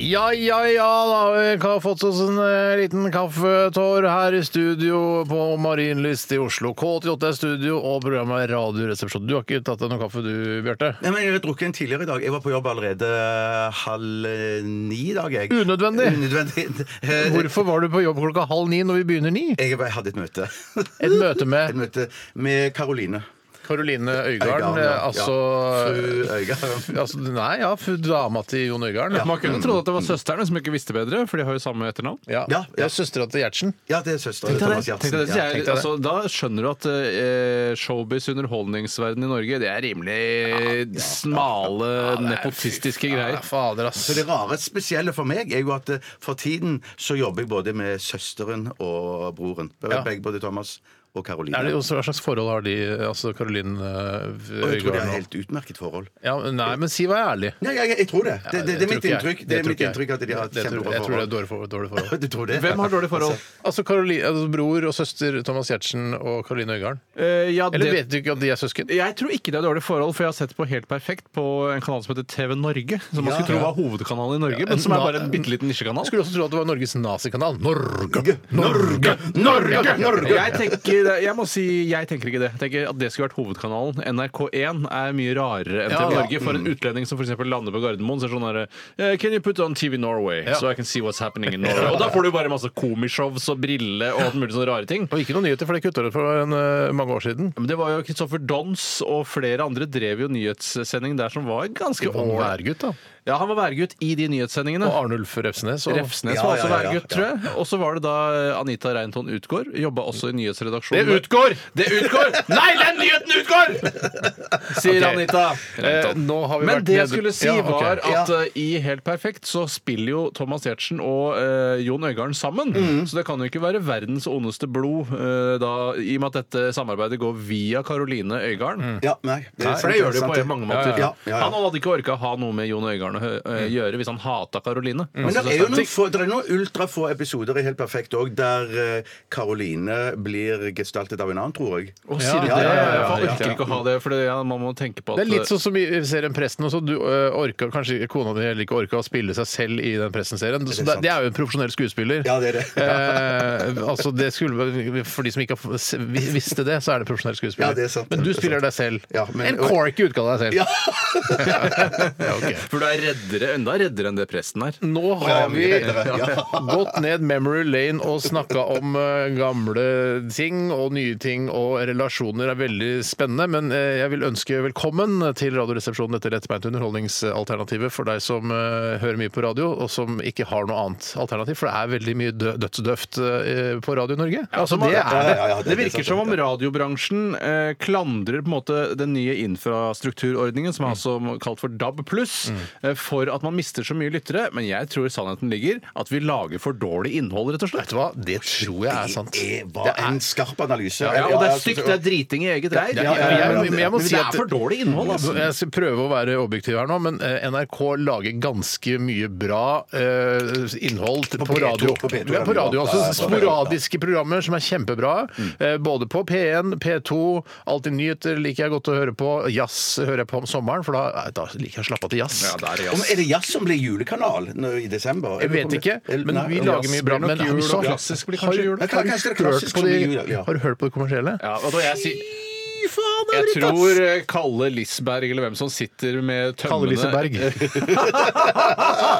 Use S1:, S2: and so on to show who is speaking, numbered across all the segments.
S1: Ja, ja, ja, da har vi ka- fått oss en eh, liten kaffetår her i studio på Marienlyst i Oslo. K88 er studio, og programmet er Radioresepsjon. Du har ikke tatt deg noe kaffe du, Bjarte?
S2: Nei, men Jeg har drukket en tidligere i dag. Jeg var på jobb allerede halv eh, ni i dag. Jeg.
S1: Unødvendig.
S2: Unødvendig. Eh,
S1: Hvorfor var du på jobb klokka halv ni når vi begynner ni?
S2: Jeg bare hadde et møte.
S1: Et møte
S2: Et
S1: med
S2: møte med Karoline.
S1: Karoline Øygarden,
S2: Øygarden, ja.
S1: eh, altså
S2: Fru Øygarden. Mm.
S1: Altså, nei, ja, fru dama til Jon Øigarden. Ja.
S3: Man kunne trodd at det var søstrene som ikke visste bedre, for de har jo samme etternavn.
S1: Ja.
S2: Ja,
S1: Det
S2: ja.
S1: er søstera til Gjertsen.
S2: Ja, det er søsteren til Thomas
S3: Tenk deg
S2: Gjertsen.
S3: det,
S2: Ja.
S3: sier jeg,
S1: tenk deg det.
S3: altså, da skjønner du at eh, showbiz underholdningsverden i Norge Det er rimelig smale, nepotistiske
S1: Ja,
S3: greier.
S1: fader, ass.
S2: Så det rare spesielle for meg er jo at eh, for tiden så jobber jeg både med søsteren og broren.
S1: Ja.
S2: Begge både Thomas og Karoline.
S1: Er det, også, hva slags forhold har de, altså Karoline eh,
S2: og jeg tror de
S1: Øygarden
S2: har
S1: og
S2: helt utmerket forhold.
S1: ja, men Nei, men si hva er ærlig.
S2: Nei, jeg, jeg tror det. Det, det, det,
S1: tror
S2: er mitt
S1: ikke jeg.
S2: inntrykk. Det er
S1: tror
S2: mitt
S1: ikke jeg.
S2: inntrykk at de har et
S1: Det tror-
S2: kjempebra
S1: Jeg tror det er
S2: forhold.
S1: dårlig for- dårlig forhold.
S2: Du tror det?
S3: Hvem har dårlige forhold?
S1: Altså, Karoli- altså, Bror og søster Thomas Giertsen og Karoline Øygarden.
S3: Eh, ja,
S1: Eller
S3: det,
S1: vet du ikke at de er søsken?
S3: jeg tror ikke det er dårlige forhold, for jeg har sett på Helt perfekt på en kanal som heter TV Norge. Som man
S2: Ja.
S3: skulle tro var hovedkanalen i Norge,
S1: en
S3: men som er
S1: na-
S3: bare en bitte liten nisjekanal.
S1: Skulle også tro at det var Norges nazikanal. Norge!
S2: Norge! Norge! Norge!
S3: Jeg tenker, jeg må si, jeg tenker ikke det. Jeg tenker at det skulle vært hovedkanalen. NRK1 er mye rarere enn
S1: Ja,
S3: TV
S1: ja. Mm.
S3: Norge. For en utlending som for eksempel lander på Gardermoen, så er det sånn her eh, Can you put on TV Norway?
S1: Ja.
S3: So I can see what's happening in Norway. Og da får du bare masse komishows og brille og alt mulig sånne rare ting.
S1: Og ikke noen nyheter, for det kutta det for en, eh, mange år siden.
S3: Men det var jo Kristoffer Dons og flere andre drev jo nyhetssending der som var ganske ålreit.
S1: Værgutt, da.
S3: Ja, han var værgutt i de nyhetssendingene.
S1: Og Arnulf Refsnes. Og
S3: Refsnes
S2: Ja,
S3: var
S2: ja,
S3: også
S2: ja, ja.
S3: værgutt, tror jeg. Og så var det da eh, Anita Reinton Utgård. Jobba også i nyhetsredaksjonen.
S1: Det utgår!
S3: Det utgår! Nei, den nyheten utgår! Sier
S1: Ok.
S3: Anita.
S1: Eh, nå har vi
S3: Men
S1: vært
S3: det jeg
S1: nede-
S3: skulle si,
S1: Ja, ok.
S3: var at eh, i Helt perfekt så spiller jo Thomas Giertsen og eh, Jon Øigarden sammen.
S2: Mm.
S3: Så det kan jo ikke være verdens ondeste blod, eh, da, i og med at dette samarbeidet går via Karoline Øigarden.
S2: Ja, nei. Mm. det er
S3: For
S2: sant,
S3: det gjør det jo
S2: sant,
S3: på mange måter.
S2: Ja, ja, ja.
S3: Han hadde ikke orka ha noe med Jon Øigarden å hø- eh, gjøre hvis han Altså, hata Karoline.
S2: Men det er jo noen, få, det er noen ultrafå episoder i Helt perfekt òg der eh, Karoline blir gestaltet av en annen, tror jeg.
S3: Å, sier du
S2: Ja,
S3: det?
S2: ja, ja, ja,
S3: For
S2: ja.
S3: Jeg orker ikke å ha det, for det, ja, man må tenke på at
S1: Det er litt sånn som i serien Presten også. Du øh, orker, kanskje kona di heller ikke orka å spille seg selv i den Presten-serien. Så det,
S2: sant?
S1: det er jo en profesjonell skuespiller.
S2: Ja, det er det.
S1: Eh, altså det skulle, for de som ikke har f- vi- visste det, så er det profesjonell skuespiller.
S2: Ja, det er sant.
S1: Men du
S2: Det er
S1: spiller
S2: sant.
S1: deg selv.
S2: Ja, men-
S1: en corky utgave av deg selv.
S2: Ja.
S1: Ja, ok.
S3: For du er reddere, enda reddere enn det presten er.
S1: Nå har vi gått ned memory lane og snakka om eh, gamle ting og nye ting, og relasjoner er veldig spennende. Men eh, jeg vil ønske velkommen til Radioresepsjonen etter lettbeint underholdningsalternativet for deg som eh, hører mye på radio, og som ikke har noe annet alternativ. For det er veldig mye dø dødsdøvt eh, på Radio Norge. altså,
S3: man-
S1: det er det.
S2: ja, ja, det-
S3: Det virker som om radiobransjen eh, klandrer på en måte den nye infrastrukturordningen, som er altså kalt for DAB pluss, eh, for at man mister så mye lyttere. Men jeg tror sannheten ligger at vi lager for dårlig innhold, rett og slett.
S1: Vet du hva, det tror jeg er sant.
S2: Det var en skarp analyse.
S3: Ja, og det er stygt, det er driting i eget reir.
S2: ja, ja, ja.
S3: Men-
S1: Men Mm. jeg må
S3: men
S1: si
S3: det
S1: at-
S3: er for dårlig innhold, altså.
S1: Jeg skal prøve å være objektiv her nå, men eh, NRK lager ganske mye bra eh, innhold til- på
S2: P2,
S1: radio.
S2: på P2
S1: Ja, på radio
S2: Ja, ja,
S1: altså
S2: på
S1: Sporadiske programmer som er kjempebra. eh, Både på P1, P2, Alltid nyheter liker jeg godt å høre på. Jazz hører jeg på om sommeren, for da, eh, da liker jeg å slappe av til jazz.
S3: Ja, det er det,
S2: Om,
S3: ass.
S2: er det jazz som blir julekanal nå i desember?
S1: Jeg vet ikke, men vi lager mye bra.
S3: blir nok
S1: Men
S3: jul,
S1: så-
S3: og klassisk blir kanskje
S1: Har-
S3: jul.
S2: Ja,
S1: Har,
S2: kanskje det
S1: du
S2: er klassisk
S1: hørt på
S2: som blir jul,
S1: de,
S2: ja.
S1: har du hørt på det kommersielle?
S3: Ja, og da jeg sier
S1: faen,
S3: Jeg tror eh, Kalle Lisberg eller hvem som sitter med tømmene
S1: Kalle Lise Berg.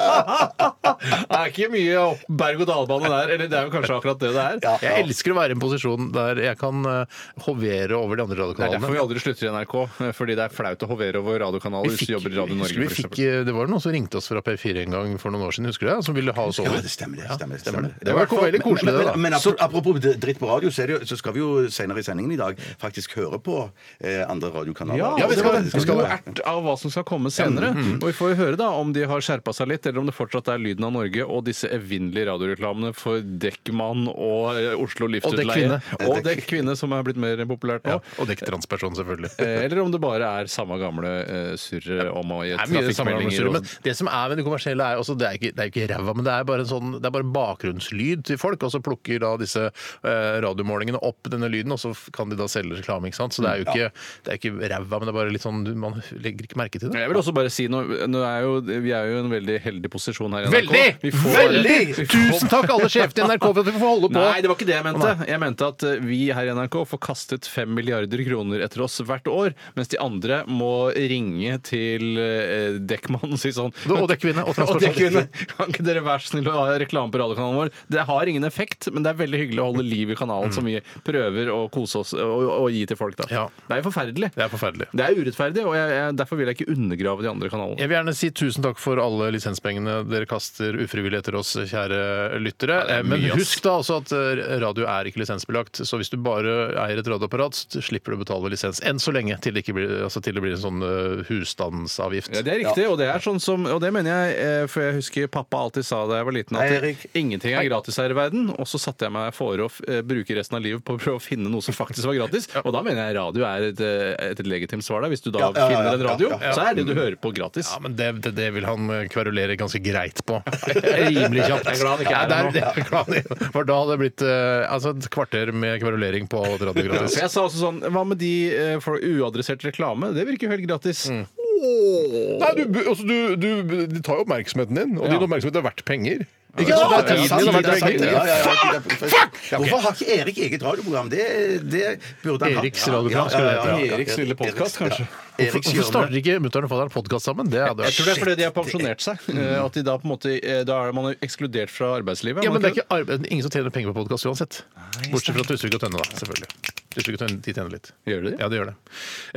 S3: Det er ikke mye opp- berg-og-dal-bane der. Eller det er jo kanskje akkurat det det er.
S1: Jeg elsker å være i en posisjon der jeg kan eh, hovere over de andre
S3: Det er derfor
S1: radiokanalene.
S3: vi aldri slutter i NRK, eh, fordi det er flaut å hovere over radiokanaler hvis du jobber i Radio
S1: husker
S3: Norge.
S1: vi
S3: for
S1: fikk,
S3: eksempel.
S1: det var noen som ringte oss fra P4 en gang for noen år siden, husker du det? Som ville ha oss
S2: Ja,
S1: over.
S2: det stemmer det. stemmer det, stemmer det.
S1: Det var veldig koselig, det,
S2: men,
S1: da.
S2: men, men apro- apropos d- dritt på radio, så, er det jo, så skal vi jo senere i sendingen i dag faktisk høre på eh, andre radiokanaler.
S3: Ja, vi skal, vi skal
S1: Mm,
S3: ert av hva som skal komme senere. Og vi får jo høre da om de har skjerpa seg litt, eller om det fortsatt er lyden av Norge og disse evinnelige radioreklamene for Dekkmann og eh, Oslo
S1: Og Dekk
S3: Livstidleie.
S1: Kvinne.
S3: Og Dekk Kvinne, som er blitt mer populært nå.
S1: Og dekk transperson, selvfølgelig.
S3: Eh, Eller om det bare er samme gamle eh, surret om å gi
S1: Det er mye det samme gamle surret,
S3: trafikkmeldinger. og-
S2: sånn.
S1: men det som er med det kommersielle, er også, det er ikke, det er jo ikke ræva, men det er bare en sånn, det er bare bakgrunnslyd til folk, og så plukker da disse eh, radiomålingene opp denne lyden, og så f- kan de da selge reklame, ikke sant? Så det er jo ikke, det er ikke ræva, men det er bare litt sånn, du- man legger ikke merke til det.
S3: Jeg vil også bare si noe, nå er jo, Vi er jo i en veldig heldig posisjon her i NRK.
S1: Veldig!
S3: Vi får-
S1: Veldig!
S3: Vi får-
S1: Tusen takk alle sjefene i NRK for at vi får holde på.
S3: Nei, det var ikke det jeg mente. Jeg mente at eh, vi her i NRK får kastet 5 milliarder kroner etter oss hvert år, mens de andre må ringe til eh, Dekkmann og si sånn
S1: Og Dekkvinne og
S3: Og
S1: transperson.
S3: Dekkvinne, Kan ikke dere være snill å ha reklame på radiokanalen vår? Det har ingen effekt, men det er veldig hyggelig å holde liv i
S2: Mm.
S3: kanalen som vi prøver å kose oss og, og gi til folk. Da.
S1: Ja.
S3: Det er jo forferdelig.
S1: Det er forferdelig.
S3: Det er urettferdig, og jeg, jeg, derfor vil jeg ikke undergrave de andre kanalene.
S1: Jeg vil gjerne si tusen takk for alle lisenspengene dere kaster ufrivillig etter oss, kjære lyttere. Eh,
S3: Ja, det er
S1: Men
S3: mye, ass.
S1: husk da også at eh, radio er ikke lisensbelagt, så hvis du bare eier et radioapparat, så slipper du å betale lisens enn så lenge, til det, ikke blir, altså, til det blir en sånn eh, husstandsavgift.
S3: Ja, det er riktig, og det er sånn som Og det mener jeg, eh, for jeg husker pappa alltid sa da jeg var liten,
S2: Hei,
S3: at
S2: Erik.
S3: ingenting er gratis her i verden. Og så satte jeg meg fore å f- eh, bruke resten av livet på å prøve å finne noe som faktisk var gratis. Og da mener jeg radio er et, eh, et legitimt svar der. Hvis du da
S2: Ja, ja, ja,
S3: finner en radio,
S2: ja, ja. Mm.
S3: så er det du hører på, gratis.
S1: Ja, men det, det, det vil han eh, kverulere ganske greit på. Rimelig kjapt.
S3: Jeg er glad det ikke er
S1: Nei,
S3: her
S1: det er- jeg er glad det- For da hadde det blitt eh, altså, et kvarter med kverulering på et radio gratis.
S3: For jeg sa også sånn Hva med de eh, for uadressert reklame? Det virker jo helt gratis.
S1: Nei, du, altså, du, du, de tar jo oppmerksomheten din, og
S3: Ja.
S1: din oppmerksomhet er verdt penger. Ikke
S2: Ja,
S1: sant? Det er
S2: det er
S1: tiden
S2: sant,
S1: din er
S2: det er
S1: verdt
S2: sant,
S1: penger.
S2: ja, ja, ja. Fuck! Hvorfor har ikke Erik eget radioprogram? Det, det burde han ha.
S1: Eriks radioprogram
S2: Ja,
S1: skulle
S2: ja,
S1: det
S2: ja,
S1: hete,
S2: ja.
S3: Eriks lille podcast,
S2: Eriks-
S3: kanskje.
S2: ja.
S1: Hvorfor,
S2: Eriks
S1: hvorfor
S2: hjørne.
S1: starter ikke mutter'n og fatter'n podkast sammen? Det hadde
S3: Jeg tror det er fordi de har pensjonert seg. eh, At de da på en måte eh, Da er man ekskludert fra arbeidslivet. er
S1: ja, men
S3: man
S1: det er ikke arbeid, ingen som tjener penger på podkast uansett. Bortsett fra Tusvik og Tønne, da. Selvfølgelig. Tusvik og Tønne, de tjener litt.
S3: Gjør de det?
S1: Ja, de gjør det.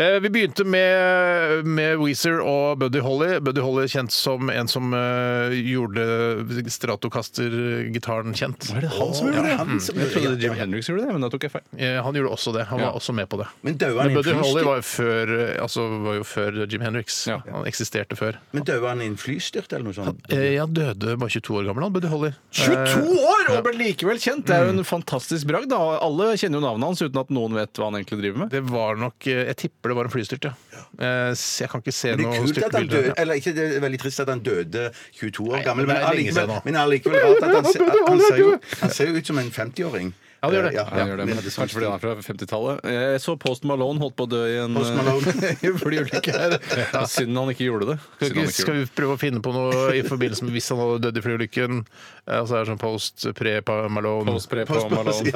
S1: Eh, vi begynte med, med Weezer og Buddy Holly. Buddy Holly er kjent som en som eh, gjorde Stratocaster-gitaren kjent.
S3: Var det han som gjorde det?
S2: Ja, han som
S3: jeg
S2: gjorde det,
S3: trodde
S2: ja.
S3: Jim Hendrix gjorde det, men da tok jeg feil.
S1: Eh, han gjorde også det. Han
S3: Ja.
S1: var også med på det.
S2: Men døde han
S1: Men
S2: i
S1: Buddy Holly
S2: flystyrt?
S1: var jo, før, eh, altså, var jo før Jim Hendrix.
S3: Ja.
S1: Han eksisterte før.
S2: Men døde han i en flystyrt eller noe sånt?
S1: Eh, han døde bare 22 år gammel, han Buddy Holly. Eh,
S3: 22 år og ble likevel kjent! Det er jo en fantastisk bragd. da. Alle kjenner jo navnet hans uten at noen vet hva han egentlig driver med.
S1: Det var nok eh, Jeg tipper det var en flystyrt, ja. Eh, s- Jeg kan ikke se
S2: Det er
S1: noe
S2: kult at han døde,
S1: stykkebilde.
S2: eller ikke, det er veldig trist at han døde 22 år gammel,
S1: men
S2: men
S1: det er lenge siden
S2: allikevel,
S1: nå.
S2: men allikevel rart at han, ser- han, ser jo, han ser jo ut som en 50-åring.
S1: Ja, det gjør det.
S3: Han gjør det, men Kanskje fordi han er fra 50-tallet. Jeg så Post Malone holdt på å dø i en
S2: Post Malone.
S3: i en flyulykke her. Ja, Synd han ikke gjorde det.
S1: Skal
S3: Synd han
S1: vi,
S3: ikke
S1: skal
S3: gjorde det.
S1: vi prøve å finne på noe i forbindelse med hvis han hadde dødd i flyulykken? Eh, Altså er det sånn post, pre, pa, Malone
S3: Post pre på Malone.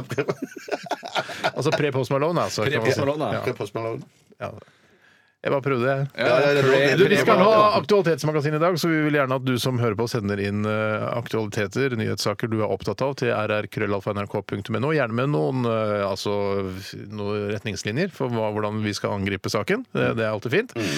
S1: Altså pre, post Malone, altså. kan man
S3: Pre-post
S1: si.
S3: Malone, ja.
S1: Ja. Jeg bare prøvde, jeg.
S3: Ja,
S1: Du, vi skal
S3: Pre-
S1: ha Aktualitetsmagasin i dag, så vi vil gjerne at du som hører på, sender inn eh, aktualiteter, nyhetssaker du er opptatt av, til rrkrøllalfa.nrk.no. Gjerne med noen, eh, altså, noen retningslinjer for hva, hvordan vi skal angripe saken. Det, det er alltid fint.
S3: Mm.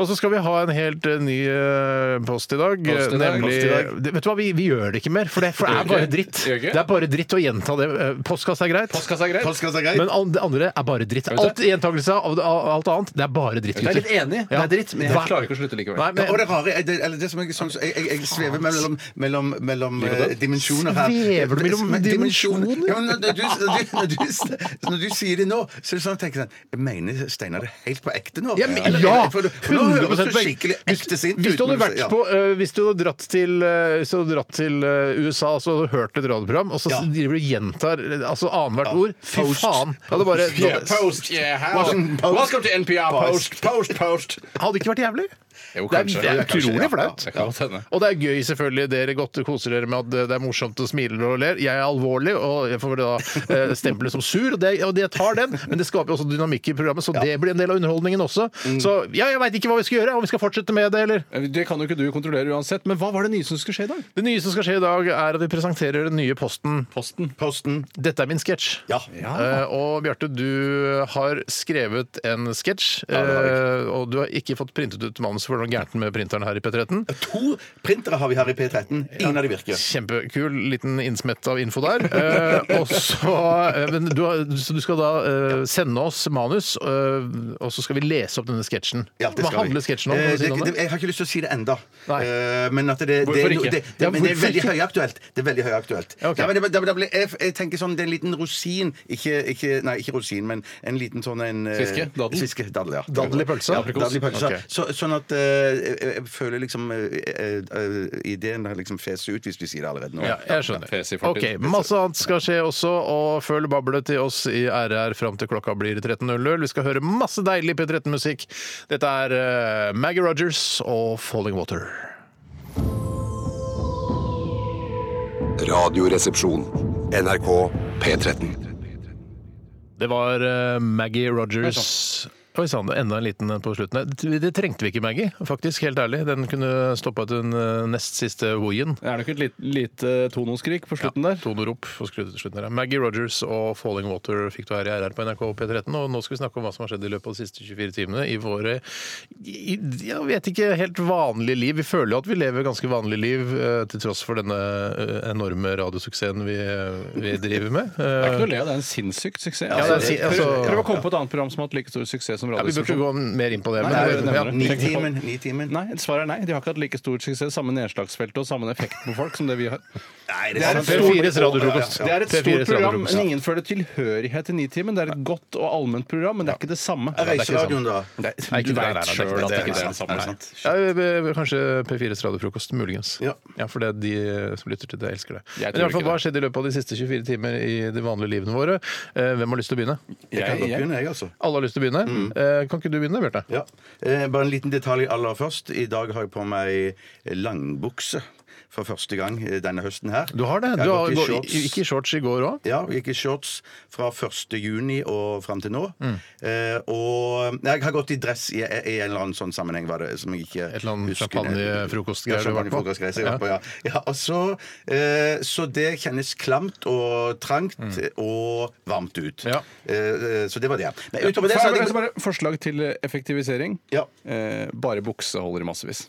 S1: Og så skal vi ha en helt eh, ny eh, post i dag.
S3: Post i dag,
S1: nemlig
S3: post i dag.
S1: Det- Vet du hva, vi, vi gjør det ikke mer, for det, for det
S3: Gjør
S1: er bare
S3: ikke?
S1: dritt.
S3: Gjør ikke?
S1: Det er bare dritt å gjenta det. Eh, Postkasse er greit.
S3: Postkassa er greit.
S2: Postkasse er greit.
S1: Men an- det andre er bare dritt.
S3: du
S1: Alt gjentakelse av av alt annet, det er bare dritt.
S3: Jeg er
S1: gutter.
S3: litt enig, det
S1: Ja.
S3: er dritt, men jeg
S1: Hva-
S3: klarer ikke å slutte likevel.
S1: Nei, men,
S2: og det rare er det, eller det som jeg, sånn, jeg, jeg, jeg svever mellom, mellom, mellom eh, dimensjoner her.
S1: Svever du mellom
S2: Men dimensjon-
S1: dimensjoner?
S2: Ja, men når, du, når, du, når, du, når du sier det nå, så er det sånn at jeg tenker sånn Mener Steinar det helt på ekte nå?
S1: Ja, men,
S2: Eller-
S1: ja!
S2: for, for nå høres du
S1: 100% poeng.
S2: skikkelig ekte sint
S1: Hvis, hvis du
S2: ut,
S1: hadde
S2: men-
S1: vært
S2: ja.
S1: på, eh, hvis du hadde dratt til, eh, hvis du hadde dratt til eh, USA og så hadde du hørt et radioprogram, og så
S2: Ja.
S1: driver du og gjentar eh, altså annethvert ord Fy
S2: Post.
S1: faen! Det hadde, bare,
S2: Yeah,
S1: det hadde,
S3: Post, yeah, how?
S2: Washington Post.
S3: Welcome to NPR Post.
S2: post, post.
S1: hadde ikke vært jævlig.
S3: Jo,
S1: det, er,
S3: kanskje.
S1: det er
S3: Ja, kanskje,
S1: utrolig
S3: ja.
S1: flaut.
S3: Ja, det kan godt hende.
S1: Og det er gøy, selvfølgelig. Dere godt koser dere med at det er morsomt og smiler og ler. Jeg er alvorlig, og jeg får da eh, stempelet som sur, og, det, og jeg tar den. Men det skaper jo også dynamikk i programmet, så det blir en del av underholdningen også.
S2: Mm.
S1: Så ja, jeg veit ikke hva vi skal gjøre, om vi skal fortsette med det, eller
S3: Det kan jo ikke du kontrollere uansett, men hva var det nye som skulle skje i dag?
S1: Det nye som skal skje i dag, er at vi presenterer den nye posten.
S3: Posten.
S2: Posten.
S1: Dette er min sketsj.
S2: Ja.
S1: Eh, og Bjarte, du har skrevet en sketsj,
S2: det har jeg.
S1: eh, og du har ikke fått printet ut manuset også for det er noe gærent med printeren her i P13.
S2: To printere har vi her i P13. Ingen av de virker.
S1: Kjempekul liten innsmett av info der. Eh, og så, eh, men du, har- så du skal da eh, sende oss manus, eh, og så skal vi lese opp denne sketsjen.
S2: Ja, det
S1: Hva
S2: skal vi.
S1: handler sketsjen om?
S2: Eh,
S1: Kan du si
S2: det,
S1: noe om
S2: det,
S1: det? sånn,
S2: jeg har ikke lyst til å si det ennå.
S1: Nei.
S2: men at det, det,
S3: Hvorfor
S2: det,
S3: ikke?
S2: det,
S1: Ja,
S2: men det er
S1: hvorfor
S2: veldig
S1: ikke?
S2: høyaktuelt. Det er veldig høyaktuelt.
S1: Ja, ok.
S2: Nei, men det, det, det, ble- jeg, jeg tenker sånn, det er en liten rosin ikke, ikke, Nei, ikke rosin, men en liten sånn en eh,
S3: Fiske? Daddel?
S2: Fiske, daddel, ja.
S1: Daddel i pølse?
S2: Ja, daddel i pølse.
S1: Ok.
S2: Så, sånn at eh, jeg, jeg føler liksom eh, eh, eh, ideen har liksom feset ut, hvis vi sier det allerede nå.
S1: Ja, jeg
S3: Fes i
S1: skjønner. Ok,
S3: fortid.
S1: Masse annet skal skje også, og følg bablet til oss i RR fram til klokka blir 13.00. Vi skal høre masse deilig P13-musikk. Dette er eh, Maggie Rogers og Falling Water.
S4: Radioresepsjon. NRK P13.
S1: Det var eh, Maggie
S3: sånn.
S1: Rogers. Oi sann, enda en liten en på slutten. her. Det, det trengte vi ikke, Maggie. faktisk, Helt ærlig. Den kunne stoppa til den eh, nest siste wooien.
S3: Er det ikke et lite, lite eh, tonoskrik på slutten der?
S1: Tonorop på skru- slutten her. Maggie Rogers og Falling Water fikk du her i RR på NRK P13. Og nå skal vi snakke om hva som har skjedd i løpet av de siste 24 timene i våre i, Jeg vet ikke helt vanlige liv. Vi føler jo at vi lever ganske vanlige liv eh, til tross for denne eh, enorme radiosuksessen vi, eh, vi driver med.
S3: Det er ikke
S1: Eh,
S3: noe å le av, det er en sinnssyk suksess.
S1: det er
S3: Altså,
S1: sin- altså-
S3: prøv å komme på et annet program som har hatt like stor suksess som
S1: Eh, ja, vi burde ikke
S3: Radioresepsjonen.
S1: gå mer inn på det.
S3: Nei,
S1: men-
S3: det er-
S1: ja.
S3: det er-
S2: Nitimen. Nitimen.
S3: Nei, svaret er nei. De har ikke hatt like stor suksess, samme nedslagsfelt og samme effekt på folk som det vi har.
S2: Nei, sånn
S3: Det er
S2: sant.
S3: et
S1: P4s radiofrokost.
S3: Det er et
S1: P4s
S3: stort program,
S1: radiofrokost.
S3: men ingen føler tilhørighet til Nitimen. Det er et godt og allment program, men det er ikke det samme.
S2: Ja, Reiseradioen, da?
S3: Det er- sånn.
S1: Nei, ikke
S3: Du
S1: det, nei, nei,
S3: veit
S1: nei,
S3: sjøl
S1: det-
S3: at det ikke
S1: det-
S3: er det samme.
S2: Nei,
S3: sant?
S2: sant.
S1: Ja, eh, kanskje P4s radiofrokost, muligens.
S2: Ja.
S1: for det er de eh, som lytter til det, elsker det. Men i
S3: Jeg
S1: hvert
S3: tror
S1: fall, Hva
S3: ikke det.
S1: har skjedd i løpet av de siste 24 timer i de vanlige livene våre? Eh, Hvem har lyst til å begynne?
S2: Jeg kan
S3: Jeg-
S2: godt
S3: jeg-
S2: begynne, jeg, altså.
S1: Alle har lyst til å begynne. Eh, Kan ikke du begynne, Bjarte?
S2: Ja. Eh, bare en liten detalj aller først. I dag har jeg på meg langbukse for første gang eh, denne høsten her.
S1: Du har det.
S2: Jeg
S1: Du har,
S2: gått i
S1: går,
S2: shorts.
S1: gikk i shorts i går òg.
S2: Ja, jeg gikk i shorts fra 1. juni og fram til nå.
S1: Mm.
S2: Eh, og nei, jeg har gått i dress i, i en eller annen sånn sammenheng, var det, som jeg ikke
S1: Et eller annet
S2: husker.
S1: champagnefrokostgreier
S2: Ja,
S1: du har vært på.
S2: champagnefrokostgreier som jeg har vært på. Ja. Ja, og så, eh, så det kjennes klamt og trangt og varmt ut.
S1: Mm. Ja.
S2: Eh, eh, så det var det. Men utover det så
S3: Faen,
S2: hadde
S3: det liksom er
S2: jeg
S3: bare Forslag til effektivisering.
S2: Ja.
S3: Eh, bare bukse holder i massevis.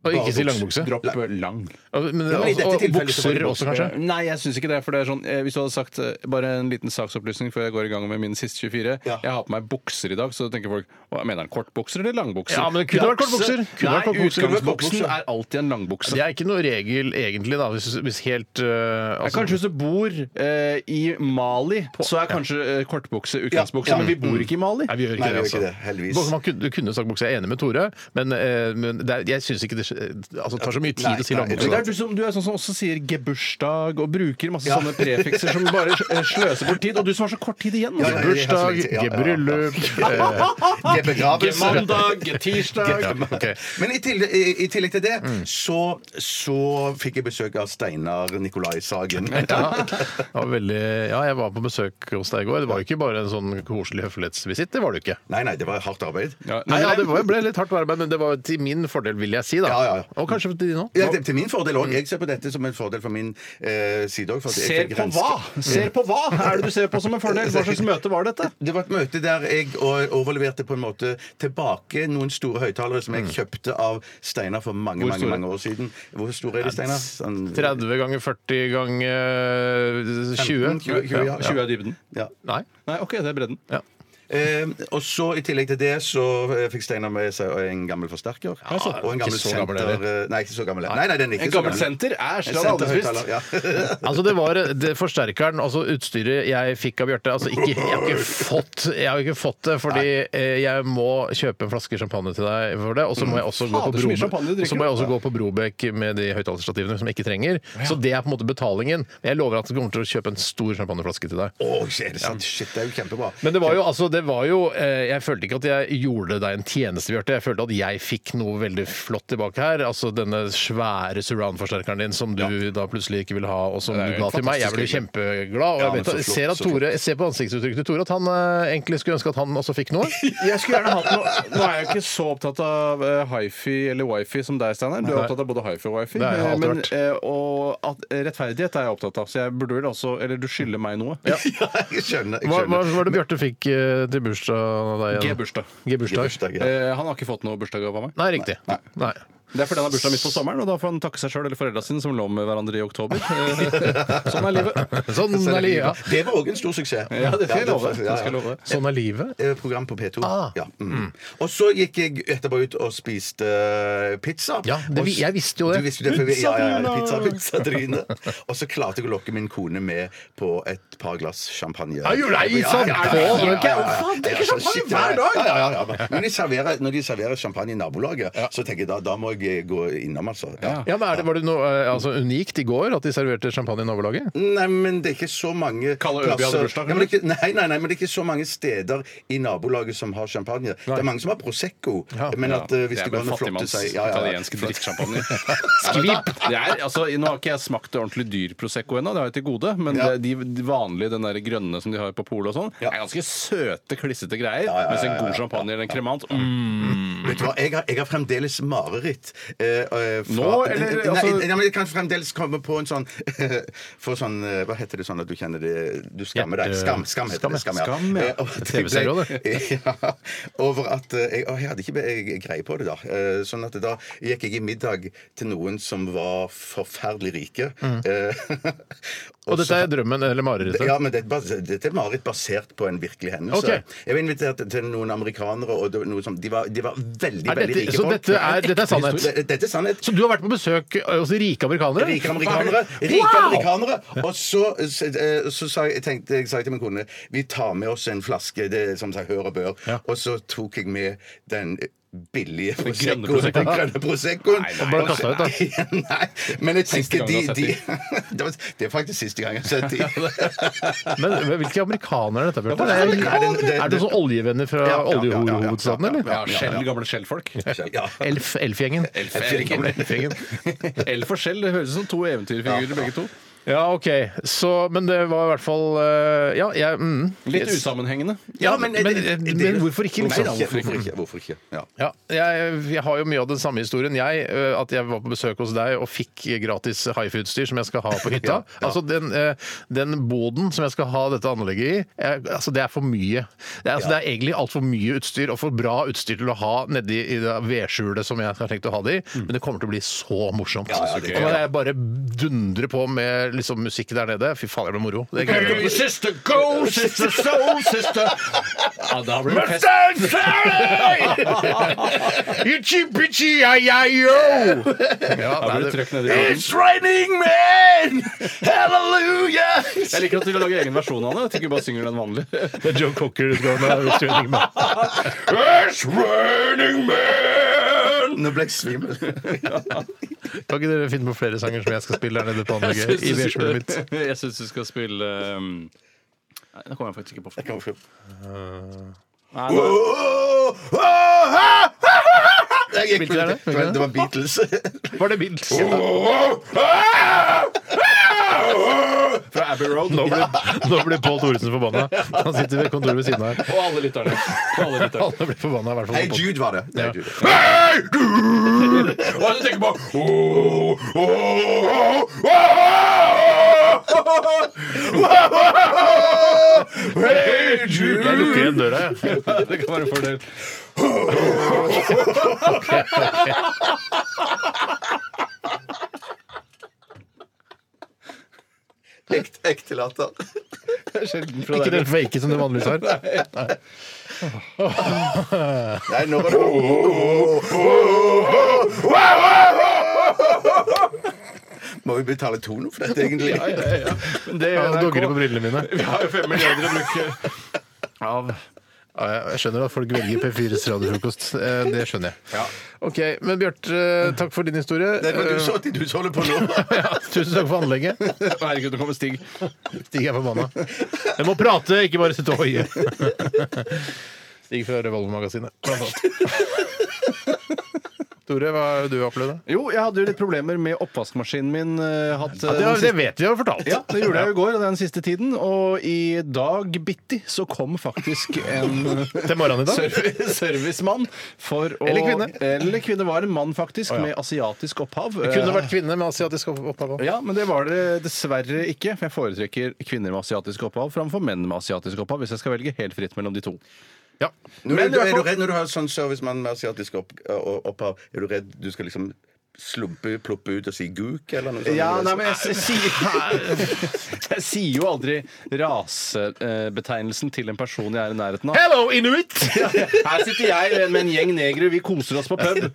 S1: Og ikke si
S2: Bare
S1: langbukse.
S3: Dropp lang.
S1: Og- Men,
S2: men i
S1: og,
S2: dette
S1: og
S2: tilfellet så var
S1: bukser
S2: det
S1: også, kanskje.
S3: Eh, Nei, jeg syns ikke det. For det er sånn, eh, hvis du hadde sagt eh, bare en liten saksopplysning før jeg går i gang med min siste 24
S2: Ja.
S3: Jeg har på meg bukser i dag, så tenker folk hva mener han kortbukser eller langbukser?
S1: Ja, men det kunne vært kortbukser. Kunne vært
S3: Nei,
S1: kortbukser.
S3: utgangsbuksen er alltid en langbukse.
S1: Det er ikke noe regel, egentlig, da, hvis, hvis helt eh,
S3: Ja,
S1: altså-
S3: kanskje hvis du bor eh, i Mali, så er kanskje eh, kortbukse utgangsbukse.
S2: Ja, ja.
S3: Men vi bor ikke i Mali.
S1: Nei, vi gjør
S2: Nei,
S1: ikke
S2: vi
S1: det,
S2: gjør
S1: altså.
S2: ikke det, heldigvis.
S1: Man kunne- Du kunne sagt bukse. Jeg er enig med Tore, men, eh, men det er, jeg syns ikke det skj- altså, tar så mye tid
S2: Nei,
S1: å si
S2: nei,
S1: langbukse.
S3: Men det er du, som, du er sånn som også sier gebursdag og bruker masse sånne prefikser som bare eh, sløser bort tid. Og du som har så kort tid igjen!
S2: Ja,
S3: altså.
S2: ja,
S1: Bursdag,
S2: Ja, ja, ja.
S1: gebryllup
S2: Det er begravelse.
S1: tirsdag Ok.
S2: Men i tillegg, i, i tillegg til det,
S3: Mm.
S2: så, så fikk jeg besøk av Steinar Nikolai Sagen.
S1: Ja, eh, det var veldig, ja, jeg var på besøk hos deg i går. Det var jo ikke bare en sånn koselig høflighetsvisitt. Det var det jo ikke.
S2: Nei, nei, det var hardt arbeid.
S3: Ja,
S1: Nei, ja, det var, ble litt hardt arbeid, men det var til min fordel, vil jeg si. da
S2: Ja, ja, ja.
S1: Og kanskje til din òg.
S2: Ja, det, til min fordel òg. Jeg ser på dette som en fordel for min eh, side òg.
S3: Mm. Ser på hva?
S2: Mm.
S3: Ser på hva er det du ser på som en fordel? Hva slags møte var dette?
S2: Det var et møte der jeg o- overleverte på en måte tilbake noen store høyttalere som jeg kjøpte av Steinar for mange
S3: Mm. Hvor
S2: mange,
S3: store?
S2: mange år siden. Hvor store er de, Steinar? Sånn-
S1: 30 ganger 40 ganger 20.
S2: 15, 20, 20, ja.
S3: 20 er dybden.
S2: Ja.
S1: Nei.
S3: Nei, OK, det er bredden.
S1: Ja.
S2: Eh, og så I tillegg til det så eh, fikk Steinar med seg en gammel forsterker.
S3: altså,
S2: og en gammel
S1: ikke så gammel,
S2: senter... eh, Nei, ikke så gammel. Nei, nei, den er ikke
S3: En
S2: så
S3: gammel
S2: gammel.
S3: senter er
S2: En
S3: strand
S2: senterhøyttaler,
S3: allmennspist.
S2: ja.
S1: Altså det var det forsterkeren, altså utstyret jeg fikk av Bjarte altså ikke, jeg, har ikke fått, jeg har ikke fått det, fordi eh, jeg må kjøpe en flaske champagne til deg for det. Og så må jeg også gå på,
S3: Mm. Fader, så mye champagne
S1: Brobe,
S3: du drikker,
S1: så må jeg
S3: da.
S1: også gå på Brobekk med de høyttalerstativene som jeg ikke trenger. Så det er på en måte betalingen. Jeg lover at jeg kommer til å kjøpe en stor champagneflaske til deg.
S2: Å, er det sant? Shit, det er jo kjempebra.
S1: Men det var jo, altså, det var jo eh, Jeg følte ikke at jeg gjorde deg en tjeneste, Bjarte. Jeg følte at jeg fikk noe veldig flott tilbake her. Altså denne svære surround-forsterkeren din som du da plutselig ikke ville ha, og som
S3: Det er
S1: du
S3: jo
S1: ga til meg. Jeg ble
S3: fantastisk
S1: kjempeglad. Og
S2: Ja,
S1: jeg,
S2: men
S1: vet,
S2: så
S1: at- jeg
S2: flott,
S1: ser at
S2: så flott.
S1: Tore, jeg ser på ansiktsuttrykket til Tore at han eh, egentlig skulle ønske at han også fikk noe.
S3: Jeg skulle gjerne hatt noe Nå er jeg jo ikke så opptatt av eh, hifi eller wifi som deg, Steinar. Du er opptatt av både hifi og wifi.
S1: Det har jeg
S3: eh,
S1: alltid
S3: men,
S1: vært.
S3: eh, og at eh, rettferdighet er jeg opptatt av, så jeg burde vel også Eller du skylder meg noe.
S2: Ja, jeg skjønner. Jeg
S1: Hva, hva
S2: skjønner.
S1: var det Bjarte fikk eh, til bursdag av deg igjen?
S3: G-bursdag.
S1: G-bursdag.
S2: Bursdag, ja.
S3: Eh, han har ikke fått noe bursdagsgave av meg.
S1: Nei, riktig. Nei.
S3: Det er fordi han har bursdag midt på sommeren, og da får han takke seg sjøl eller foreldra sine som lå med hverandre i oktober. Eh, sånn er livet.
S1: Sånn er livet.
S2: Det var òg en stor suksess.
S3: Ja, det skal jeg love.
S2: Ja,
S3: Det skal jeg love.
S1: Sånn er livet.
S2: Eh, Program på P2.
S1: Ah.
S2: Ja. Mm. Og så gikk jeg etterpå ut og spiste eh, pizza.
S1: Ja, det vi- jeg visste jo det.
S2: Du visste jo det for vi, ja, ja, ja, pizza, pizza, Trine. Og så klarte jeg å lokke min kone med på et par glass champagne.
S1: Nei, jo, nei, sånn, på, men ikke- faen, drikker
S2: så
S1: champagne
S2: shit,
S1: hver dag!
S2: Ja, ja, ja, ja. Men de serverer, når de serverer champagne i nabolaget, så tenker jeg da, da må jeg gå innom, altså. Ja.
S1: Ja, men er det, Var det noe eh, altså, unikt i går at de serverte champagne i nabolaget?
S2: Nei, men det er ikke så mange
S3: Kalle Øby hadde bursdag,
S2: ja, men det er ikke, nei, nei, nei, men det er ikke så mange steder i nabolaget som har champagne. Det er mange som har Prosecco.
S1: Ja.
S2: men at eh, hvis
S3: det
S2: det
S3: er
S2: går
S3: vel
S2: an å flotte
S3: fattigmanns
S2: seg
S3: italiensk drittsjampanje. Skvip! Det er, altså, nå har ikke jeg smakt ordentlig dyr Prosecco ennå, det har jeg til gode, men
S2: Ja.
S3: det- de, de vanlige, den der grønne som de har på polet og sånn,
S2: Ja.
S3: er ganske søte, klissete greier.
S2: ja, ja,
S3: Mens en
S2: ja, ja.
S3: god champagne eller en kremant mm,
S1: Mm-hmm.
S2: Vet du hva, jeg har, jeg har fremdeles mareritt. eh, eh, fra-
S3: Nå, eller,
S2: Nei,
S3: altså-
S2: nei, men jeg kan fremdeles komme på en sånn Få sånn eh, Hva heter det sånn at du kjenner det Du skammer deg.
S1: Hjerte-
S2: Skam, skam heter det.
S1: Skam,
S2: Skam,
S1: ja.
S2: ja. Eh,
S1: Skam, ja.
S2: og at jeg ble-
S1: TV-serie også,
S2: Ja. Over at eh, jeg, å, jeg hadde ikke be- jeg- greie på det da. Eh, Sånn at da gikk jeg i middag til noen som var forferdelig rike. Eh,
S1: Mm. Og
S2: så-
S1: dette er drømmen eller marerittet?
S2: ja, men det, er bas- Dette er mareritt basert på en virkelig hendelse.
S1: Ok.
S2: Jeg var invitert til noen amerikanere, og det, var noe som, de, var, de var veldig
S1: Er
S2: veldig
S1: dette,
S2: rike
S1: så
S2: folk.
S1: dette er, dette er sannhet?
S2: Det- Dette er sannhet.
S1: Så du har vært på besøk eh, hos rike amerikanere?
S2: Rike amerikanere. Rike amerikanere. Og så, så, eh, så sa jeg, tenkte, jeg sa til min kone vi tar med oss en flaske det er som sagt hør og bør.
S1: Ja.
S2: Og så tok jeg med den billige
S3: grønne
S2: proseccoen. Den grønne proseccoen.
S3: Nei, nei,
S1: Og ble kastet ut, da.
S2: Nei, men jeg
S3: Siste
S2: tenker
S3: gang
S2: de,
S3: jeg har
S2: de
S3: sett
S2: det, var, det er faktisk siste gang jeg har sett de.
S1: Men hvilke amerikanere er dette? Bjarte?
S2: Ja,
S1: Er
S2: det- det-
S1: det,
S2: det-
S1: er det sånn oljevenner fra
S2: Ja, ja, ja, ja, ja,
S1: oljehovedstaden,
S2: ja, ja,
S1: eller?
S3: ja, skjell, gamle skjellfolk.
S2: ja.
S1: Elf, Elfgjengen. Elfgjengen.
S3: Eller for skjell, det høres ut som to eventyrfigurer begge to.
S1: Ja, OK. Så, men det var i hvert fall eh, Ja, jeg mm.
S3: Litt usammenhengende.
S1: Ja, men, men, men hvorfor ikke,
S2: eh, Nei, da,
S1: liksom?
S2: hvorfor ikke? Hvorfor ikke? Ja.
S1: Ja, jeg, jeg har jo mye av den samme historien. Jeg, eh, at jeg var på besøk hos deg og fikk gratis hifi-utstyr som jeg skal ha på hytta. Altså den, eh, den boden som jeg skal ha dette anlegget i, jeg, altså det er for mye. Det er, altså, det er egentlig altfor mye utstyr, og for bra utstyr til å ha nedi i det vedskjulet som jeg har tenkt å ha det i. Men det kommer til å bli så morsomt.
S2: Ja, ja, det
S1: Nå
S2: kan
S1: må
S2: jeg.
S1: jeg bare dundre på med liksom, musikk der nede. Fy faen, det blir moro. Det gleder jeg meg til.
S3: Sister, go, sister, soul, sister! Ja, da blir det fest.
S1: Itchy, bitchy, ai, ai, yo! Ja,
S3: Da
S1: nei,
S3: blir det
S1: det-
S3: trøkk nedi i ryggen.
S2: raining men! Hallelujah!
S3: Jeg liker at du lager egen versjon av det. At du ikke bare synger den vanlige.
S1: Det er Joe Cocker-utgaven av It's Raining Man. It's Raining Man!
S2: Nå ble jeg svimmel.
S1: Kan ikke dere finne på flere sanger som jeg skal spille der nede på anlegget? i vedskjulet mitt?
S3: Jeg syns du skal spille um... Nei, nå kommer jeg faktisk ikke på
S2: Kan Oh, vi få-
S3: Nei,
S2: Åh,
S3: nå-
S2: åh, åh, ah, ah, ah, ah. Jeg gikk på-
S1: Hvilken er det? Hvilken er det?
S2: Det var Beatles.
S1: Var det Beatles?
S3: Fra Abbey Road.
S1: Nå ble, nå ble Pål Thoresen forbanna. Han sitter ved kontoret ved siden av her.
S3: Og alle lytterne. Og alle lytterne.
S1: Alle ble forbanna, i hvert
S2: Hey
S1: fall. på-
S2: Jude var det. Hey
S1: Ja.
S2: Jude.
S3: Hva er det du tenker på?
S1: Jeg lukker igjen døra, jeg.
S3: Det kan være en fordel.
S2: Ekte- Ekte latter.
S3: Sjelden fra
S1: Ikke
S3: deg.
S1: den fake som du vanligvis har.
S2: Nei, nå var det Må vi betale tono for dette, egentlig?
S3: Ja, ja, ja. Men det
S1: Ja,
S3: gjør
S1: det dogger på
S3: NRK.
S1: brillene mine.
S3: Vi har jo fem milliarder å bruke av
S1: Ja, jeg- jeg skjønner at folk velger P4s radiofrokost. Eh, Det skjønner jeg.
S3: Ja.
S1: Ok, Men Bjarte, eh, takk for din historie.
S2: Det var du så du så holder på nå.
S1: Ja, tusen takk for anlegget.
S3: Herregud, nå kommer Stig.
S1: Stig er forbanna. Jeg må prate, ikke bare sitte og hoie. Stig fra Revolvermagasinet. blant annet. Tore, hva har du opplevd?
S3: Jo, jeg hadde jo litt problemer med oppvaskmaskinen min. eh, Hatt,
S1: Ja, det,
S3: eh,
S1: har, det vet vi har fortalt.
S3: Ja, det gjorde jeg jo i går, den siste tiden. Og i dag bitti så kom faktisk en
S1: Til morgenen i dag.
S3: serv- servicemann for å
S1: Eller kvinne.
S3: Eller kvinne var en mann, faktisk,
S1: ja.
S3: med asiatisk opphav. Eh,
S1: Det kunne vært kvinne med asiatisk opphav. også.
S3: Ja, men det var det dessverre ikke. For jeg foretrekker kvinner med asiatisk opphav framfor menn med asiatisk opphav, hvis jeg skal velge helt fritt mellom de to.
S1: Ja.
S2: Når,
S3: Men
S2: du,
S3: i hvert
S2: er du
S3: fall-
S2: redd når du har sånn servicemann med asiatisk opp, og- opphav? Er du redd du skal liksom slumpe, ploppe ut og si guk, eller noe sånt? Ah,
S3: Ja, nei, men jeg, s- sier, jeg sier jo aldri rasebetegnelsen til en person jeg er i nærheten av.
S1: Hello, inuit!
S3: Her sitter jeg med en gjeng negere, vi koser oss på pub.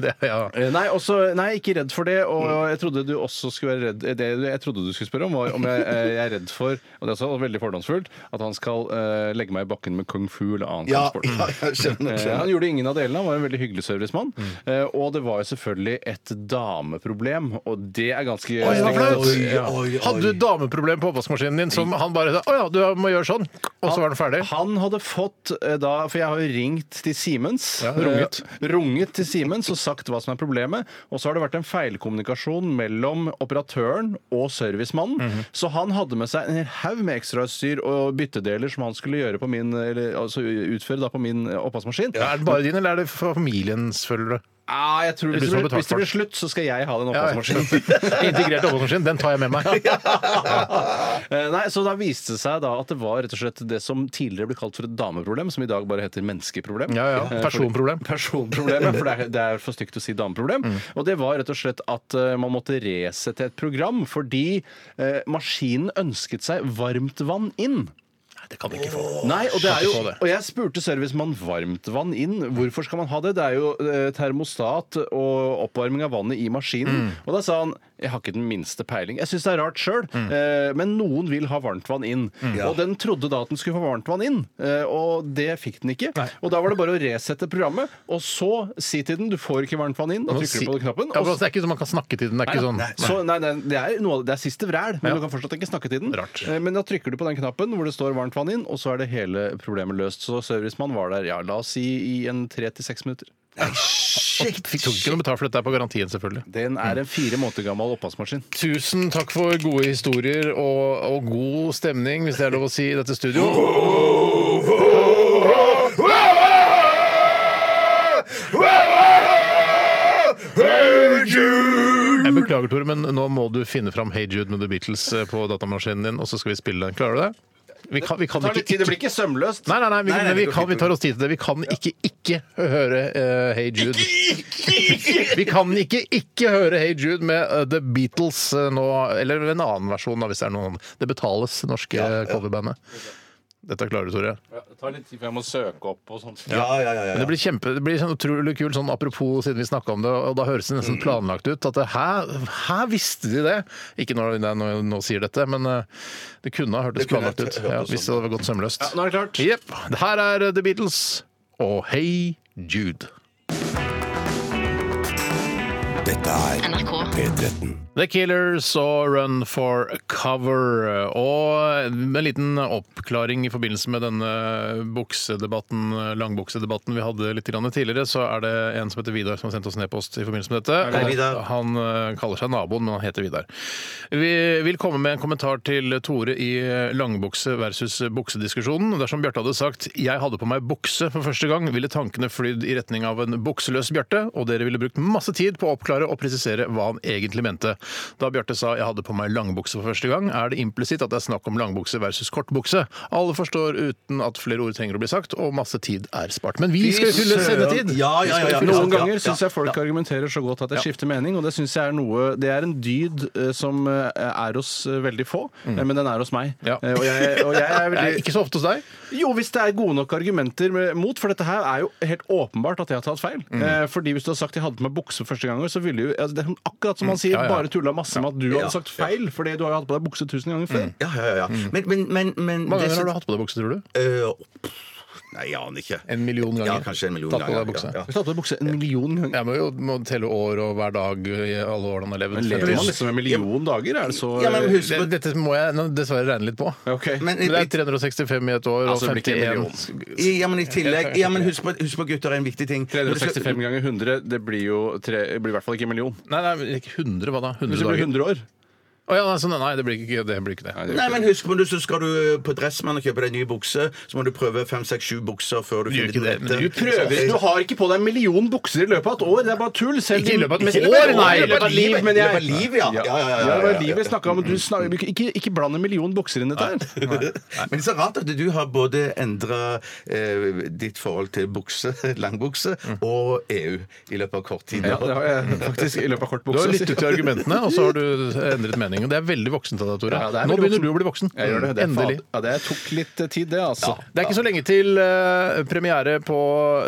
S1: Det, ja.
S3: Eh, Nei, også, nei, ikke redd for det. Og jeg trodde du også skulle være redd Det jeg trodde du skulle spørre om, var om jeg, eh, jeg er redd for Og det er også veldig fordomsfullt at han skal eh, legge meg i bakken med kung fu eller annen
S2: Ja, Mm.
S3: kampsport.
S2: ja, jeg skjønner.
S3: Eh, Han
S2: skjønner.
S3: gjorde ingen av delene. Han var en veldig hyggelig servicemann. Eh, og det var jo selvfølgelig et dameproblem, og det er ganske
S1: Oi, det var flaut!
S3: Oi, ja.
S1: Hadde du dameproblem på oppvaskmaskinen din som han bare sa Å ja, du må gjøre sånn, og så var den ferdig?
S3: Han hadde fått eh, da For jeg har jo ringt til Siemens.
S1: Ja, runget.
S3: Eh, runget til Siemens og sagt hva som er problemet. Og så har det vært en feilkommunikasjon mellom operatøren og servicemannen.
S1: Mhm.
S3: Så han hadde med seg en hel haug med ekstrautstyr og byttedeler som han skulle gjøre på min, eller, altså, utføre da på min eh, oppvaskmaskin.
S1: Ja, er det bare din, eller er det familiens, føler du?
S3: Ah, jeg tror,
S1: Det
S3: hvis,
S1: blir
S3: det
S1: som
S3: blir,
S1: betalt
S3: hvis det
S1: for.
S3: blir slutt, så skal jeg ha den
S1: Ja,
S3: oppvaskmaskinen.
S1: Integrert oppvaskmaskin, den tar jeg med meg.
S3: Eh, Nei, så da viste det seg da at det var rett og slett det som tidligere ble kalt for et dameproblem, som i dag bare heter menneskeproblem.
S1: Ja, ja.
S3: Eh, fordi-
S1: Personproblem. Mm.
S3: Personproblemet, for det er, det er for stygt å si dameproblem. Og det var rett og slett at eh, man måtte resette et program fordi eh, maskinen ønsket seg varmt vann inn.
S1: Det kan du ikke få.
S3: Nei, og, det er jo,
S1: Ikke få det.
S3: og jeg spurte servicemann varmt vann inn. Hvorfor skal man ha det? Det er jo eh, termostat og oppvarming av vannet i
S1: Mm.
S3: maskinen. Og da sa han jeg har ikke den minste peiling. Jeg syns det er rart sjøl,
S1: Mm.
S3: eh, men noen vil ha varmt vann inn. Og den trodde da at den skulle få varmt vann inn, eh, og det fikk den ikke. Og da var det bare å resette programmet, og så si til den du får ikke varmt vann inn, og trykker du på den knappen.
S1: Ja,
S3: og
S1: men altså, det er ikke sånn man kan snakke til den. Det er ikke sånn
S3: Nei, så, nei, nei, det, er noe, av- det er siste vræl, men
S1: Ja.
S3: du kan fortsatt ikke snakke til den.
S1: Rart.
S3: Eh, Men da trykker du på den knappen hvor det står varmt vann inn, og så er det hele problemet løst. Så servicemann var der, ja, la oss si i en tre til seks minutter.
S1: Shit, Fikk tok ikke noe betalt for dette er på garantien, selvfølgelig.
S3: Den
S1: Mm.
S3: er en fire måneder gammel oppvaskmaskin.
S1: Tusen takk for gode historier og, og god stemning, hvis det er lov å si, i dette studio. Jeg beklager, Tore, men nå må du finne fram Hey Jude med The Beatles eh, på datamaskinen din, og så skal vi spille den. Klarer du det? Vi kan, vi kan
S3: Det,
S1: ikke,
S3: blir ikke sømløst.
S1: Nei, nei, nei, vi,
S2: Nei, nei,
S1: vi,
S2: det går
S1: kan,
S2: fint,
S1: vi tar oss tid til det. Vi kan ikke ikke høre eh, Hey Jude. Vi kan ikke ikke høre Hey Jude med eh, The Beatles eh, nå, eller en annen versjon, da, hvis det er noen. Det betales, det norske eh, coverbandet. Dette klarer du, Tore.
S3: Det tar litt tid før jeg må søke opp og sånt.
S2: Ja, ja, ja, ja,
S1: Men det
S2: ja.
S1: blir kjempe, det blir sånn utrolig kult, sånn apropos siden vi snakka om det, og da høres det nesten planlagt ut. At det, her, her visste de det! Ikke når jeg nå, nå sier dette, men eh, det kunne ha hørtes
S2: Det kunne ha
S1: planlagt ut.
S2: hørt-
S1: Ja,
S2: hørtes sånn
S1: hvis det hadde gått sømløst.
S3: Nå er det klart.
S1: Jepp. Det Her er The Beatles og Hey Jude.
S4: Dette er
S5: NRK.
S4: P13.
S1: The Killers og Run for Cover. Og en liten oppklaring i forbindelse med denne buksedebatten, langbuksedebatten vi hadde litt grann tidligere, så er det en som heter Vidar som har sendt oss en e-post i forbindelse med dette.
S2: Hei, Vidar.
S1: Han eh, kaller seg naboen, men han heter Vidar. Vi vil komme med en kommentar til Tore i langbukse versus buksediskusjonen. Dersom Bjarte hadde sagt 'jeg hadde på meg bukse for første gang', ville tankene flydd i retning av en bukseløs Bjarte, og dere ville brukt masse tid på å oppklare og presisere hva han egentlig mente. Da Bjarte sa 'jeg hadde på meg langbukse for første gang', er det implisitt at det er snakk om langbukse versus kortbukse. Alle forstår uten at flere ord trenger å bli sagt, og masse tid er spart. Men vi skal jo fylle sendetid!
S2: Ja, ja, ja, ja.
S3: Noen
S2: Ja,
S3: ganger
S2: ja,
S3: syns jeg folk argumenterer så godt at jeg skifter mening, og det synes jeg er noe Det er en dyd eh, som eh, er hos eh, veldig få, eh, men den er hos meg.
S1: Mm. Ja.
S3: Eh, Og, jeg, og jeg
S1: Det er
S3: er veldig
S1: ikke så ofte hos deg.
S3: Jo, hvis det er gode nok argumenter med, mot, for dette her er jo helt åpenbart at jeg har tatt feil. Eh, fordi hvis du hadde sagt jeg hadde på meg bukse første gangen, så ville jo altså, Det er sånn akkurat som han sier,
S1: Ja, ja.
S3: bare tulla masse med at du
S2: Ja.
S3: hadde sagt feil, fordi du har jo hatt på deg bukse tusen ganger før.
S2: Ja, ja, ja. Men, men, men, men
S1: Hvor mange
S2: det
S1: ganger
S2: som-
S1: har du hatt på deg bukse, tror du?
S2: Øh, Nei, jeg aner ikke.
S1: En million ganger.
S2: Ja, kanskje en million
S1: Tatt på
S2: ganger,
S1: deg bukse.
S2: ja, ja.
S3: Hvis du hadde på bukse en million ganger
S1: Jeg må jo må telle år og hver dag i alle årene han har levd.
S3: Men lever man liksom en million dager? Er det så
S2: Ja, men husk
S1: Det, dette må jeg nå dessverre regne litt på.
S3: Ok.
S2: Men-
S1: Men det er 365 i et år og
S3: Altså, det blir ikke en
S1: 51
S2: I- Ja, men i tillegg ja, men husk, på, husk på gutter er en viktig ting. Når du skal-
S3: 365 ganger 100, det blir jo tre, det blir i hvert fall ikke en million.
S1: Nei, nei, men ikke 100, hva da? 100
S3: Hvis det blir
S1: dager?
S3: 100 år
S1: Å ja, nei, sånn, nei, det blir ikke det. Blir ikke det.
S2: Nei, men husk på det, så skal du på Dressmann og kjøpe deg en ny bukse, så må du prøve fem, seks, sju bukser før du finner
S1: gjør ikke det, men
S3: Du prøver, du har ikke på deg en million bukser i løpet av et år. Det er bare tull. Selv
S1: Ikke i løpet av et
S3: Ikke
S1: år, nei,
S3: i løpet av et liv, men
S2: Det var
S3: jeg
S2: liv, ja. Ja, ja, ja, ja,
S3: Ja, det
S2: ja,
S3: var
S2: ja.
S3: livet jeg snakket om. Du snak, ikke, ikke bland en million bukser inn i dette her.
S2: Men det er så rart at du har både endra eh, ditt forhold til bukse, langbukse, og EU i løpet av kort tid.
S3: Mm. Ja, det har jeg faktisk i løpet av kort
S1: Du har
S3: bukse.
S1: lyttet til argumentene, og så har du endret mening. Og det er veldig voksent av deg, Tore.
S3: Ja, det er
S1: Nå
S3: veldig
S1: begynner
S3: voksent.
S1: du å bli voksen.
S3: Jeg gjør det. det er
S1: Endelig.
S3: faen- Ja, det tok litt eh, tid, det, altså.
S1: Det er ikke så lenge til eh, premiere på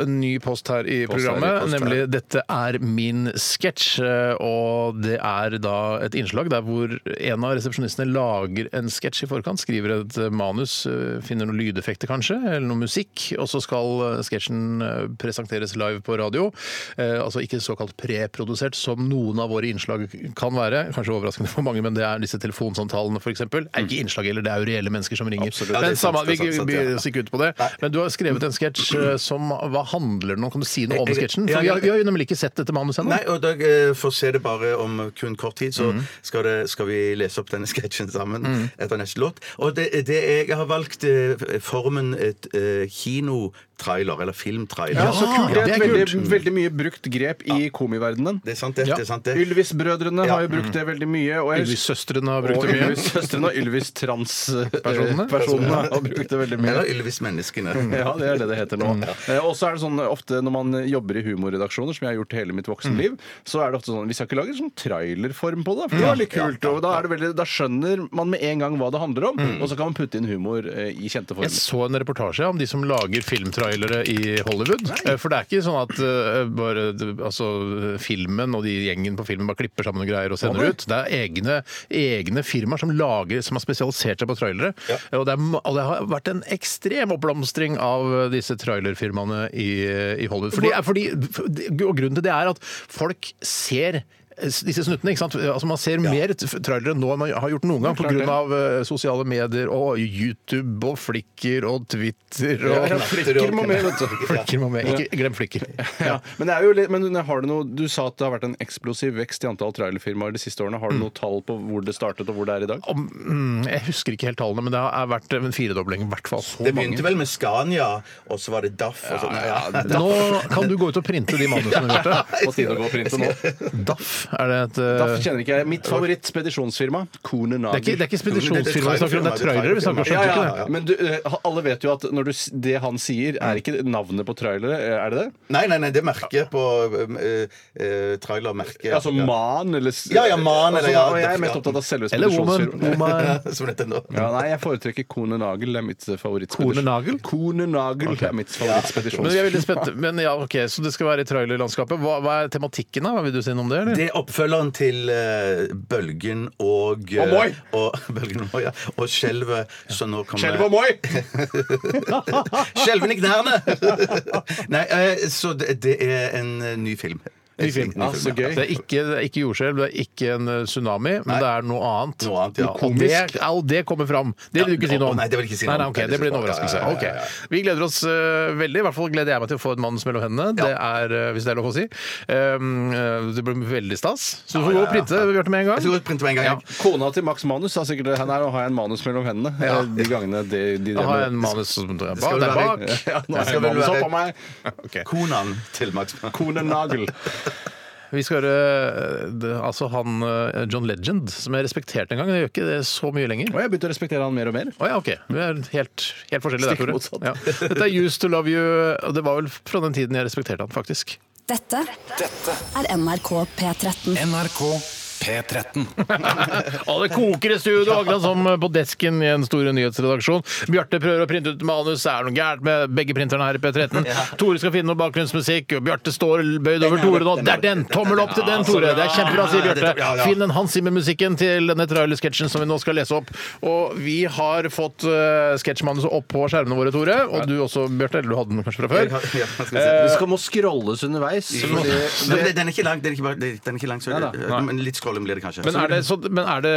S1: en ny post her i
S3: her i
S1: programmet,
S3: post her.
S1: nemlig 'Dette er min sketsj'. eh, Og det er da et innslag der hvor en av resepsjonistene lager en sketsj i forkant, skriver et eh, manus, eh, finner noen lydeffekter kanskje, eller noe musikk, og så skal eh, sketsjen eh, presenteres live på radio. Eh, Altså ikke såkalt preprodusert, som noen av våre innslag kan være. Kanskje overraskende for mange, men det er disse telefonsamtalene f.eks. Det er ikke innslag heller, det er jo reelle mennesker som ringer.
S2: Ja, det
S1: Men
S2: er sant,
S1: samme, vi
S2: det er sant, sant,
S1: vi-
S2: ja.
S1: oss ikke ut på det. Men du har skrevet en sketsj eh, som Hva handler den om? Kan du si noe om
S2: Jeg- jeg-
S1: sketsjen?
S2: ja,
S1: For vi har,
S2: ja.
S1: vi har jo nemlig ikke sett dette manuset ennå.
S2: Nei, og da eh, får se det bare om kun kort tid, så
S3: Mm.
S2: skal, det, skal vi lese opp denne sketsjen sammen etter neste låt. Og det, det er, jeg har valgt eh, formen et eh, kinotrailer, eller filmtrailer.
S3: Ja, så kult. Det
S1: det er
S3: er et veldig, veldig mye brukt grep i komiverdenen.
S2: Det er sant, det.
S1: Ja.
S2: det, er sant, det.
S3: Ylvis-brødrene har jo brukt det veldig mye. Og jeg
S1: Ylvis-søstrene har brukt
S3: og
S1: det mye.
S3: Ylvis-søstrene og Ylvis-trans-personene
S1: Personene?
S3: har brukt det veldig mye.
S2: Eller Ylvis-menneskene.
S3: Mm. Ja, det er det det heter
S1: Mm.
S3: nå. Eh, Og så er det sånn eh, ofte når man jobber i humorredaksjoner, som jeg har gjort hele mitt voksenliv, så er det ofte sånn Vi skal ikke lage sånn trailerform på det, for det var litt kult. Og da, er det veldig, da skjønner man med en gang hva det handler om, og så kan man putte inn humor eh, i kjente
S1: Mm. Jeg
S3: former.
S1: så en reportasje om de som lager filmtrailere i Hollywood. Eh, For det er ikke sånn at eh, bare, altså, filmen og de gjengen på filmen bare klipper sammen og greier og sender ut. Det er egne, egne firmaer som lager, som har spesialisert seg på trailere. Eh, Og, det er, ma- og det har vært en ekstrem oppblomstring av eh, disse trailerfirmaene i, i Hollywood. Fordi, er- fordi, og grunnen til det er at folk ser disse snuttene, ikke sant? Altså Man ser mer t- trailere nå enn man har gjort noen gang
S3: klart det.
S1: pga. av eh, sosiale medier og YouTube og Flikker og Twitter og
S3: Ja, flikker må med, vet du.
S1: Flikker må med. Ikke glem Flikker.
S3: Ja. Men, det er jo litt, men har du, noe, du sa at det har vært en eksplosiv vekst i antall trailerfirmaer de siste årene. Har
S1: Mm.
S3: du noe tall på hvor det startet, og hvor det er i dag?
S1: Om, mm, jeg husker ikke helt tallene, men det har vært en firedobling i hvert fall.
S2: Det begynte vel med Scania, og så var det DAF. Og så,
S1: Nå kan du gå ut og printe de manusene, Bjarte.
S3: På tide å gå og printe nå.
S1: DAF, er det et eh,
S3: Da kjenner ikke jeg. Mitt favorittspedisjonsfirma,
S1: det er
S3: Kone
S1: ikke,
S3: Nager.
S1: det er ikke spedisjonsfirma vi snakker om, det er trailere vi snakker om.
S3: Ja,
S1: Skjønte du
S3: ja,
S1: ikke det?
S3: ja. Men du, eh, alle vet jo at når du, s- det han sier, er ikke navnet på trailere, eh, er det det?
S2: Nei, nei, nei, det merket på eh, eh, trailermerket.
S3: Altså Man, eller s-
S2: Ja, ja, Man, eller
S3: altså,
S2: ja,
S3: og Jeg er
S2: det-
S3: mest
S2: ja.
S3: opptatt av selve
S1: Eller Woman.
S3: spedisjonsfirmaet.
S1: woman.
S2: Som dette nå.
S3: Ja, nei, jeg foretrekker Kone Nagel. Det er mitt eh, favorittspedisjon.
S1: Kone Nagel?
S3: Kone Nagel er
S1: Men
S3: mitt
S1: jeg er veldig
S3: favorittspedisjonsfirma.
S1: spent. Men ja, ok, Så det skal være i trailerlandskapet. Hva, hva er tematikken, da? Hva vil du si noe om det? eller?
S2: Det er oppfølgeren til eh, Bølgen og eh,
S3: Og Moi.
S2: og, Bølgen og Moi, ja. Og Skjelvet, så nå kommer
S3: Skjelv og Moi!
S2: Skjelven i knærne! nei, eh, så det, det er en eh, ny film.
S1: Ny film.
S3: Ah, så gøy.
S1: Det er Altså, ikke, det er ikke jordskjelv, det er ikke en eh, tsunami, men det er noe annet.
S2: Noe annet, ja.
S1: Og det, ja, og det kommer fram. Det vil du ikke si noe om.
S2: Å, nei, det vil jeg ikke si noe om.
S1: Nei, nei, ok, det blir en overraskelse.
S2: Ja, ja, ja, ja, ja.
S1: Ok. Vi gleder oss eh, veldig. I hvert fall gleder jeg meg til å få et manus mellom hendene. Det er, eh, hvis det er lov å si. Um, eh, det blir veldig stas. Så du får gå og printe, Bjarte, med en
S2: Jeg skal
S1: gang.
S2: godt printe med en gang. jeg.
S3: Kona til Max Manus sa sikkert at her har jeg en manus mellom hendene. eh, De gangene de, de
S1: Da har jeg
S3: drev
S1: en
S3: med-
S1: manus som er bak.
S2: skal
S1: Der
S2: være-
S1: bak.
S3: Ja, nå
S2: Det
S3: er
S2: skal
S3: jeg
S2: vel
S3: manus
S2: være-
S3: opp av meg.
S2: Konaen til Max Mann.
S3: Kone Nagel.
S1: Vi skal høre eh, det- altså han eh, John Legend, som jeg respekterte en gang. Jeg gjør ikke det så mye lenger.
S3: Og jeg har begynt å respektere han mer og mer.
S1: Å ja, ok. Vi er helt, helt forskjellige der,
S3: Stikk
S1: Tore.
S3: motsatt.
S1: Ja. Dette er Used to Love You, og det var vel fra den tiden jeg respekterte han, faktisk.
S5: Dette er NRK P13.
S6: NRK
S4: P13.
S1: Og det koker i studio, akkurat som på desken i en stor nyhetsredaksjon. Bjarte prøver å printe ut manus, er det noe gærent med begge printerne her i P13? Tore skal finne noe bakgrunnsmusikk, og Bjarte står bøyd over Tore nå. Det er den! Tommel opp til den, Tore! Det er kjempebra, sier Bjarte. Finn den Hans Zimmer-musikken til denne traule sketsjen som vi nå skal lese opp. Og vi har fått eh, sketsjmanuset opp på skjermene våre, Tore. Og du også, Bjarte. Eller du hadde den kanskje fra
S2: Jeg
S1: før.
S2: har- ja,
S3: eh,
S2: hva skal jeg si?
S3: Det skal må scrolles underveis.
S2: Nei, men Den er ikke lang, den er ikke, bare- den er ikke lang så
S3: Nei da.
S2: det, men litt scrolling blir det kanskje.
S1: Men er det, så, men er det,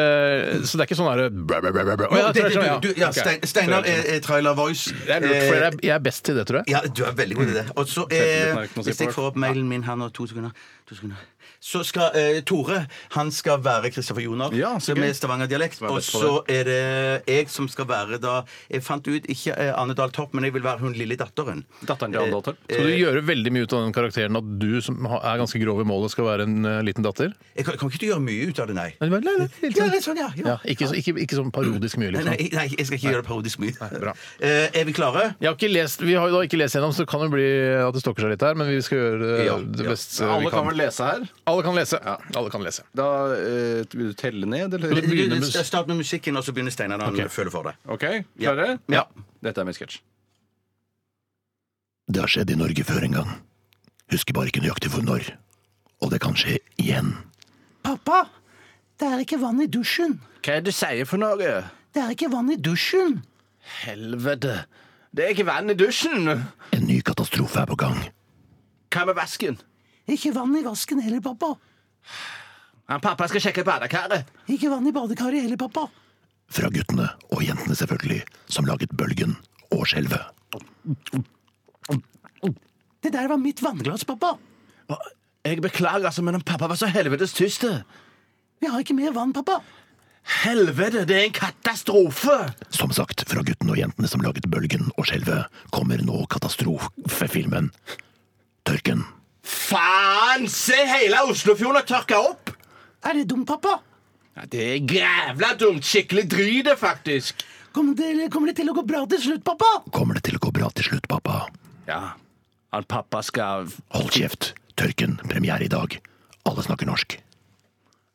S1: så det er ikke sånn herre
S2: Jo, det, det, du, du, ja, Stein, Steinar er, er trailer voice. Eh,
S1: Det er lurt, for jeg er- jeg er best til det, tror jeg.
S2: Ja, du er veldig god til det.
S3: Mm.
S2: Og så
S3: Selvtilliten er
S2: eh,
S3: ikke noe å si
S2: Hvis
S3: på
S2: jeg
S3: det.
S2: får opp mailen min her nå, to sekunder, to sekunder. Så skal eh, Tore han skal være Kristoffer Joner,
S3: Ja, så
S2: som
S3: gøy.
S2: er Stavanger-dialekt.
S3: er
S2: Og
S3: best på
S2: så er det jeg som skal være da Jeg fant ut ikke eh, Anne Dahl Torp, men jeg vil være hun lille datteren. Eh,
S3: Datteren
S1: Eh,
S3: til Anne Dahl Torp.
S1: Skal du gjøre veldig mye ut av den karakteren at du som ha- er ganske grov i målet, skal være en eh, liten datter?
S2: Jeg kan, kan ikke du gjøre mye ut av det, nei.
S1: Nei, det var- nei, nei, helt
S2: Ja,
S1: sånn.
S2: litt sånn, ja. ja.
S1: Ja, ikke, så- ikke, ikke sånn parodisk
S2: Nei,
S1: mye, liksom.
S2: nei, nei, jeg skal ikke gjøre det parodisk mye.
S1: bra.
S2: Eh, er vi klare?
S1: Jeg har ikke lest, vi har jo da ikke lest gjennom, så det kan jo bli at det stokker seg litt her, men vi skal gjøre eh,
S2: Ja,
S1: det
S2: ja.
S1: beste vi
S3: Alle
S1: kan.
S3: kan vel lese her?
S1: Alle kan lese. Alle kan lese.
S3: Da eh, Vil du telle ned,
S2: Du- du-
S3: eller?
S1: begynner med-
S2: Start med musikken, og så begynner Steinar når han føler for det.
S3: OK, klare?
S2: Ja.
S3: Dette er min sketsj.
S4: Det har skjedd i Norge før en gang. Husker bare ikke nøyaktig for når. Og det kan skje igjen.
S6: Pappa, det er ikke vann i dusjen.
S3: Hva er det du sier for noe?
S6: Det er ikke vann i dusjen.
S3: Helvete. Det er ikke vann i dusjen!
S4: En ny katastrofe er på gang.
S3: Hva med vasken?
S6: Ikke vann i vasken heller, pappa.
S3: Han pappa skal sjekke badekaret.
S6: Ikke vann i badekaret heller, pappa.
S4: Fra guttene, og jentene selvfølgelig, som laget bølgen og skjelvet.
S6: Det der var mitt vannglass, pappa.
S3: Jeg beklager, altså, men han pappa var så helvetes tyst.
S6: Vi har ikke mer vann, pappa.
S3: Helvete, det er en katastrofe!
S4: Som sagt, fra guttene og jentene som laget bølgen og skjelvet, kommer nå katastrofefilmen Tørken.
S3: Faen! Se hele Oslofjorden har tørka opp!
S6: Er det dumt, pappa?
S3: Ja, det er jævla dumt. Skikkelig dry det, faktisk.
S6: Kommer det, kommer det til å gå bra til slutt, pappa?
S4: Kommer det til å gå bra til slutt, pappa?
S3: Ja, han pappa skal
S4: Hold kjeft. Tørken, premiere i dag. Alle snakker norsk.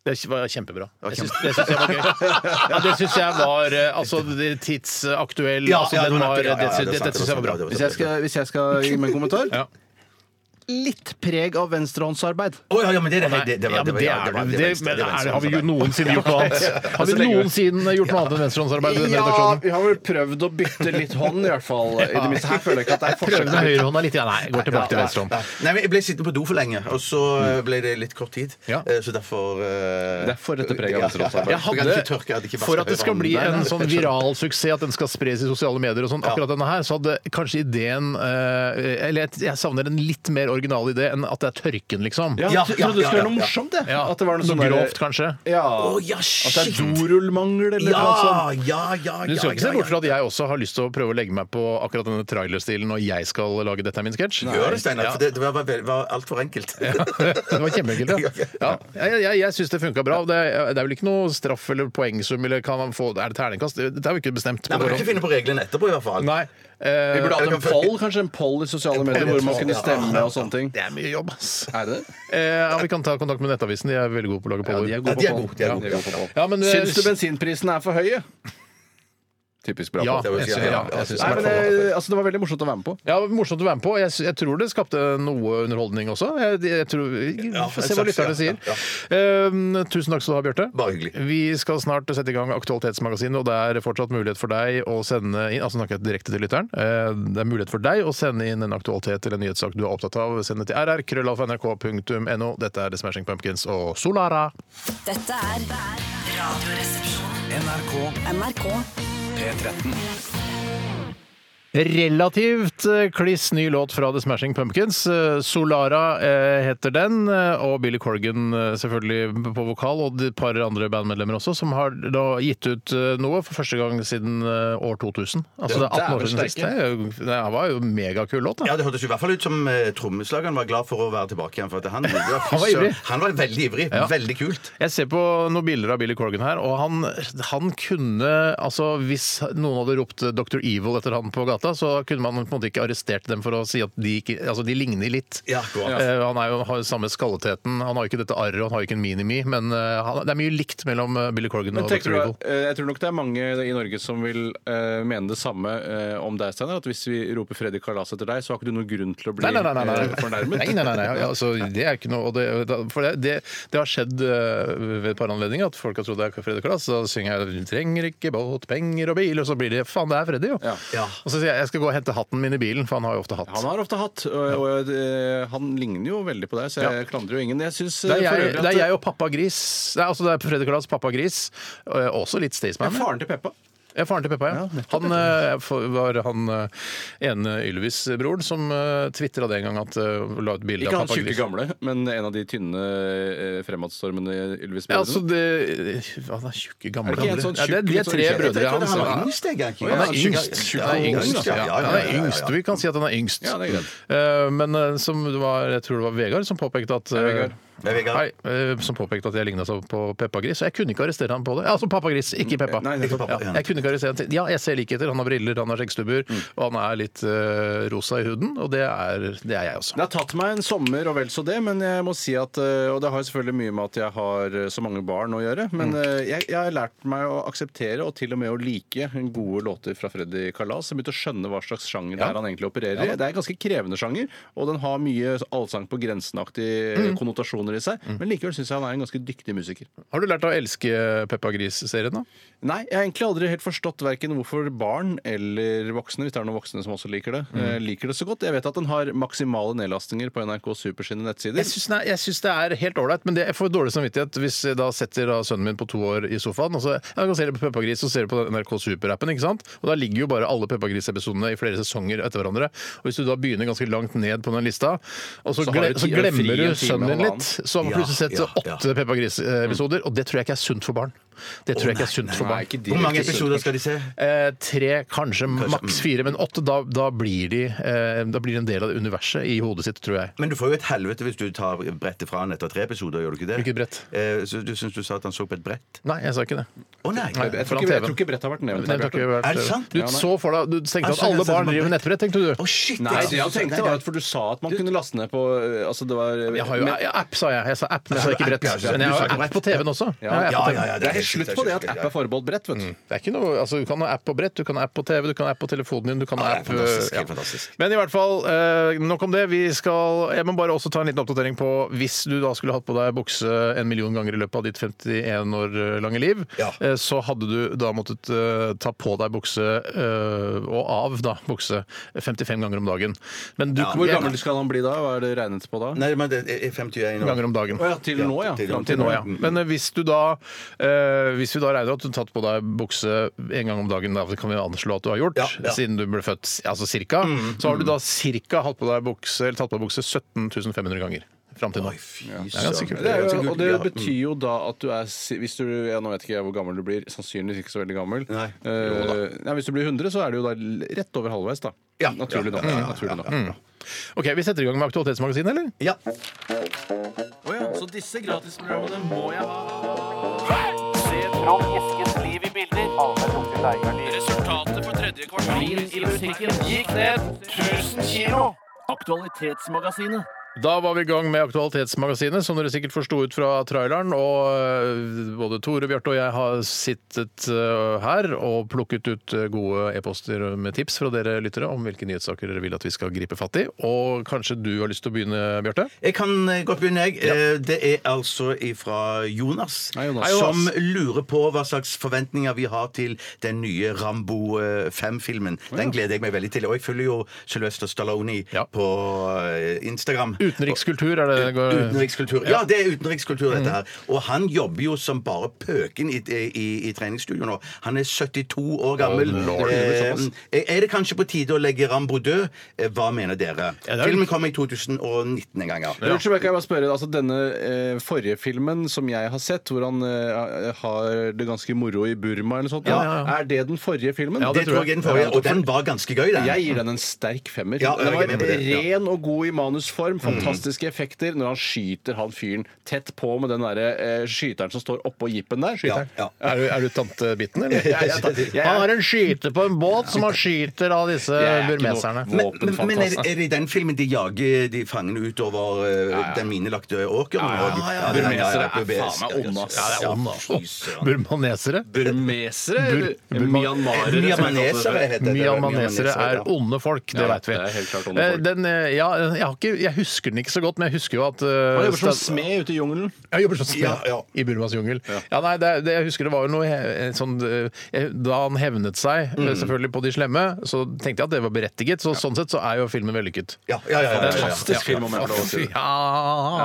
S1: Det var kjempebra. Jeg syns- Det syns jeg var gøy. Ja, det syns jeg var eh, altså, det tidsaktuell
S2: Ja,
S1: altså,
S2: ja,
S1: den
S2: det var
S1: var,
S2: nettopp- ja, ja,
S1: det,
S2: ja, det er
S1: det,
S2: sant,
S1: Dette syns jeg var bra.
S2: det
S3: Hvis jeg skal, hvis jeg skal gi meg en kommentar
S1: Ja.
S3: Litt preg av venstrehåndsarbeid.
S2: Å ja, ja, men det er det. det, det, var-
S1: Ja, men
S2: det, var-
S1: det
S2: ja,
S1: er
S2: det var-
S1: det.
S2: det var- det var-
S1: Det- men er
S2: det
S1: det-
S2: var-
S1: Har vi jo noensinne gjort noe annet? Har vi noensinne gjort noe annet enn venstrehåndsarbeid i denne redaksjonen?
S3: vi har vel prøvd å bytte litt hånd, i hvert fall. I det minste her føler jeg ikke at det er
S1: Prøve med høyrehånda litt. grann. Nei, går tilbake til venstrehånd.
S2: Nei, men Jeg ble sittende på do for lenge, og så eh, ble det litt kort tid.
S1: Mm. Ja.
S2: Eh, Så derfor eh,
S3: Derfor dette preget av
S1: altså,
S2: Ja, ja, ja.
S1: Jeg
S3: venstreåndsarbeid.
S2: Jeg hadde ikke
S1: hadde,
S2: tørket, jeg hadde ikke vasket
S1: for at det skal
S2: høyrehånden.
S1: bli
S2: Nei, nei,
S1: en
S2: nei,
S1: sånn
S2: jeg skjønner.
S1: viral suksess, at den skal spres i sosiale medier og sånn, akkurat denne her, så hadde kanskje ideen eh, Eller jeg- jeg savner en litt mer original idé enn at det er tørken, liksom.
S3: Ja,
S2: Ja,
S3: jeg
S2: ja,
S3: trodde det
S2: ja,
S3: skulle
S2: ja,
S3: være noe
S2: ja.
S3: morsomt, jeg.
S1: Ja,
S3: At det var noe sånn
S1: grovt, kanskje.
S3: Ja.
S2: Å, ja,
S3: At det
S2: shit!
S3: er dorullmangel eller
S2: Ja,
S3: noe sånt.
S2: ja, ja,
S1: Du
S2: ja,
S1: skal ikke se
S2: ja,
S1: bort fra
S2: ja.
S1: at jeg også har lyst til å prøve å legge meg på akkurat denne trailerstilen når jeg skal lage 'Dette er min sketsj'.
S2: Gjør det, Steinar. For det, det var, var, var altfor enkelt.
S1: Det var kjempeenkelt, ja. ja. Jeg, jeg, jeg syns det funka bra. og Det, er- det er vel ikke noe straff eller poengsum eller kan man få Er det terningkast? Dette har vi ikke bestemt.
S2: Nei,
S1: på
S2: man kan ikke
S1: forhånd.
S2: finne på reglene etterpå, i hvert fall.
S1: Nei. Eh,
S3: Vi burde hatt
S2: Jeg
S3: en
S2: kan-
S3: poll, kanskje en poll i sosiale medier, hvor man
S2: poll,
S3: kunne
S2: ja.
S3: stemme og sånne ting.
S1: det er mye jobb, ass.
S3: Er det?
S1: Eh, ja, vi kan ta kontakt med Nettavisen. De er veldig gode på å lage poller.
S2: Ja, de er gode, de er
S3: Ja,
S2: gode.
S3: på poll. eh,
S1: Ja, men,
S3: Syns du bensinprisene er for høye? Typisk bra.
S1: Ja,
S3: poll.
S1: jeg syns- ja, jeg syns-
S3: Nei, men, eh, altså, det var veldig morsomt å være med på.
S1: ja, morsomt å være med på. Jeg, sy- jeg tror det skapte noe underholdning også. Jeg, jeg tror, vi får se
S2: en slags,
S1: hva lytterne
S2: ja,
S1: sier. Eh, tusen takk skal du ha, Bjarte.
S2: Bare hyggelig.
S1: Vi skal snart sette i gang Aktualitetsmagasinet, og det er fortsatt mulighet for deg å sende inn altså snakker jeg direkte til lytteren, eh, det er mulighet for deg å sende inn en aktualitet eller en nyhetssak du er opptatt av. Send det til rr.krøllalfa.nrk.no. Dette er The Smashing Pumpkins og Solara.
S5: Dette er Radioresepsjonen.
S6: NRK
S5: NRK
S6: P13.
S1: Relativt eh, kliss ny låt fra The Smashing Pumpkins. Eh, Solara eh, heter den, eh, og Billy Corgan eh, selvfølgelig på vokal, og et par andre bandmedlemmer også, som har da gitt ut eh, noe for første gang siden eh, år 2000. Altså det er 18 år
S3: dæven
S1: siden sist. Det,
S3: steike.
S1: er jo- det var jo en megakul låt, da.
S2: Ja, Det hørtes jo i hvert fall ut som eh, trommeslageren var glad for å være tilbake igjen. For at han, han,
S1: var ivrig.
S2: han var veldig ivrig.
S1: Ja.
S2: Veldig kult.
S1: Jeg ser på noen bilder av Billy Corgan her, og han, han kunne Altså, hvis noen hadde ropt Dr. eh, Evil etter han på gata, gata, så kunne man på en måte ikke arrestert dem for å si at de, ikke, altså, de ligner litt.
S2: Ja, akkurat.
S1: Eh, han er jo, har jo samme skalleteten, han har jo ikke dette arret, og han har jo ikke en minimi, men eh, han, det er mye likt mellom eh, Billy Corgan
S3: Men
S1: og Dr.
S3: tenker du,
S1: Evil.
S3: eh, jeg tror nok det er mange i Norge som vil eh, mene det samme eh, om deg, Steinar. At hvis vi roper Freddy Kalas etter deg, så har ikke du noen grunn til å bli
S1: Nei, nei, nei. nei, nei.
S3: eh, fornærmet.
S1: nei, nei, nei, nei. Altså, det er ikke noe og det, For det, det, det har skjedd eh, ved et par anledninger at folk har trodd det er Freddy Kalas. Så synger jeg 'Du trenger ikke båt, penger og bil', og så blir det 'faen, det er Freddy', jo.
S3: Ja.
S2: Ja.
S1: Og så sier jeg 'jeg skal gå og hente hatten min i bilen', for han har jo ofte hatt.
S3: Han har ofte hatt, og, og eh, han ligner jo veldig på deg, så jeg klandrer jo ingen. Jeg synes,
S1: Det er,
S3: eh, for
S1: jeg,
S3: øvrig at-
S1: det er jeg og pappa Gris. Det er, altså, det er Freddy Kalas pappa Gris. eh, Også litt
S3: Ja,
S1: Staysman.
S3: Faren til Peppa.
S1: Ja, faren til Peppa, ja. han eh, for- var han eh, ene Ylvis-broren som uh, tvitra det en gang at eh, la ut bilde
S3: Ikke
S1: av
S3: han
S1: pappa
S3: tjukke
S1: Gris.
S3: gamle, men en av de tynne eh, fremadstormende
S1: Ja, altså
S3: Ylvis-brødrene.
S1: det ja, han er tjukke gamle
S3: Er det ikke en sånn
S1: ja, det, er- de er
S3: tjukk,
S1: tre
S3: sånn-
S1: brødre.
S2: Han
S1: Han,
S2: var
S1: han,
S2: yngst, jeg, ikke?
S1: han
S3: Ja,
S1: er
S3: tjukk-
S1: yngst.
S3: tjukk-
S1: Han er
S3: tjukk-
S1: yngst.
S2: ja,
S1: Ja,
S2: ja, ja,
S1: han er
S2: ja, ja.
S1: yngst. Vi kan si at han er yngst.
S3: Ja, det er greit.
S1: Eh, Men eh, som det var, jeg tror det var Vegard som påpekte at eh,
S3: Vegard.
S2: Det er Vegard.
S1: Hei, eh, som påpekte at jeg ligna så på Peppa Gris, og jeg kunne ikke arrestere ham på det. Altså Pappa Gris, ikke Peppa.
S3: Nei,
S2: Ikke
S3: nettopp.
S2: pappa, ja.
S1: Ja, jeg kunne ikke arrestere ham til Ja, jeg ser likheter. Han har briller, han har skjeggstubber, og han er litt eh, rosa i huden, og det er, det er jeg også.
S3: Det har tatt meg en sommer og vel så det, men jeg må si at eh, Og det har jo selvfølgelig mye med at jeg har eh, så mange barn å gjøre, men eh, jeg, jeg har lært meg å akseptere og til og med å like gode låter fra Freddy Kalas. Jeg begynte å skjønne hva slags sjanger det er han egentlig opererer i. Det er en ganske krevende sjanger, og den har mye allsang på grensen-aktige konnotasjoner i seg, men likevel syns jeg han er en ganske dyktig musiker.
S1: Har du lært å elske Peppa Gris-serien, da?
S3: Nei, jeg har egentlig aldri helt forstått verken hvorfor barn eller voksne, hvis det er noen voksne som også liker det, eh, liker det så godt. Jeg vet at den har maksimale nedlastinger på NRK Super sine nettsider.
S1: Jeg syns, nei, jeg syns det er helt ålreit, men det, jeg får dårlig samvittighet hvis jeg da setter da sønnen min på to år i sofaen og så ja, jeg kan se det på Peppa Gris og ser det på NRK Super-appen. ikke sant? Og Da ligger jo bare alle Peppa Gris-episodene i flere sesonger etter hverandre. Og Hvis du da begynner ganske langt ned på den lista, og så,
S3: Så har
S1: gle,
S3: du ti-
S1: så glemmer
S3: fri
S1: du
S3: en time
S1: sønnen din
S3: halvannen.
S1: litt, så har man
S2: Ja,
S1: plutselig sett
S2: ja, ja.
S1: åtte Peppa Gris-episoder, og det tror jeg ikke er sunt for barn. Det tror jeg ikke er sunt for
S3: nei,
S1: barn.
S3: ikke
S2: Hvor mange
S3: direkte
S2: episoder skal de se?
S1: Eh, tre, kanskje,
S3: mm.
S1: maks fire, men åtte. Da, da, blir de, eh, da blir de en del av det universet i hodet sitt, tror jeg.
S2: Men du får jo et helvete hvis du tar brettet fra han etter tre episoder, gjør du ikke det?
S1: Hvilket brett?
S2: Eh, så du syns du sa at han så på et brett?
S1: Nei, jeg sa ikke det.
S2: Å nei!
S1: Nei, foran
S3: Jeg tror, ikke, jeg
S1: TV-en.
S3: tror ikke brett har vært nevnt.
S1: Nei, det har ikke vært-
S2: Er det sant?
S1: Du
S2: Ja,
S1: så for deg, du tenkte
S2: Altså,
S1: at alle
S2: jeg ser
S1: barn
S2: det
S1: driver med nettbrett, tenkte du.
S2: Å, shit!
S3: Nei, det han tenkte var at
S2: at
S3: For du sa at man kunne laste ned på eh, Altså, det var
S1: Jeg har jo
S3: men-
S1: ja, app, sa jeg. Jeg sa app, men jeg sa ikke
S2: app,
S1: brett.
S2: ja, ja.
S1: Men jeg
S2: Du sa
S1: har
S2: ikke
S1: jo app
S2: brett.
S1: på TV-en også. Jeg har app på
S2: Ja,
S1: TV.
S2: ja, ja,
S3: Det er helt slutt på det at app er forbeholdt brett, vet du.
S1: Det er ikke noe, altså Du kan ha app på brett, du kan ha app på TV, du kan ha app på telefonen din du kan ha
S2: Ja, det er
S1: app,
S2: fantastisk,
S1: ja.
S2: helt fantastisk.
S1: Men i hvert fall, eh, nok om det. Vi skal, Jeg må bare også ta en liten oppdatering på hvis du da skulle hatt på deg bukse en million ganger i løpet av ditt 51 år lange liv,
S2: Ja.
S1: eh, så hadde du da måttet eh, ta på deg bukse eh, og av da bukse 55 ganger om dagen. Men du,
S2: Ja,
S3: Hvor
S1: jeg-
S3: gammel skal han bli da? Hva er det regnet på da?
S2: Nei, men det er 51 år.
S1: ganger om dagen.
S3: Å ja, til nå, ja.
S2: til-
S3: Fram
S1: Til nå, ja.
S2: Mm.
S1: Men eh, hvis du da eh, Hvis vi da regner at du har tatt på deg bukse en gang om dagen, da, det kan vi anslå at du har gjort,
S2: Ja, Mm, ja.
S1: siden du ble født altså cirka, så har du da cirka hatt på deg bukse, eller tatt på deg bukse 17 500 ganger fram til nå.
S2: Oi, fy
S1: er ganske kult.
S2: søren.
S3: Det er jo, mm. og det
S2: Ja.
S3: betyr jo da at du er si- Hvis du, ja, Nå vet ikke jeg hvor gammel du blir. Sannsynligvis ikke så veldig gammel.
S2: Nei.
S3: Eh, nei, hvis du blir 100, så er du jo da l- rett over halvveis, da.
S2: Ja.
S3: Naturlig nok. Naturlig nok.
S1: Ok, Vi setter i gang med Aktualitetsmagasinet, eller?
S2: Ja.
S3: Så disse gratisprogrammene må jeg ha.
S7: Resultatet for tredje kvartal i butikken gikk ned 1000 kilo. Aktualitetsmagasinet.
S1: Da var vi i gang med Aktualitetsmagasinet, som dere sikkert forsto ut fra traileren. Og øh, både Tore, Bjarte og jeg har sittet øh, her og plukket ut øh, gode e-poster med tips fra dere lyttere om hvilke nyhetssaker dere vil at vi skal gripe fatt i. Og kanskje du har lyst til å begynne, Bjarte?
S2: Jeg kan eh, godt begynne, jeg. Eh, Det er altså ifra Jonas,
S3: Hei, Jonas.
S2: som lurer på hva slags forventninger vi har til den nye Rambo 5-filmen. Den gleder jeg meg veldig til. Og jeg følger jo Sylvester Stallone
S1: Ja.
S2: på eh, Instagram.
S1: Utenrikskultur er det det går
S2: Utenrikskultur. Ja, det er utenrikskultur, dette her. Og han jobber jo som bare pøken i, i, i treningsstudio nå. Han er 72 år gammel.
S1: lord.
S2: eh, er det kanskje på tide å legge Rambo død? Eh, Hva mener dere?
S1: Ja, det er jo-
S2: Filmen kom i 2019 en gang, ja.
S3: Unnskyld, men kan jeg bare spørre, altså Denne eh, forrige filmen som jeg har sett, hvor han eh, har det ganske moro i Burma, eller sånt,
S1: Ja, ja, ja.
S3: er det den forrige filmen?
S1: Ja,
S2: Det tror jeg er den forrige, og den var ganske gøy, den.
S3: Jeg gir den en sterk femmer.
S2: Ja,
S3: den
S2: jeg er
S3: var
S2: enig med det, ja.
S3: ren og god i manusform. Folk Fantastiske effekter når han skyter han fyren tett på med den derre eh, skyteren som står oppå jeepen der. Skyteren.
S2: Ja.
S1: Er du, er du tantebiten, eller? Han har en skyter på en båt som han skyter av disse
S3: Jeg er ikke
S1: burmeserne.
S3: noe
S2: Men, men, men
S3: altså.
S2: er,
S3: Våpenfantast.
S2: det- er det i den filmen de jager de fangene utover eh, den minelagte åkeren?
S3: Ja, ja, ja.
S2: det-
S3: Burmesere er
S2: burmes- ja, ja,
S3: faen meg onde, ass.
S2: ja, det er
S3: Ja,
S2: onde.
S1: Burmanesere.
S3: Burmesere?
S1: Bur-
S3: eller Myanmarere? som jeg kaller
S2: Myanmanesere
S3: det.
S2: heter det.
S1: Myanmanesere er
S2: ja.
S1: onde folk, det
S3: Ja,
S1: veit vi.
S3: det er helt klart onde folk.
S1: Eh, Den, eh, ja, jeg, har ikke, jeg husker den ikke så godt, men jeg husker jo at
S3: Han
S1: eh,
S3: jobber som
S1: stat-
S3: smed ute i jungelen.
S1: Jeg jobber som smed
S2: Ja, ja.
S1: i Burmas jungel. Ja. nei, det, det, jeg husker det var jo noe he- sånn eh, Da han hevnet seg, eh, selvfølgelig, på de slemme, så tenkte jeg at det var berettiget. Så sånn sett så er jo filmen vellykket.
S2: Ja, ja, ja, ja, ja, ja.
S3: Fantastisk film, om jeg får lov å si det. Ja,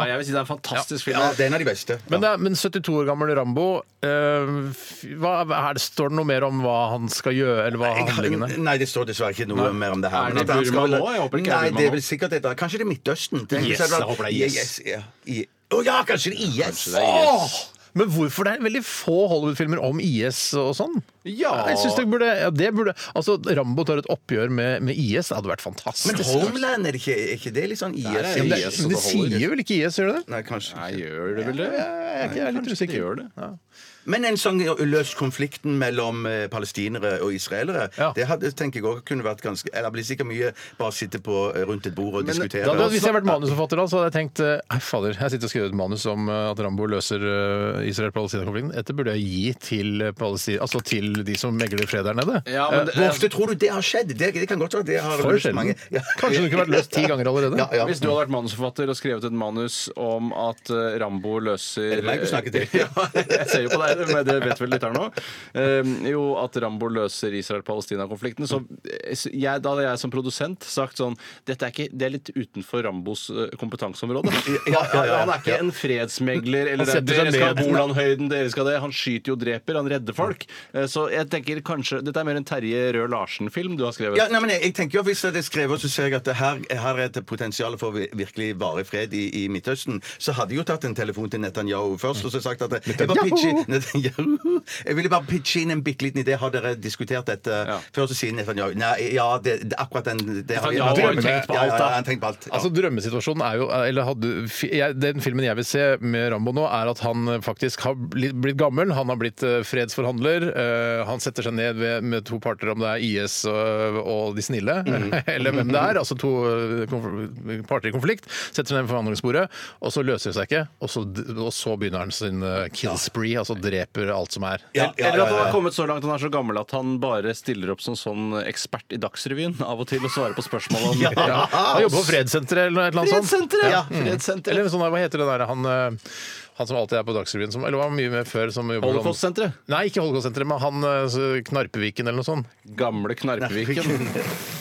S1: Ja.
S3: jeg vil si det er en fantastisk
S2: Ja,
S3: film.
S2: det er en av de beste.
S1: Men, det er, men 72 år gammel Rambo eh, f- hva, er det, Står det noe mer om hva han skal gjøre, eller hva
S2: Jeg har-
S1: handlingen er?
S2: Nei, det står dessverre ikke noe mer om det her.
S3: Er
S2: men
S3: det
S2: at han
S3: Burma
S2: skal-
S3: nå? Jeg håper ikke det er
S2: Nei,
S3: Burma
S2: det er
S3: nå.
S2: vel sikkert et Kanskje det er Midtøsten? Tenk
S3: Yes,
S2: hvis det
S3: jeg
S2: var-
S3: håper det er yes.
S2: ja. I- Å ja, kanskje det er IS!
S3: det er IS.
S1: Åh! Men hvorfor det er veldig få Hollywood-filmer om IS og sånn?
S3: Ja.
S1: Jeg synes det burde, ja, det burde Altså, Rambo tar et oppgjør med, med IS. Det hadde vært fantastisk.
S2: Men Homeland, er det ikke, er ikke det litt sånn IS?
S3: Der
S1: Ja,
S3: er
S1: men det,
S3: IS
S1: men det
S3: som beholder.
S1: sier vel ikke IS, gjør det det?
S2: Nei, kanskje
S3: Nei, altså, gjør det vel det?
S1: Jeg er ikke- jeg er litt
S3: Kanskje
S1: usikker.
S3: det gjør det.
S2: Men en sånn løs konflikten mellom eh, palestinere og israelere,
S1: Ja.
S2: det hadde, tenker jeg også kunne vært ganske Eller blir sikkert mye bare sitte på, eh, rundt et bord og diskutere.
S1: Da, da, hvis jeg hadde vært manusforfatter, da, så hadde jeg tenkt eh, Nei, fader, jeg sitter og skriver et manus om eh, at Rambo løser eh, Israel-Palestina-konflikten. Dette burde jeg gi til, eh, Palesti- altså til de som megler fred der nede.
S3: Ja, men det,
S2: Eh, Hvor ofte tror du det har skjedd? Det, det kan godt være det har
S1: For
S2: løst
S1: sjelden.
S2: mange- Ja.
S1: Kanskje det kunne vært løst ti ganger allerede?
S2: Ja, ja.
S3: Hvis du hadde vært manusforfatter og skrevet et manus om at eh, Rambo løser
S2: Er det meg du snakker til?
S3: ja, jeg ser jo på deg, men det vet vel lytteren nå. Eh, jo, at Rambo løser Israel-Palestina-konflikten. Så eh, så jeg, da hadde jeg som produsent sagt sånn Dette er, ikke, det er litt utenfor Rambos eh, kompetanseområde.
S2: ja, ja, ja.
S3: Han er ikke en fredsmegler eller
S1: Han setter seg
S3: Dere skal
S1: ned.
S3: ha Bolandhøyden, dere skal det. Han skyter jo og dreper, han redder folk.
S2: Mm.
S3: Eh, så jeg tenker kanskje Dette er mer en Terje Røe Larsen-film du har skrevet.
S2: Ja, nei, men jeg, jeg tenker jo at Hvis det er skrevet, så ser jeg at det her, her er det potensial for vi- virkelig varig fred i, i Midtøsten. Så hadde jeg jo tatt en telefon til Netanyahu først og så sagt at jeg, bare pitcher, Netanyahu, jeg ville bare pitche inn en bitte liten idé. Har dere diskutert dette før? Så sier Netanyahu nei, ja, det, det, akkurat den det vi-
S3: Netanyahu har jo
S2: Ja,
S3: tenkt på
S2: ja,
S3: alt, da.
S2: Ja, han har tenkt på alt. Ja.
S1: Altså Drømmesituasjonen er jo eller hadde, fi- jeg, Den filmen jeg vil se med Rambo nå, er at han eh, faktisk har blitt, blitt gammel. Han har blitt eh, fredsforhandler. eh, han setter seg ned ved, med to parter, om det er IS og, og de snille,
S2: Mhm.
S1: eller hvem det er. Altså to eh, konf- parter i konflikt. Setter seg ned ved forhandlingsbordet, og så løser det seg ikke. Og så, d- og så begynner han sin eh, kill spree, altså dreper alt som er.
S2: Ja, ja,
S3: Eller
S2: ja,
S3: at han
S2: ja.
S3: har kommet så langt han er så gammel at han bare stiller opp som sånn ekspert i Dagsrevyen av og til og svarer på spørsmål om ja.
S1: Han jobber på fredssenteret eller noe et eller annet sånt.
S3: Fredssenteret!
S1: Ja.
S3: sånn. Ja, fredssenteret.
S1: Eller sånn, der, hva heter det der han, eh, han som alltid er på Dagsrevyen, som eller var mye med før som
S2: sånn
S1: jobber sånn- som-
S3: Holocaust-senteret.
S1: Nei, ikke Holocaust-senteret, men han eh, så Knarpeviken eller noe sånt.
S3: Gamle Knarpeviken.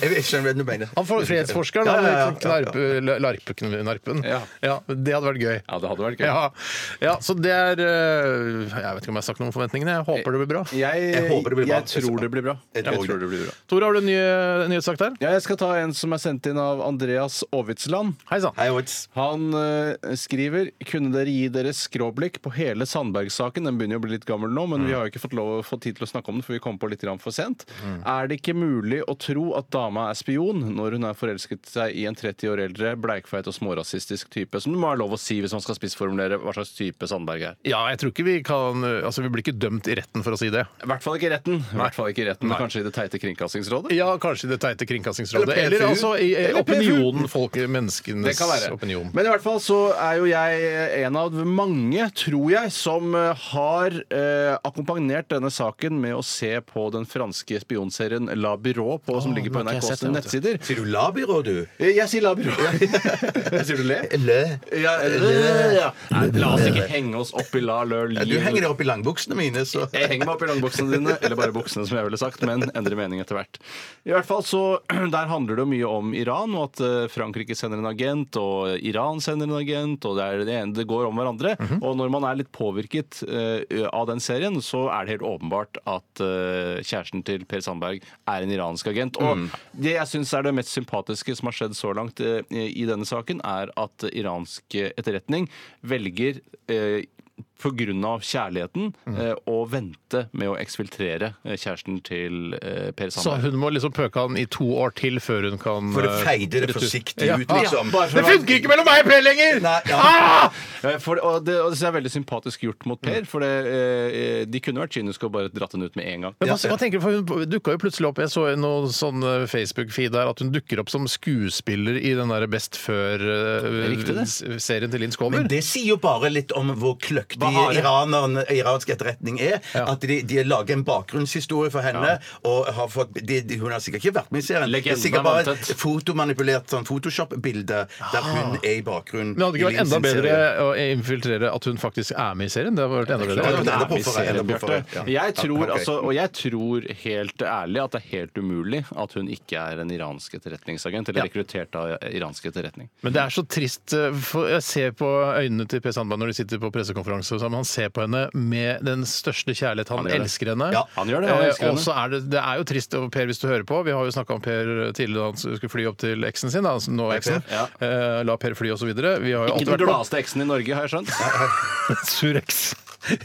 S2: Jeg, jeg skjønner hva du mener.
S1: Han for, fredsforskeren,
S2: Ja, ja, ja,
S1: han knarpe, larpeknarpen.
S3: Ja.
S1: det hadde vært gøy.
S3: Ja, det hadde vært gøy.
S1: Ja. ja, så det er eh, Jeg vet ikke om jeg har sagt noe om forventningene. Jeg håper det blir bra.
S3: Jeg,
S2: Jeg håper det blir bra.
S3: Jeg tror det blir bra.
S2: Jeg tror det.
S3: blir bra.
S1: Tor, har du en ny en nyhetssak der?
S3: Ja, jeg skal ta en som er sendt inn av Andreas Aavitsland.
S1: Hei sann.
S2: Hei, Oits.
S3: Han eh, skriver Kunne dere gi deres skråblikk på hele Sandberg-saken? Den begynner jo å bli litt gammel nå, men vi har jo ikke fått, lov, fått tid til å snakke om den, for vi kom på litt grann for sent. Er det ikke mulig å tro at dama er spion når hun er forelsket seg i en 30 år eldre, bleikfeit og smårasistisk type, som det må være lov å si hvis man skal spissformulere hva slags type Sandberg er?
S1: Ja, jeg tror ikke vi kan Altså, vi blir ikke dømt i retten for å si det.
S3: I hvert fall ikke i retten. I hvert fall ikke i retten, men kanskje i det teite Kringkastingsrådet?
S1: Ja, kanskje i det teite Kringkastingsrådet.
S3: Eller
S1: Eller,
S3: PFU.
S1: altså i eh,
S3: Eller PFU.
S1: opinionen, folk, menneskenes
S3: Det kan være.
S1: opinion.
S3: Men i hvert fall så er jo jeg eh, en av mange, tror jeg, som eh, har eh, akkompagnert denne saken med å se på den franske spionserien La Byrå, på, som ligger på
S1: den har ikke jeg
S3: NRKs
S1: sett,
S3: nettsider.
S2: Sier du labyrå, du?
S3: Eh, Jeg sier La Byrå. sier du le?
S2: Lø.
S3: Ja, le, ja. Nei, la oss ikke henge oss opp i La Leur
S2: Ja, Du henger deg opp i langbuksene mine, så
S3: Jeg henger meg opp i langbuksene dine, eller bare buksene, som jeg ville sagt, men endrer mening etter hvert. I hvert fall så, Der handler det jo mye om Iran, og at eh, Frankrike sender en agent, og Iran sender en agent, og det er det ene det går om hverandre. Og når man er litt påvirket eh, av den serien, så er det helt åpenbart at eh, kjæresten til Per Sandberg er en iransk agent. Og det jeg syns er det mest sympatiske som har skjedd så langt eh, i denne saken, er at iransk etterretning velger eh, pga. kjærligheten eh, å vente med å eksfiltrere eh, kjæresten til eh, Per
S1: Så
S3: Sandberg.
S1: hun må liksom pøke han i to år til før hun kan
S2: For å
S1: eh,
S2: feide det
S1: rett ut.
S2: forsiktig
S1: Ja.
S2: ut, liksom.
S3: bare for
S1: Det funker ikke mellom meg og Per lenger!
S2: Nei, ja.
S1: Ah!
S3: Eh, For, og det, og det synes jeg er veldig sympatisk gjort mot Per, for det, eh, de kunne vært kyniske og bare dratt den ut med en gang.
S1: Men hva, hva tenker du, for Hun dukka jo plutselig opp Jeg så noen sånn eh, Facebook-feed der at hun dukker opp som skuespiller i den der Best
S3: riktig, det.
S1: før-serien til Linn Skåber.
S2: Men det sier jo bare litt om hvor kløktig
S3: Bahare.
S2: iraneren, iransk etterretning er. At de, de lager en bakgrunnshistorie for henne. Og har fått, de, de, hun har sikkert ikke vært med i serien. Det
S3: Legenden
S2: er sikkert
S3: er
S2: bare
S3: vanntett.
S2: et fotomanipulert sånn Photoshop-bilde der hun er i bakgrunnen.
S1: Men hadde det
S2: i
S1: ikke vært
S2: Lins
S1: enda bedre
S2: serie.
S1: å infiltrere at hun faktisk er med i serien? Det hadde vært enda
S2: klart.
S1: bedre.
S2: Ja, det er på forhånd,
S3: Miserere,
S2: det er på forhånd,
S3: Bjarte.
S2: ja.
S3: Jeg tror,
S2: Ja, ok.
S3: altså, og jeg tror helt ærlig at det er helt umulig at hun ikke er en iransk etterretningsagent, eller rekruttert av iransk etterretning.
S1: Men det er så trist. eh, For jeg ser på øynene til Per Sandberg når de sitter på pressekonferanse. og sånn, Han ser på henne med den største kjærlighet. Han,
S3: Han gjør det.
S1: elsker henne.
S2: Ja,
S3: han gjør det, han
S1: Eh,
S3: elsker
S1: og så er det, det er jo trist, og Per, hvis du hører på. Vi har jo snakka om Per tidligere da han skulle fly opp til eksen sin. Da, altså nå eksen.
S3: Ja.
S1: Eh, La Per fly, og så videre. Vi har jo alltid
S3: Ikke den
S1: vært på-
S3: gladeste eksen i Norge, har jeg skjønt.
S1: Surex.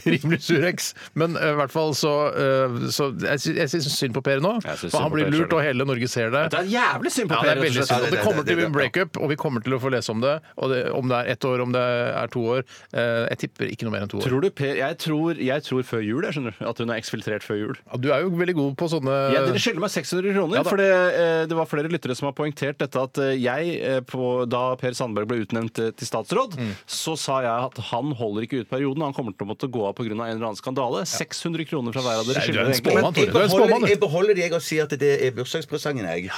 S1: Rimelig Surex. Men eh, i hvert fall så, eh, så Jeg, sy- jeg syns synd på Per nå.
S3: Jeg synes synd
S1: For han
S3: på
S1: blir
S3: Per
S1: lurt,
S3: selv.
S1: og hele Norge ser det.
S3: Det er jævlig synd på
S1: Ja, det er
S3: Per. rett og
S1: veldig
S3: slett.
S1: synd. Og
S2: Ja,
S1: det
S2: det-
S1: kommer
S2: det-
S1: til å bli
S2: det-
S1: en breakup, og vi kommer til å få lese om det. Og det om det er ett år, om det er to år. Eh, jeg tipper ikke noe mer enn to år.
S3: Tror du Per, jeg, tror, jeg tror før jul jeg skjønner du, at hun er eksfiltrert før jul.
S1: Ja, du er jo veldig god på sånne
S3: Ja, dere skylder meg 600 kroner.
S1: Ja da.
S3: for det, eh, det var flere lyttere som har poengtert dette at eh, jeg, eh, på, da Per Sandberg ble utnevnt eh, til statsråd,
S1: Mm.
S3: så sa jeg at han holder ikke ut perioden. Han kommer til å måtte gå av pga. en eller annen skandale. 600 kroner fra hver av dere
S1: Nei, du er
S3: skylder
S1: en
S3: dere
S1: spåmann.
S3: egentlig.
S1: Spåmann, Tore.
S2: jeg,
S1: Du er en spåmann,
S2: beholder,
S1: du.
S2: jeg beholder deg og sier at det er bursdagspresangen, jeg.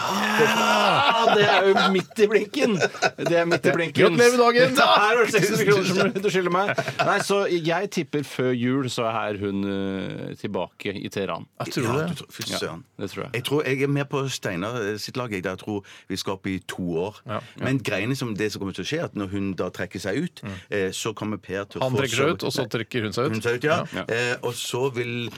S3: Ah, det er jo midt i blinken! Det er midt i blinken.
S1: Gratulerer med dagen!
S3: Da er det 600 kroner som du skylder meg. Nei, så jeg tipper før jul så er hun eh, tilbake i Teheran.
S1: Jeg tror
S2: Ja,
S1: det.
S2: du tror- Fy søren.
S3: det tror jeg.
S2: Jeg tror jeg er med på Steinar eh, sitt lag. Jeg, der jeg tror vi skal opp i to år. Men greiene som det som kommer til å skje, at når hun da trekker seg ut, eh, så kommer Per til å
S1: Mm. Han
S2: få
S1: trekker
S2: så-
S1: seg ut, og så trekker hun seg
S2: Hun
S1: ut.
S2: ser ut, ja.
S3: Ja.
S2: Eh, og så vil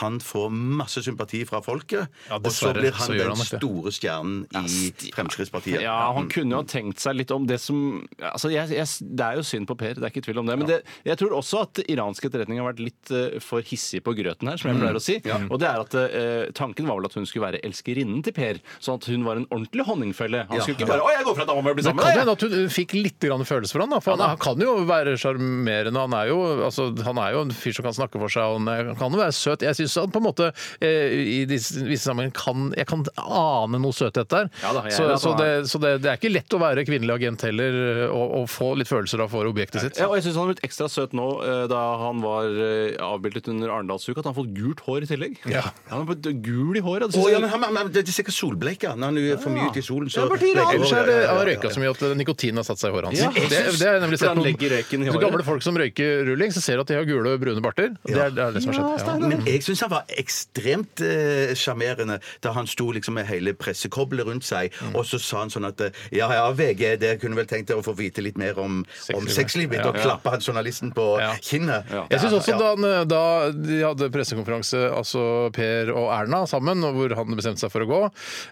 S2: han få masse sympati fra folket.
S1: Ja,
S2: og så
S1: dessverre
S2: blir
S1: så
S2: han
S1: gjør
S2: den
S1: han nok det.
S2: store stjernen i Fremskrittspartiet.
S3: Ja, han kunne jo ha tenkt seg litt om det som altså jeg, jeg, Det er jo synd på Per, det er ikke tvil om det. Men det, jeg tror også at iransk etterretning har vært litt eh, for hissig på grøten her, som jeg pleier å si. Og det er at eh, Tanken var vel at hun skulle være elskerinnen til Per, sånn at hun var en ordentlig honningfelle. Han skulle ikke bare 'Å, jeg går fra dama og blir
S1: Det
S3: sammen
S1: kan
S3: med
S1: hende
S3: deg'.
S1: at hun fikk litt grann følelse for han, da. For han, han kan jo være sjarmerende. Han, er jo- altså, han er jo en fyr som kan snakke for seg, og han er- kan jo være søt. Jeg syns han på en måte eh, i disse, visse sammenhenger kan Jeg kan ane noe søthet der.
S3: Ja da, jeg
S1: så
S3: er enig at
S1: så,
S3: han er-
S1: det, så det, det er ikke lett å være kvinnelig agent heller, eh, og, og få litt følelser da for objektet sitt.
S3: Ja, og jeg syns han har blitt ekstra søt nå eh, da han var eh, avbildet under Arendalsuka. At han har fått gult hår i tillegg.
S1: Ja.
S3: Han har blitt gul i håret.
S2: Å,
S3: Det synes
S2: ja,
S3: jeg-
S2: men han, han, han, det er sikkert solbleika. Når han er for mye ute i solen, så
S3: Ja, partier, han.
S2: Bleker-
S1: Ellers er det,
S2: Ja, ja, ja,
S1: han
S2: ja,
S1: har
S2: ja.
S1: røyka så mye at nikotinen har satt seg i håret hans.
S3: Ja.
S1: Det, det har jeg nemlig
S3: For
S1: sett
S3: han legger røyken i
S1: noen
S3: håret.
S1: gamle folk som røyker rulling, så ser du at de har gule og brune barter. Det er det, er det som har skjedd. Ja.
S2: Men jeg syns han var ekstremt eh, sjarmerende da han sto liksom med hele pressekoblet rundt seg, og så sa han sånn at eh, Ja, ja, VG, dere kunne vel tenkt dere å få vite litt mer om om
S1: Sexlivet.
S2: sexlivet mitt,
S1: Ja.
S2: og klappa han journalisten på
S1: Ja.
S2: kinnet.
S1: Jeg synes også
S2: Ja.
S1: da, han, da de hadde pressekonferanse, altså Per og Erna sammen, og hvor han bestemte seg for å gå,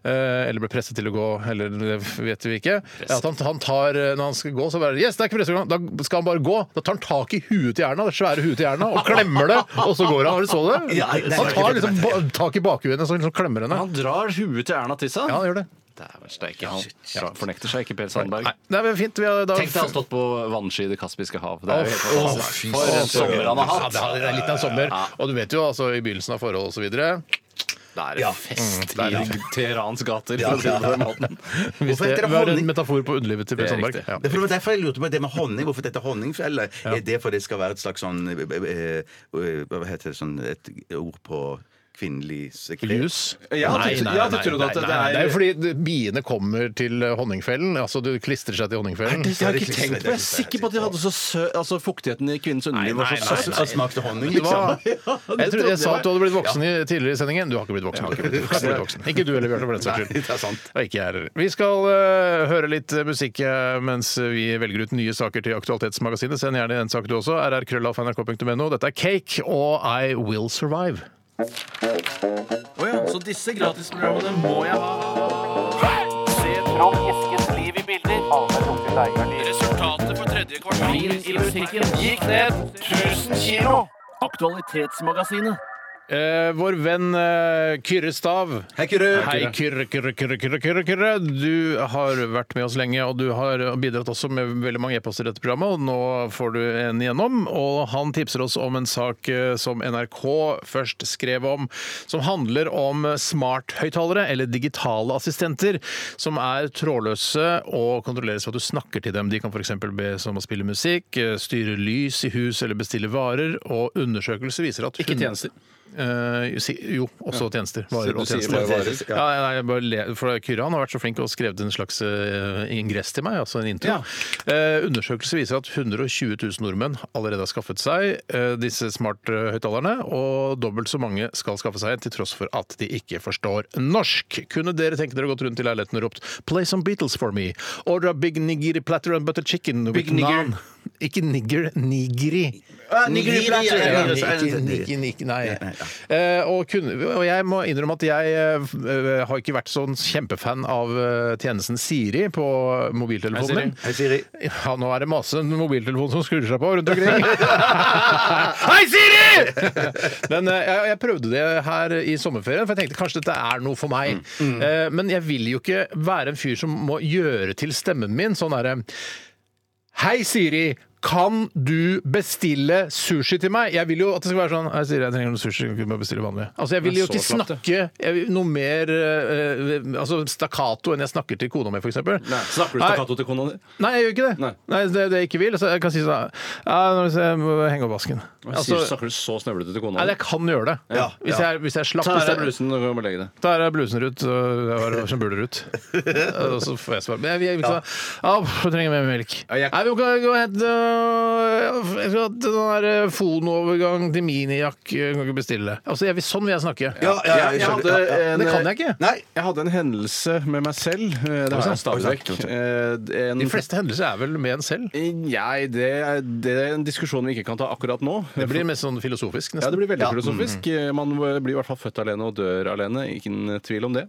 S1: eh, eller ble presset til å gå, eller det vet vi ikke At han, han tar, eh, Når han skal gå, så bare Yes, det er ikke pressekonferanse! Da skal han bare gå. Da tar han tak i huet til Erna, det svære huet til Erna, og klemmer det, og så går han. Har du så det?
S2: Ja, det er
S1: Han tar
S2: ikke det.
S1: liksom ba- tak i bakhuet hennes og liksom klemmer henne.
S3: Han drar huet til Erna til seg.
S1: Ja, han gjør det.
S3: Dæven steike, han Ja, fornekter seg ikke, Per Sandberg.
S1: Nei, det er vel fint. Vi har da
S3: Tenk deg han stått på vannski i Det kaspiske hav. Det er jo helt
S1: Åh,
S3: fantastisk.
S1: fy
S3: For en
S1: søren.
S3: sommer han har
S1: Ja,
S3: hatt!
S1: det er- det er litt av en sommer. Og du vet jo, altså, i begynnelsen av forhold og så videre
S3: Det er fest i Teherans gater.
S2: Ja,
S3: for å si det på den måten.
S1: Hvis
S2: Hvorfor heter
S1: det
S2: det
S1: var en
S2: honning?
S1: metafor på underlivet til Per
S3: Det er
S1: Sandberg.
S3: riktig.
S1: Ja.
S2: Det var derfor jeg lurte på det med honning. Hvorfor dette honningfjellet? Er det fordi det skal være et slags sånn eh, eh, eh, Hva heter det sånn Et ord på kvinnelig sekret?
S1: Ljus?
S3: Ja, jeg trodde- jeg trodde at det
S1: nei, nei.
S3: er-
S1: Det er jo fordi biene kommer til honningfellen. Altså, du klistrer seg til honningfellen.
S3: Det har jeg ikke tenkt på. Jeg er sikker på at de hadde så sø... Altså, fuktigheten i kvinnens underliv var så søt.
S2: Han smakte honning,
S1: Det var,
S2: liksom.
S1: jeg, trodde jeg sa at du hadde blitt voksen i, tidligere i sendingen. Du har ikke blitt voksen. Du har ikke, blitt voksen. ikke du heller, Bjarte, for den saks
S2: Nei, det er
S1: skyld.
S2: sant.
S1: Og ikke jeg heller. Vi skal eh, høre litt eh, musikk eh, mens vi velger ut nye saker til Aktualitetsmagasinet. Send gjerne en sak du også. rrkrøllalfa.nrk.no. Dette er Cake og I Will Survive.
S7: Så disse gratisprogrammene må jeg ha. Se på Trond Eskens liv i bilder. Resultatet på tredje kvartal i musikken gikk ned 1000 kilo. Aktualitetsmagasinet.
S1: Eh, vår venn eh, Kyrre Stav.
S2: Hei, Kyrre.
S1: Hei, Kyrre, Kyrre, Kyrre, Kyrre, Kyrre, Kyrre. Du har vært med oss lenge, og du har bidratt også med veldig mange e-poster i dette programmet, og nå får du en igjennom. Og han tipser oss om en sak eh, som NRK først skrev om, som handler om smarthøyttalere, eller digitale assistenter, som er trådløse og kontrolleres ved at du snakker til dem. De kan f.eks. be som å spille musikk, eh, styre lys i hus eller bestille varer, og undersøkelser viser at
S3: Ikke
S1: hun-
S3: tjenester.
S1: Eh, jo, si- jo, også tjenester.
S3: Så
S1: Varer
S3: du
S1: og
S3: sier
S1: tjenester.
S3: bare
S2: varer,
S1: ja.
S2: ja.
S1: nei, jeg bare le, for Kyrre han har vært så flink og skrevet en slags eh, ingress til meg, altså en intro.
S3: Ja.
S1: Eh, undersøkelser viser at 120 000 nordmenn allerede har skaffet seg eh, disse smarthøyttalerne, og dobbelt så mange skal skaffe seg en, til tross for at de ikke forstår norsk. Kunne dere tenke dere gått rundt i leiligheten og ropt 'Play some Beatles for me'? Order a big nigiri platter and butter chicken with
S3: Big nigger.
S1: naan. Ikke nigger, nigri. Ja,
S2: Nigerian.
S1: ikke- ikke- ikke- Nei. Eh, Og, kun- og jeg må innrømme at jeg eh, har ikke vært sånn kjempefan av eh, tjenesten Siri på mobiltelefonen min.
S2: Hei, Siri.
S1: Ja, nå er det masse mobiltelefoner som skrur seg på rundt omkring. Hei, Siri! Men eh, jeg, jeg prøvde det her i sommerferien, for jeg tenkte kanskje dette er noe for meg.
S3: Mm.
S1: Eh, Men jeg vil jo ikke være en fyr som må gjøre til stemmen min sånn herre Hei, Siri! Kan du bestille sushi til meg? Jeg vil jo at det skal være sånn Hei, Siri, jeg trenger noe sushi. Kan du bare bestille vanlig? Altså, jeg vil jo
S3: Det er
S1: ikke
S3: så slapt, det.
S1: snakke jeg vil, noe mer eh, eh, altså stakkato enn jeg snakker til kona mi, f.eks.
S3: Snakker du stakkato til kona di?
S1: Nei, jeg gjør ikke det. Nei.
S3: Nei.
S1: det er det jeg ikke vil. Så jeg kan si sånn ja, nå må jeg må henge opp vasken. Altså,
S3: snakker du så snøvlete til kona
S1: nei,
S3: di?
S1: jeg kan gjøre det.
S2: Ja,
S1: Hvis, jeg, hvis jeg er slapp
S3: Ta av
S1: hvis
S3: deg
S1: jeg-
S3: blusen og gå og legge deg.
S1: Da er det blusen ut, og jeg har skjembuler ut. Og så får jeg svar. Men jeg, jeg, vil ikke sånn, «Au, jeg trenger mer melk.
S3: Ja, jeg-
S1: Nei, vi må ikke gå og hente øh, Jeg skal ha en sånn der, øh, fonovergang til minijakke. Jeg Kan ikke bestille. Altså, jeg vil, sånn vil jeg snakke.
S2: Ja, ja, ja, jeg
S3: Jeg, jeg,
S2: skjønner.
S3: hadde
S2: Ja, ja.
S3: en,
S1: Men det kan jeg ikke.
S2: Nei.
S3: jeg hadde en hendelse med meg selv. eh, Det var jeg stadig vekk. Eh, en-
S1: De fleste hendelser er vel med en selv.
S3: Nei, det, er- det er en diskusjon vi ikke kan ta akkurat nå.
S1: Det blir mest sånn filosofisk,
S3: Ja, det
S1: nesten.
S3: blir veldig filosofisk. Man blir i hvert fall født alene og dør alene. Ingen tvil om det.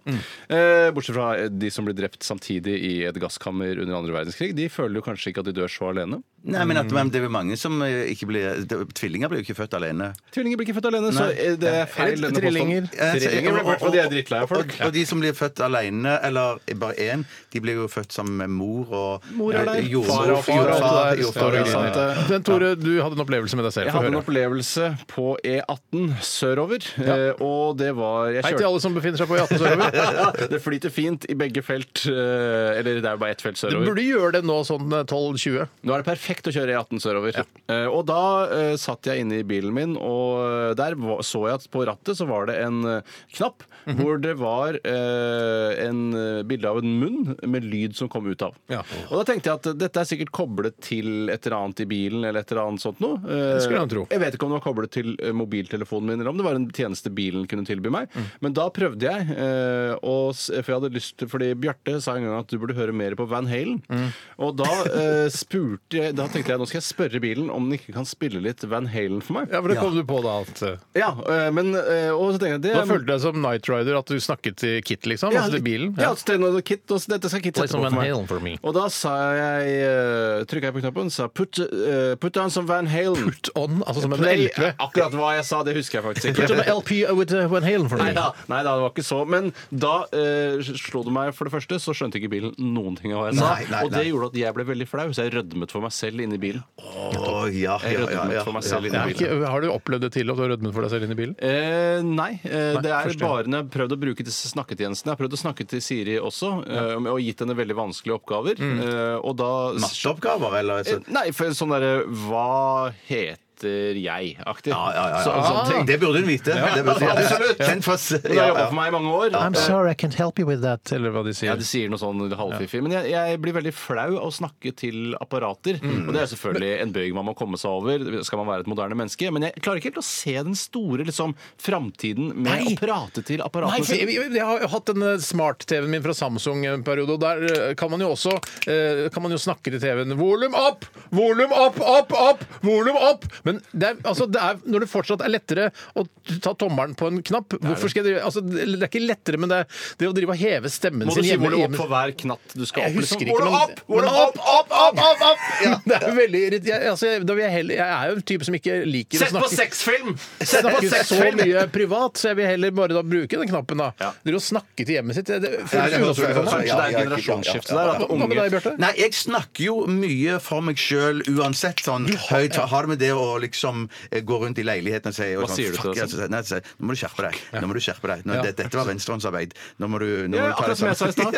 S3: Eh, Bortsett fra de som blir drept samtidig i et gasskammer under andre verdenskrig. De føler jo kanskje ikke at de dør så alene.
S2: Nei, men at men det er mange som eh, ikke blir det- Tvillinger blir jo ikke født alene.
S3: Tvillinger blir ikke født alene, så
S2: Nei. Eh,
S3: eh, det er feil.
S1: Eller
S3: denne
S1: trillinger.
S3: påstanden. Trillinger blir i hvert fall de er drittlei av folk.
S2: Og, og de som blir født alene, eller bare én, de blir jo født sammen med mor og
S3: Mor er der.
S2: eh,
S3: Far altså.
S2: jordmor.
S3: og far,
S2: jordfar,
S3: alt det der.
S2: jordfar, ja.
S3: Ja, det er sant, det.
S1: Men Tore, du hadde en opplevelse med deg selv.
S3: Jeg
S1: Få
S3: hadde en
S1: høre.
S3: opplevelse på E18 sørover, eh, og det var jeg
S1: Hei til alle som befinner seg på E18 sørover.
S3: det flyter fint i begge felt. eh, Eller det er jo bare ett felt
S1: Du
S3: sørover.
S1: burde gjøre det nå, sånn eh, 12-20.
S3: Nå er det perfekt å kjøre E18 sørover. Eh, og da eh, satt jeg inne i bilen min, og eh, der va- så jeg at på rattet så var det en eh, knapp
S1: Mhm.
S3: hvor det var eh, en eh, bilde av en munn med lyd som kom ut av.
S1: Ja.
S3: Og da tenkte jeg at dette er sikkert koblet til et eller annet i bilen eller et eller annet sånt noe. Eh,
S1: Det skulle han tro.
S3: Jeg vet ikke om det var koblet til eh, mobiltelefonen min, eller om det var en tjeneste bilen kunne tilby meg.
S1: Mm.
S3: Men da prøvde jeg, eh, og, s- for jeg hadde lyst til, fordi Bjarte sa en gang at du burde høre mer på Van Halen.
S1: Mm.
S3: Og da eh, spurte jeg, da tenkte jeg nå skal jeg spørre bilen om den ikke kan spille litt Van Halen for meg.
S1: Ja, for det kom du på da at eh,
S3: Ja, eh, men, eh, og så tenkte jeg det
S1: Da følte du deg som Night Rider, at du snakket til Kit, liksom?
S3: ja,
S1: altså til bilen?
S3: Ja, så tenkte jeg, Kit, og så dette skal Kit
S1: Play
S3: sette
S1: some
S3: på
S1: Van
S3: for meg.
S1: Halen for me.
S3: Og da sa jeg, eh, trykket jeg på knappen, sa put, eh, put on some Van Halen.
S1: Put on, altså som en
S3: Play,
S1: LP.
S3: akkurat hva jeg sa, det husker jeg faktisk
S1: Put on
S3: ikke.
S1: an LP with uh, Van Halen for
S3: Nei
S1: me.
S3: da, nei da, det var ikke så. Men da eh, slo det meg, for det første, så skjønte ikke bilen noen ting av hva jeg sa.
S2: Nei, nei,
S3: og det
S2: nei.
S3: gjorde at jeg ble veldig flau, så jeg rødmet for meg selv inni bilen.
S2: Å, ja,
S3: Jeg
S2: ja, ja,
S3: rødmet
S2: ja,
S3: for meg
S2: ja.
S3: selv
S1: Det er
S3: inni bilen.
S1: ikke, har du opplevd det til at du har rødmet for deg selv inn i bilen?
S3: Eh, nei, eh, det er
S1: første gang.
S3: bare når jeg har prøvd å bruke disse snakketjenestene. Jeg har prøvd å snakke til Siri også, eh, og gitt henne veldig vanskelige oppgaver.
S2: Mm.
S3: Eh, og da
S2: Matteoppgaver, eller?
S3: Eh,
S2: Så,
S3: Nei, for sånn derre Hva heter jeg-aktig.
S2: ja, ja, ja.
S3: Så, sånn ting.
S2: Det burde hun vite. Det burde hun vite.
S3: Absolutt.
S2: Den fas-
S3: Og
S2: ja,
S3: det har
S2: ja.
S3: jobba for meg i mange år. Eh,
S1: I'm sorry, I can't help you with that, eller hva de
S3: Ja,
S1: sier.
S3: de sier noe sånn halvfiffig. Men jeg, jeg blir veldig flau av å snakke til apparater. Og det er selvfølgelig en bøyg man må komme seg over, skal man være et moderne menneske. Men jeg klarer ikke helt å se den store liksom, framtiden med
S1: Nei.
S3: å prate til
S1: Nei,
S3: apparatene
S1: for jeg,
S3: sine.
S1: jeg jeg har jo hatt den eh, smart-TV-en min fra Samsung en periode, og der eh, kan man jo også eh, kan man jo snakke til TV-en. Volum opp! Volum opp, opp, opp! Volum opp! Men det er, altså, det er, når det fortsatt er lettere å ta tommelen på en knapp Hvorfor skal jeg drive altså, Det er ikke lettere, men det er det å drive og heve stemmen
S3: Må du
S1: sin
S3: si
S1: hjemme,
S3: hvor du opp
S1: hjemme-
S3: for hver knatt du skal
S1: Jeg
S3: opp?
S1: husker ikke,
S3: liksom? Hvor du
S1: men-
S3: opp? Hvor du
S1: men-
S3: opp, opp, opp, opp, opp!
S1: Det er veldig irrit- jeg, altså, jeg, da vil jeg, heller, jeg er jo en type som ikke liker å
S3: Sett på
S1: snakke
S3: sexfilm! Sett på
S1: snakke så
S3: sexfilm!
S1: mye privat, så jeg vil heller bare da bruke den knappen. da ja. Dere å snakke til hjemmet sitt. Det, det, føles
S2: det høres
S1: unaturlig for
S2: veldig-
S1: meg.
S3: Kanskje det er
S2: Ja, ja,
S3: et generasjonsskifte
S2: ja, ja,
S3: der? At
S1: Hva hva med
S3: unge
S1: deg, Bjarte?
S2: Nei, jeg snakker jo mye for meg sjøl uansett. Sånn, høyt, Har det med det å liksom eh, gå rundt i leiligheten og si og sånn,
S3: Hva sier du til
S2: «Fuck,
S3: det,
S2: jeg», så sier jeg, Nei, så sier jeg, nå må du skjerpe deg. Nå må du skjerpe deg. Nå,
S1: Ja.
S2: det, dette var venstrehåndsarbeid. Nå må du, nå må
S3: Ja,
S2: du ta
S3: akkurat
S2: deg
S3: som jeg sa i
S2: sammen.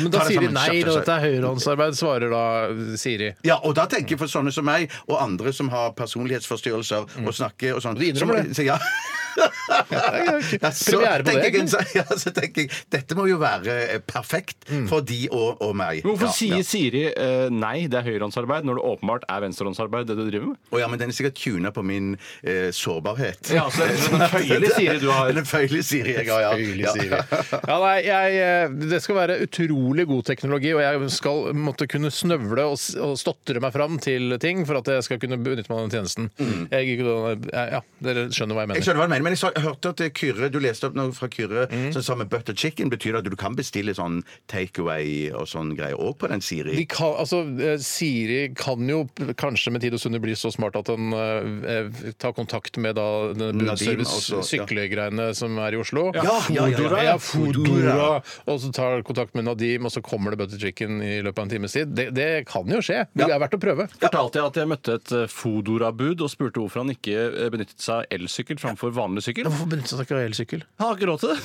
S1: Men da
S2: Ta det
S1: sier de
S2: sammen,
S1: nei,
S2: kjapt,
S1: og
S2: kjapt.
S1: dette er høyrehåndsarbeid, svarer da Siri.
S2: Ja, og da tenker jeg for sånne som meg, og andre som har personlighetsforstyrrelser og snakker og sånn
S1: Du
S2: så
S1: innrømmer
S2: må-
S1: det.
S2: Så, ja. Ja, så
S1: Premiere på det.
S2: tenker jeg, ja, så tenker jeg, dette må jo være eh, perfekt for de og, og meg.
S3: Men Hvorfor
S2: Ja,
S3: sier
S2: ja.
S3: Siri eh, nei, det er høyrehåndsarbeid, når det åpenbart er venstrehåndsarbeid, det du driver med?
S2: Å ja, men den er sikkert tuna på min eh, sårbarhet.
S3: Ja, altså, det er en føyelig Siri du har.
S2: Den føyelige Siri jeg har, ja.
S1: Føyelig,
S2: ja.
S1: Siri. Ja, nei, jeg, eh, det skal være utrolig god teknologi, og jeg skal måtte kunne snøvle og, s- og stotre meg fram til ting for at jeg skal kunne benytte meg av den tjenesten.
S2: Mm.
S1: Jeg, gikk jo da- ja, dere skjønner hva jeg
S2: Jeg
S1: mener.
S2: skjønner hva du mener, men jeg, sa, jeg hørte at eh, Kyrre, du leste opp noe fra Kyrre som sa med butter chicken betyr at du kan bestille sånn takeaway og sånn greier òg på den Siri.
S1: De kan, altså, eh, Siri kan jo p- kanskje med tid og sunne bli så smart at den eh, eh, tar kontakt med da denne
S2: Nadim,
S1: budservice
S2: altså, ja.
S1: syklegreiene som er i Oslo.
S2: Ja, ja, ja, ja.
S1: Ja, Foodora. Og så tar kontakt med Nadim, og så kommer det butter chicken i løpet av en times tid. Det, det kan jo skje. Det er verdt å prøve.
S3: Fortalte jeg at jeg møtte et eh, Fodora-bud og spurte hvorfor han ikke eh, benyttet seg av elsykkel framfor vanlig sykkel?
S1: Hvorfor benytter seg ikke av elsykkel?
S3: Han har ikke råd til det.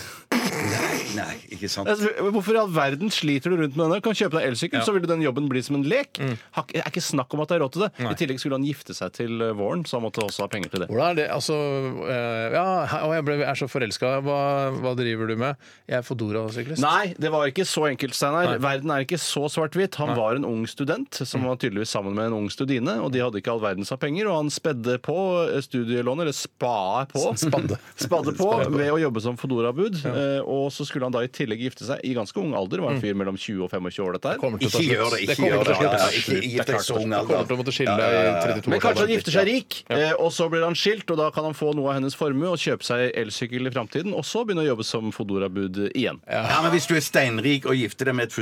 S2: Nei, ikke sant.
S3: Jeg spør- Hvorfor i all verden sliter du rundt med denne? Kan kjøpe deg elsykkel, så ville den jobben bli som en lek. Har ikke- er ikke snakk om at det er råd til det. I tillegg skulle han gifte seg til eh, våren, så han måtte også ha penger til det.
S1: Hvordan er det? Altså, eh, ja, he- å, jeg, ble, jeg er så forelska. Hva, hva driver du med? Jeg er Foodora-syklist.
S3: Nei, det var ikke så enkelt, Steinar. Verden er ikke så svart-hvitt. Han var en ung student som var tydeligvis sammen med en ung studine, og de hadde ikke all verdens av penger, og han spedde på eh, studielånet, eller spae på.
S1: Spadde.
S3: Spadde på ved å jobbe som Fodora-bud, eh, og så skulle han da i tillegg gifte seg i ganske ung alder. Var en fyr mellom 20 og 25 år, dette her.
S1: Kommer til å
S2: Ikke
S1: ta slutt.
S2: gjør det. Ikke
S1: kommer
S2: gjør
S1: til
S2: det.
S1: å
S2: Ja,
S1: slutt.
S2: ja, Ikke gift deg sånn i så ung
S1: Du kommer til å
S2: alder.
S1: måtte skille deg i 32
S3: Men
S1: år.
S3: kanskje han
S1: gammel.
S3: gifter seg rik, eh, og så blir han skilt, og da kan han få noe av hennes formue og kjøpe seg elsykkel i framtiden, og så begynne å jobbe som Fodora-bud igjen.
S2: Ja, men Hvis du er steinrik og gifter deg med et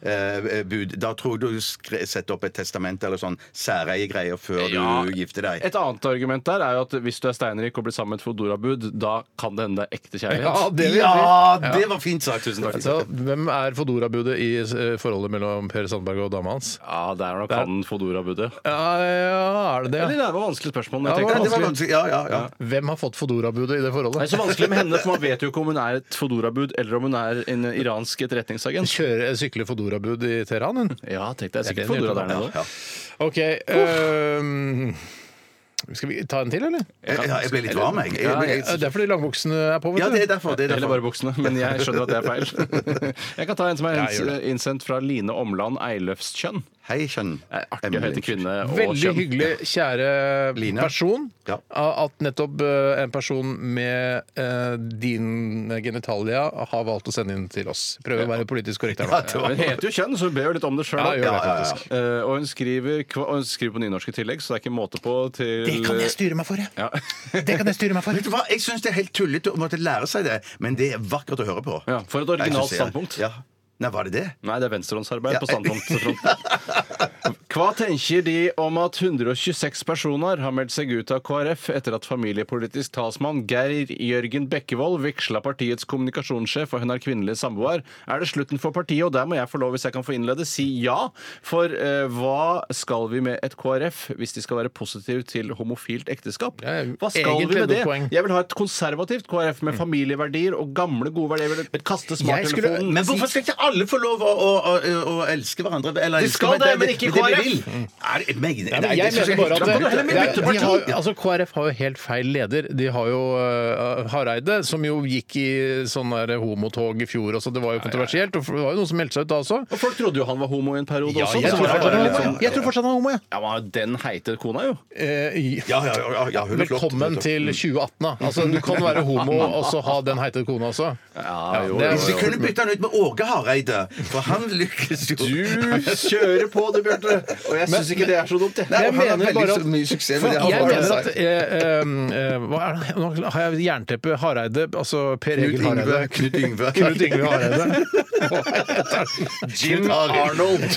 S2: Foodora-bud, da tror jeg du skre- setter opp et testament eller sånn særeiegreier før
S3: Ja.
S2: du gifter deg.
S3: Et annet argument der er jo at hvis du er steinrik og blir sammen med et Fodorabud, da kan det hende det er ekte
S1: Ja,
S3: kjærlighet.
S1: det vil jeg si.
S2: Ja, det var fint sagt. Tusen takk.
S1: Så, Altså, hvem er Fodora-budet i eh, forholdet mellom Per Sandberg og dama hans?
S3: Ja, det er nok han Fodorabudet.
S1: Ja, ja er det det?
S3: Eller
S1: ja?
S3: det var vanskelig spørsmål. men
S1: Ja,
S3: Jeg
S1: det
S2: Ja,
S3: tenker,
S2: det var vanskelig. Ja, ja, ja.
S1: Hvem har fått Fodora-budet i det
S3: det er
S1: forholdet?
S3: så vanskelig med henne, for man vet jo ikke om hun er et Fodorabud eller om hun er en iransk etterretningsagent.
S1: Kjører sykler eh, Fodora-bud i Teheran, hun? Uh.
S3: Ja, tenkte jeg
S1: Er det en
S3: sikkert Fodora der
S1: jente?
S3: nede også.
S1: OK. øhm, skal vi ta en til, eller?
S2: Jeg, ja, jeg ble litt varm, jeg. jeg ble
S1: Det
S2: litt...
S1: er fordi langbuksene er på, vet
S2: Ja,
S1: du.
S2: det er derfor. Det er
S3: Eller
S2: derfor.
S3: bare buksene, men jeg skjønner at det er feil. Jeg kan ta en som er
S1: Ja, gjør det.
S3: innsendt fra Line Omland Eiløfskjønn.
S2: Hei, kjønn.
S3: Artig å hete kvinne og
S1: Veldig
S3: kjønn.
S1: hyggelig, kjære
S2: Line.
S1: person,
S2: Ja.
S1: at nettopp eh, en person med eh, din genitalia har valgt å sende inn til oss. Prøver å være politisk korrekt her nå.
S2: det var-
S3: Hun heter jo Kjønn, så hun ber jo litt om det sjøl.
S1: Ja, gjør det, faktisk.
S3: Eh, og hun skriver, kva- og hun skriver på nynorsk i tillegg, så det er ikke måte på til
S1: Det kan jeg styre meg for, jeg.
S3: Ja.
S1: Det kan jeg styre meg for.
S2: Vet du hva? Jeg syns det er helt tullete å måtte lære seg det, men det er vakkert å høre på.
S3: Ja, for et originalt
S2: Jeg synes det er-
S3: standpunkt.
S2: Ja. Nei, var det det?
S3: Nei, det er venstrehåndsarbeid
S2: Ja.
S3: på standpunktfronten. Hva tenker de om at 126 personer har meldt seg ut av KrF etter at familiepolitisk talsmann Geir Jørgen Bekkevold vigsla partiets kommunikasjonssjef, og hun er kvinnelig samboer? Er det slutten for partiet? Og der må jeg få lov, hvis jeg kan få innlede, si ja. For eh, hva skal vi med et KrF hvis de skal være positive til homofilt ekteskap?
S1: Ja, ja,
S3: Hva skal
S1: egentlig
S3: vi med
S1: noe
S3: det?
S1: poeng.
S3: Jeg vil ha et konservativt KrF med familieverdier og gamle, gode verdier. Jeg vil kaste
S1: Jeg skulle-
S3: smarttelefonen.
S2: Men hvorfor skal ikke alle få lov å, å, å, å elske hverandre? Eller,
S3: De
S2: elske-
S3: skal det, men ikke i
S2: det vi
S3: KrF.
S2: vil. Er det- men-
S1: Ja,
S2: nei,
S1: men jeg
S2: det synes
S1: mener bare
S2: ikke. Da kan du
S1: at
S2: heller
S1: det,
S2: bytte
S1: de
S2: parti.
S1: har, altså KrF har jo helt feil leder. De har jo eh, Hareide, som jo gikk i sånn der homotog i fjor også. Det var jo kontroversielt. Og det var jo noen som meldte seg ut da også.
S3: Og folk trodde jo han var homo i en periode også.
S1: Jeg
S3: så
S1: tror
S3: det var
S1: fortsatt han
S3: litt
S1: er homo, jeg.
S3: sånn-
S1: Jeg tror fortsatt han er homo, jeg.
S3: Ja, men har den heite kona, jo.
S1: Eh,
S2: Ja, ja, ja, ja, hun er flott. Mm.
S1: Velkommen til 2018, da. Altså, du kan være homo og så ha den heitede kona også.
S3: Ja, jo,
S1: det er-
S3: jo,
S2: Hvis
S3: jo.
S2: vi kunne bytte han ut med Åge Hareide, for han lykkes jo.
S3: Du kjører på, du, Bjarte.
S2: Og jeg syns ikke det er så dumt, jeg.
S1: Nei, jeg
S2: han har
S1: mener
S2: veldig
S1: bare at-
S2: så mye suksess med det.
S1: Jeg
S2: han har
S1: mener
S2: sagt.
S1: at eh, eh, eh, hva er det? Nå har jeg jernteppe Hareide, altså Per
S2: Knut
S1: Egil
S2: Yngve.
S1: Hareide.
S2: Knut Yngve.
S1: Knut Yngve Hareide. Jim Arnold.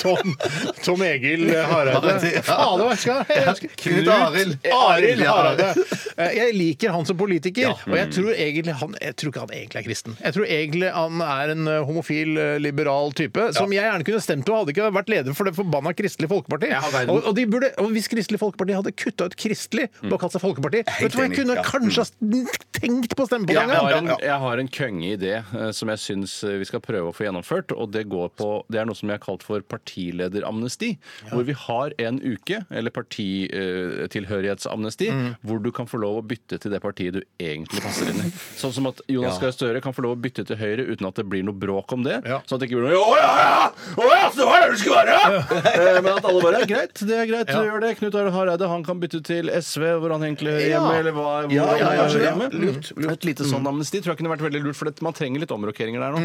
S1: Tom, Tom Egil Hareide.
S2: Ja.
S1: Faen, hva skal jeg huske?
S2: Knut Arild.
S1: Arild
S2: Ja.
S1: Hareide. Eh, Jeg liker han som politiker, og jeg tror egentlig han Jeg tror ikke han egentlig er kristen. Jeg tror egentlig han er en eh, homofil, eh, liberal type som jeg gjerne kunne stemt på, hadde ikke vært leder for det forbanna Kristelig Folkeparti.
S2: Ja, verden.
S1: og, og, de burde, og hvis Kristelig Folkeparti hadde kutta ut Kristelig
S2: Mm.
S1: og kalt seg Folkeparti, vet du hva, jeg
S2: enig,
S1: kunne
S2: ja. Mm.
S1: kanskje ha tenkt på å stemme på
S3: Jeg
S1: den
S3: har
S1: gangen.
S3: en, jeg har en køngeidé eh, som jeg syns eh, vi skal prøve å få gjennomført. og Det går på, det er noe som jeg har kalt for partilederamnesti. Hvor vi har en uke, eller partitilhørighetsamnesti, hvor du kan få lov å bytte til det partiet du egentlig passer inn i. Sånn som at Jonas Gahr Støre kan få lov å bytte til Høyre uten at det blir noe bråk om det.
S1: Ja.
S3: Sånn at det ikke blir noe «Å, ja, ja! Å, ja, så var det det skulle være! Eh, Men at alle bare Greit, det er greit, du gjør det. Knut Arild Hareide han kan bytte til SV, hvor han egentlig hører hjemme, eller hva hvor
S2: Ja, ja,
S3: han
S2: ja, ja.
S3: hører
S2: mm.
S3: hjemme.
S2: Lurt, lurt.
S3: Et lite sånn amnesti tror jeg kunne vært veldig lurt, for det, man trenger litt omrokeringer der nå.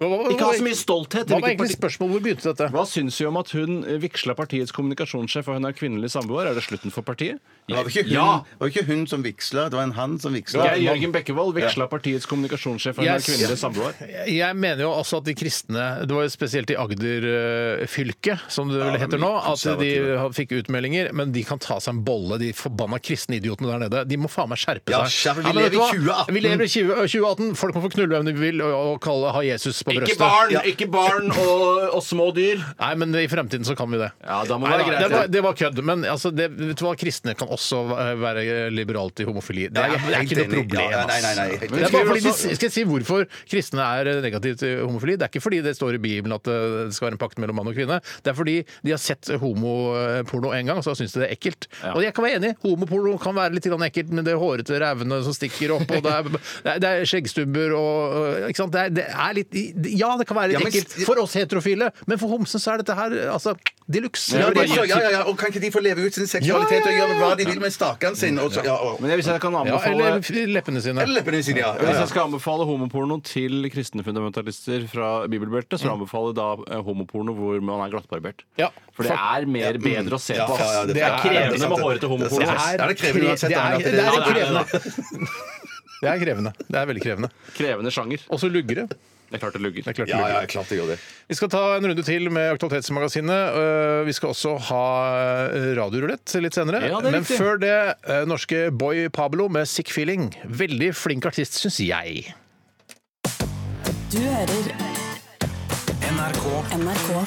S1: Hva- hva-
S3: Ikke ha så
S1: hva-
S3: mye stolthet. i
S1: Hva var
S3: hvilket
S1: egentlig
S3: parti-
S1: spørsmålet? Hvor begynte dette?
S3: Hva syns vi om at hun vigsla partiets kommunikasjonssjef, og hun er kvinnelig samboer? Er det slutten for partiet?
S2: Det var ikke hun,
S3: Ja.
S2: det var ikke hun som vigsla, det var en han som vigsla.
S3: Geir Jørgen Bekkevold vigsla partiets kommunikasjonssjef, og hun er
S1: Yes.
S3: kvinnelig samboer.
S1: Jeg mener jo altså at de kristne Det var jo spesielt i Agder-fylket, som det vel heter nå, at de
S2: konservative.
S1: fikk utmeldinger. Men de kan ta seg en bolle, de forbanna kristne idiotene der nede. De må faen meg skjerpe
S2: Ja,
S1: seg.
S2: skjerp- vi
S1: men
S2: lever i
S1: vet du hva?
S2: 2018.
S1: Vi lever i 20 2018. Folk må få knulle hvem de vil og, og kalle ha Jesus på brøstet.
S3: ikke barn og, og små dyr.
S1: Nei, men i fremtiden så kan vi det.
S3: Ja, da må
S1: Nei,
S3: det være greit,
S1: det,
S3: ja.
S1: var, det var kødd. Men altså, det, vet du hva, kristne kan også være liberalt i homofili. Det er,
S2: Jeg er
S1: det er
S2: helt
S1: ikke noe
S2: enig.
S1: problem.
S2: Ja, nei, nei, nei,
S1: ass.
S2: helt
S1: det er
S2: enig.
S1: bare fordi de, skal jeg si hvorfor kristne er negativt til homofili? Det er ikke fordi det står i Bibelen at eh, det skal være en pakt mellom mann og kvinne. Det er fordi de har sett homoporno en gang, og så syns de det er ekkelt.
S3: Ja.
S1: Og jeg kan være enig, homoporno kan være litt grann ekkelt, men det er hårete rævene som stikker opp, og det er, det er- det er skjeggstubber og ikke sant? Det er, det er litt Ja, det kan være litt
S2: Ja, men-
S1: ekkelt for oss heterofile, men for homsen så er dette her altså de luxe.
S2: Ja,
S1: Ja,
S2: de, ja, ja, ja, og kan ikke de få leve ut sin seksualitet og gjøre hva de vil med staken sin? Og så, ja, og,
S3: Men hvis jeg kan anbefale
S1: eller leppene sine.
S2: eller leppene sine, ja.
S3: Hvis
S2: ja,
S3: jeg skal anbefale homoporno til kristne fundamentalister fra bibelbeltet,
S2: Mm.
S3: så anbefaler jeg da eh, homoporno hvor man er glattbarbert.
S1: Ja.
S3: For det er mer bedre å se
S2: ja.
S3: på. ass.
S2: Ja, ja, det-
S3: det er
S2: ja, ja, det er
S3: krevende
S2: sant,
S3: med hårete homoporno.
S2: Det er- det er krevende
S1: kre-
S2: uansett,
S1: Det er,
S2: Arne, at det-
S1: det er
S3: Ja, det er-
S1: krevende. Det er krevende. Det er veldig krevende.
S3: Krevende sjanger. Og
S1: Også luggere.
S3: det er klart det lugger.
S1: Det er klart
S2: ja,
S1: luggere.
S2: ja, klart jeg gjør det.
S1: Vi skal ta en runde til med Aktualitetsmagasinet. Øh, Vi skal også ha øh, radiorulett litt senere.
S3: Ja, det er
S1: Men
S3: riktig.
S1: før det, øh, norske Boy Pablo med Sick Feeling. Veldig flink artist, syns jeg.
S5: Du hører NRK. NRK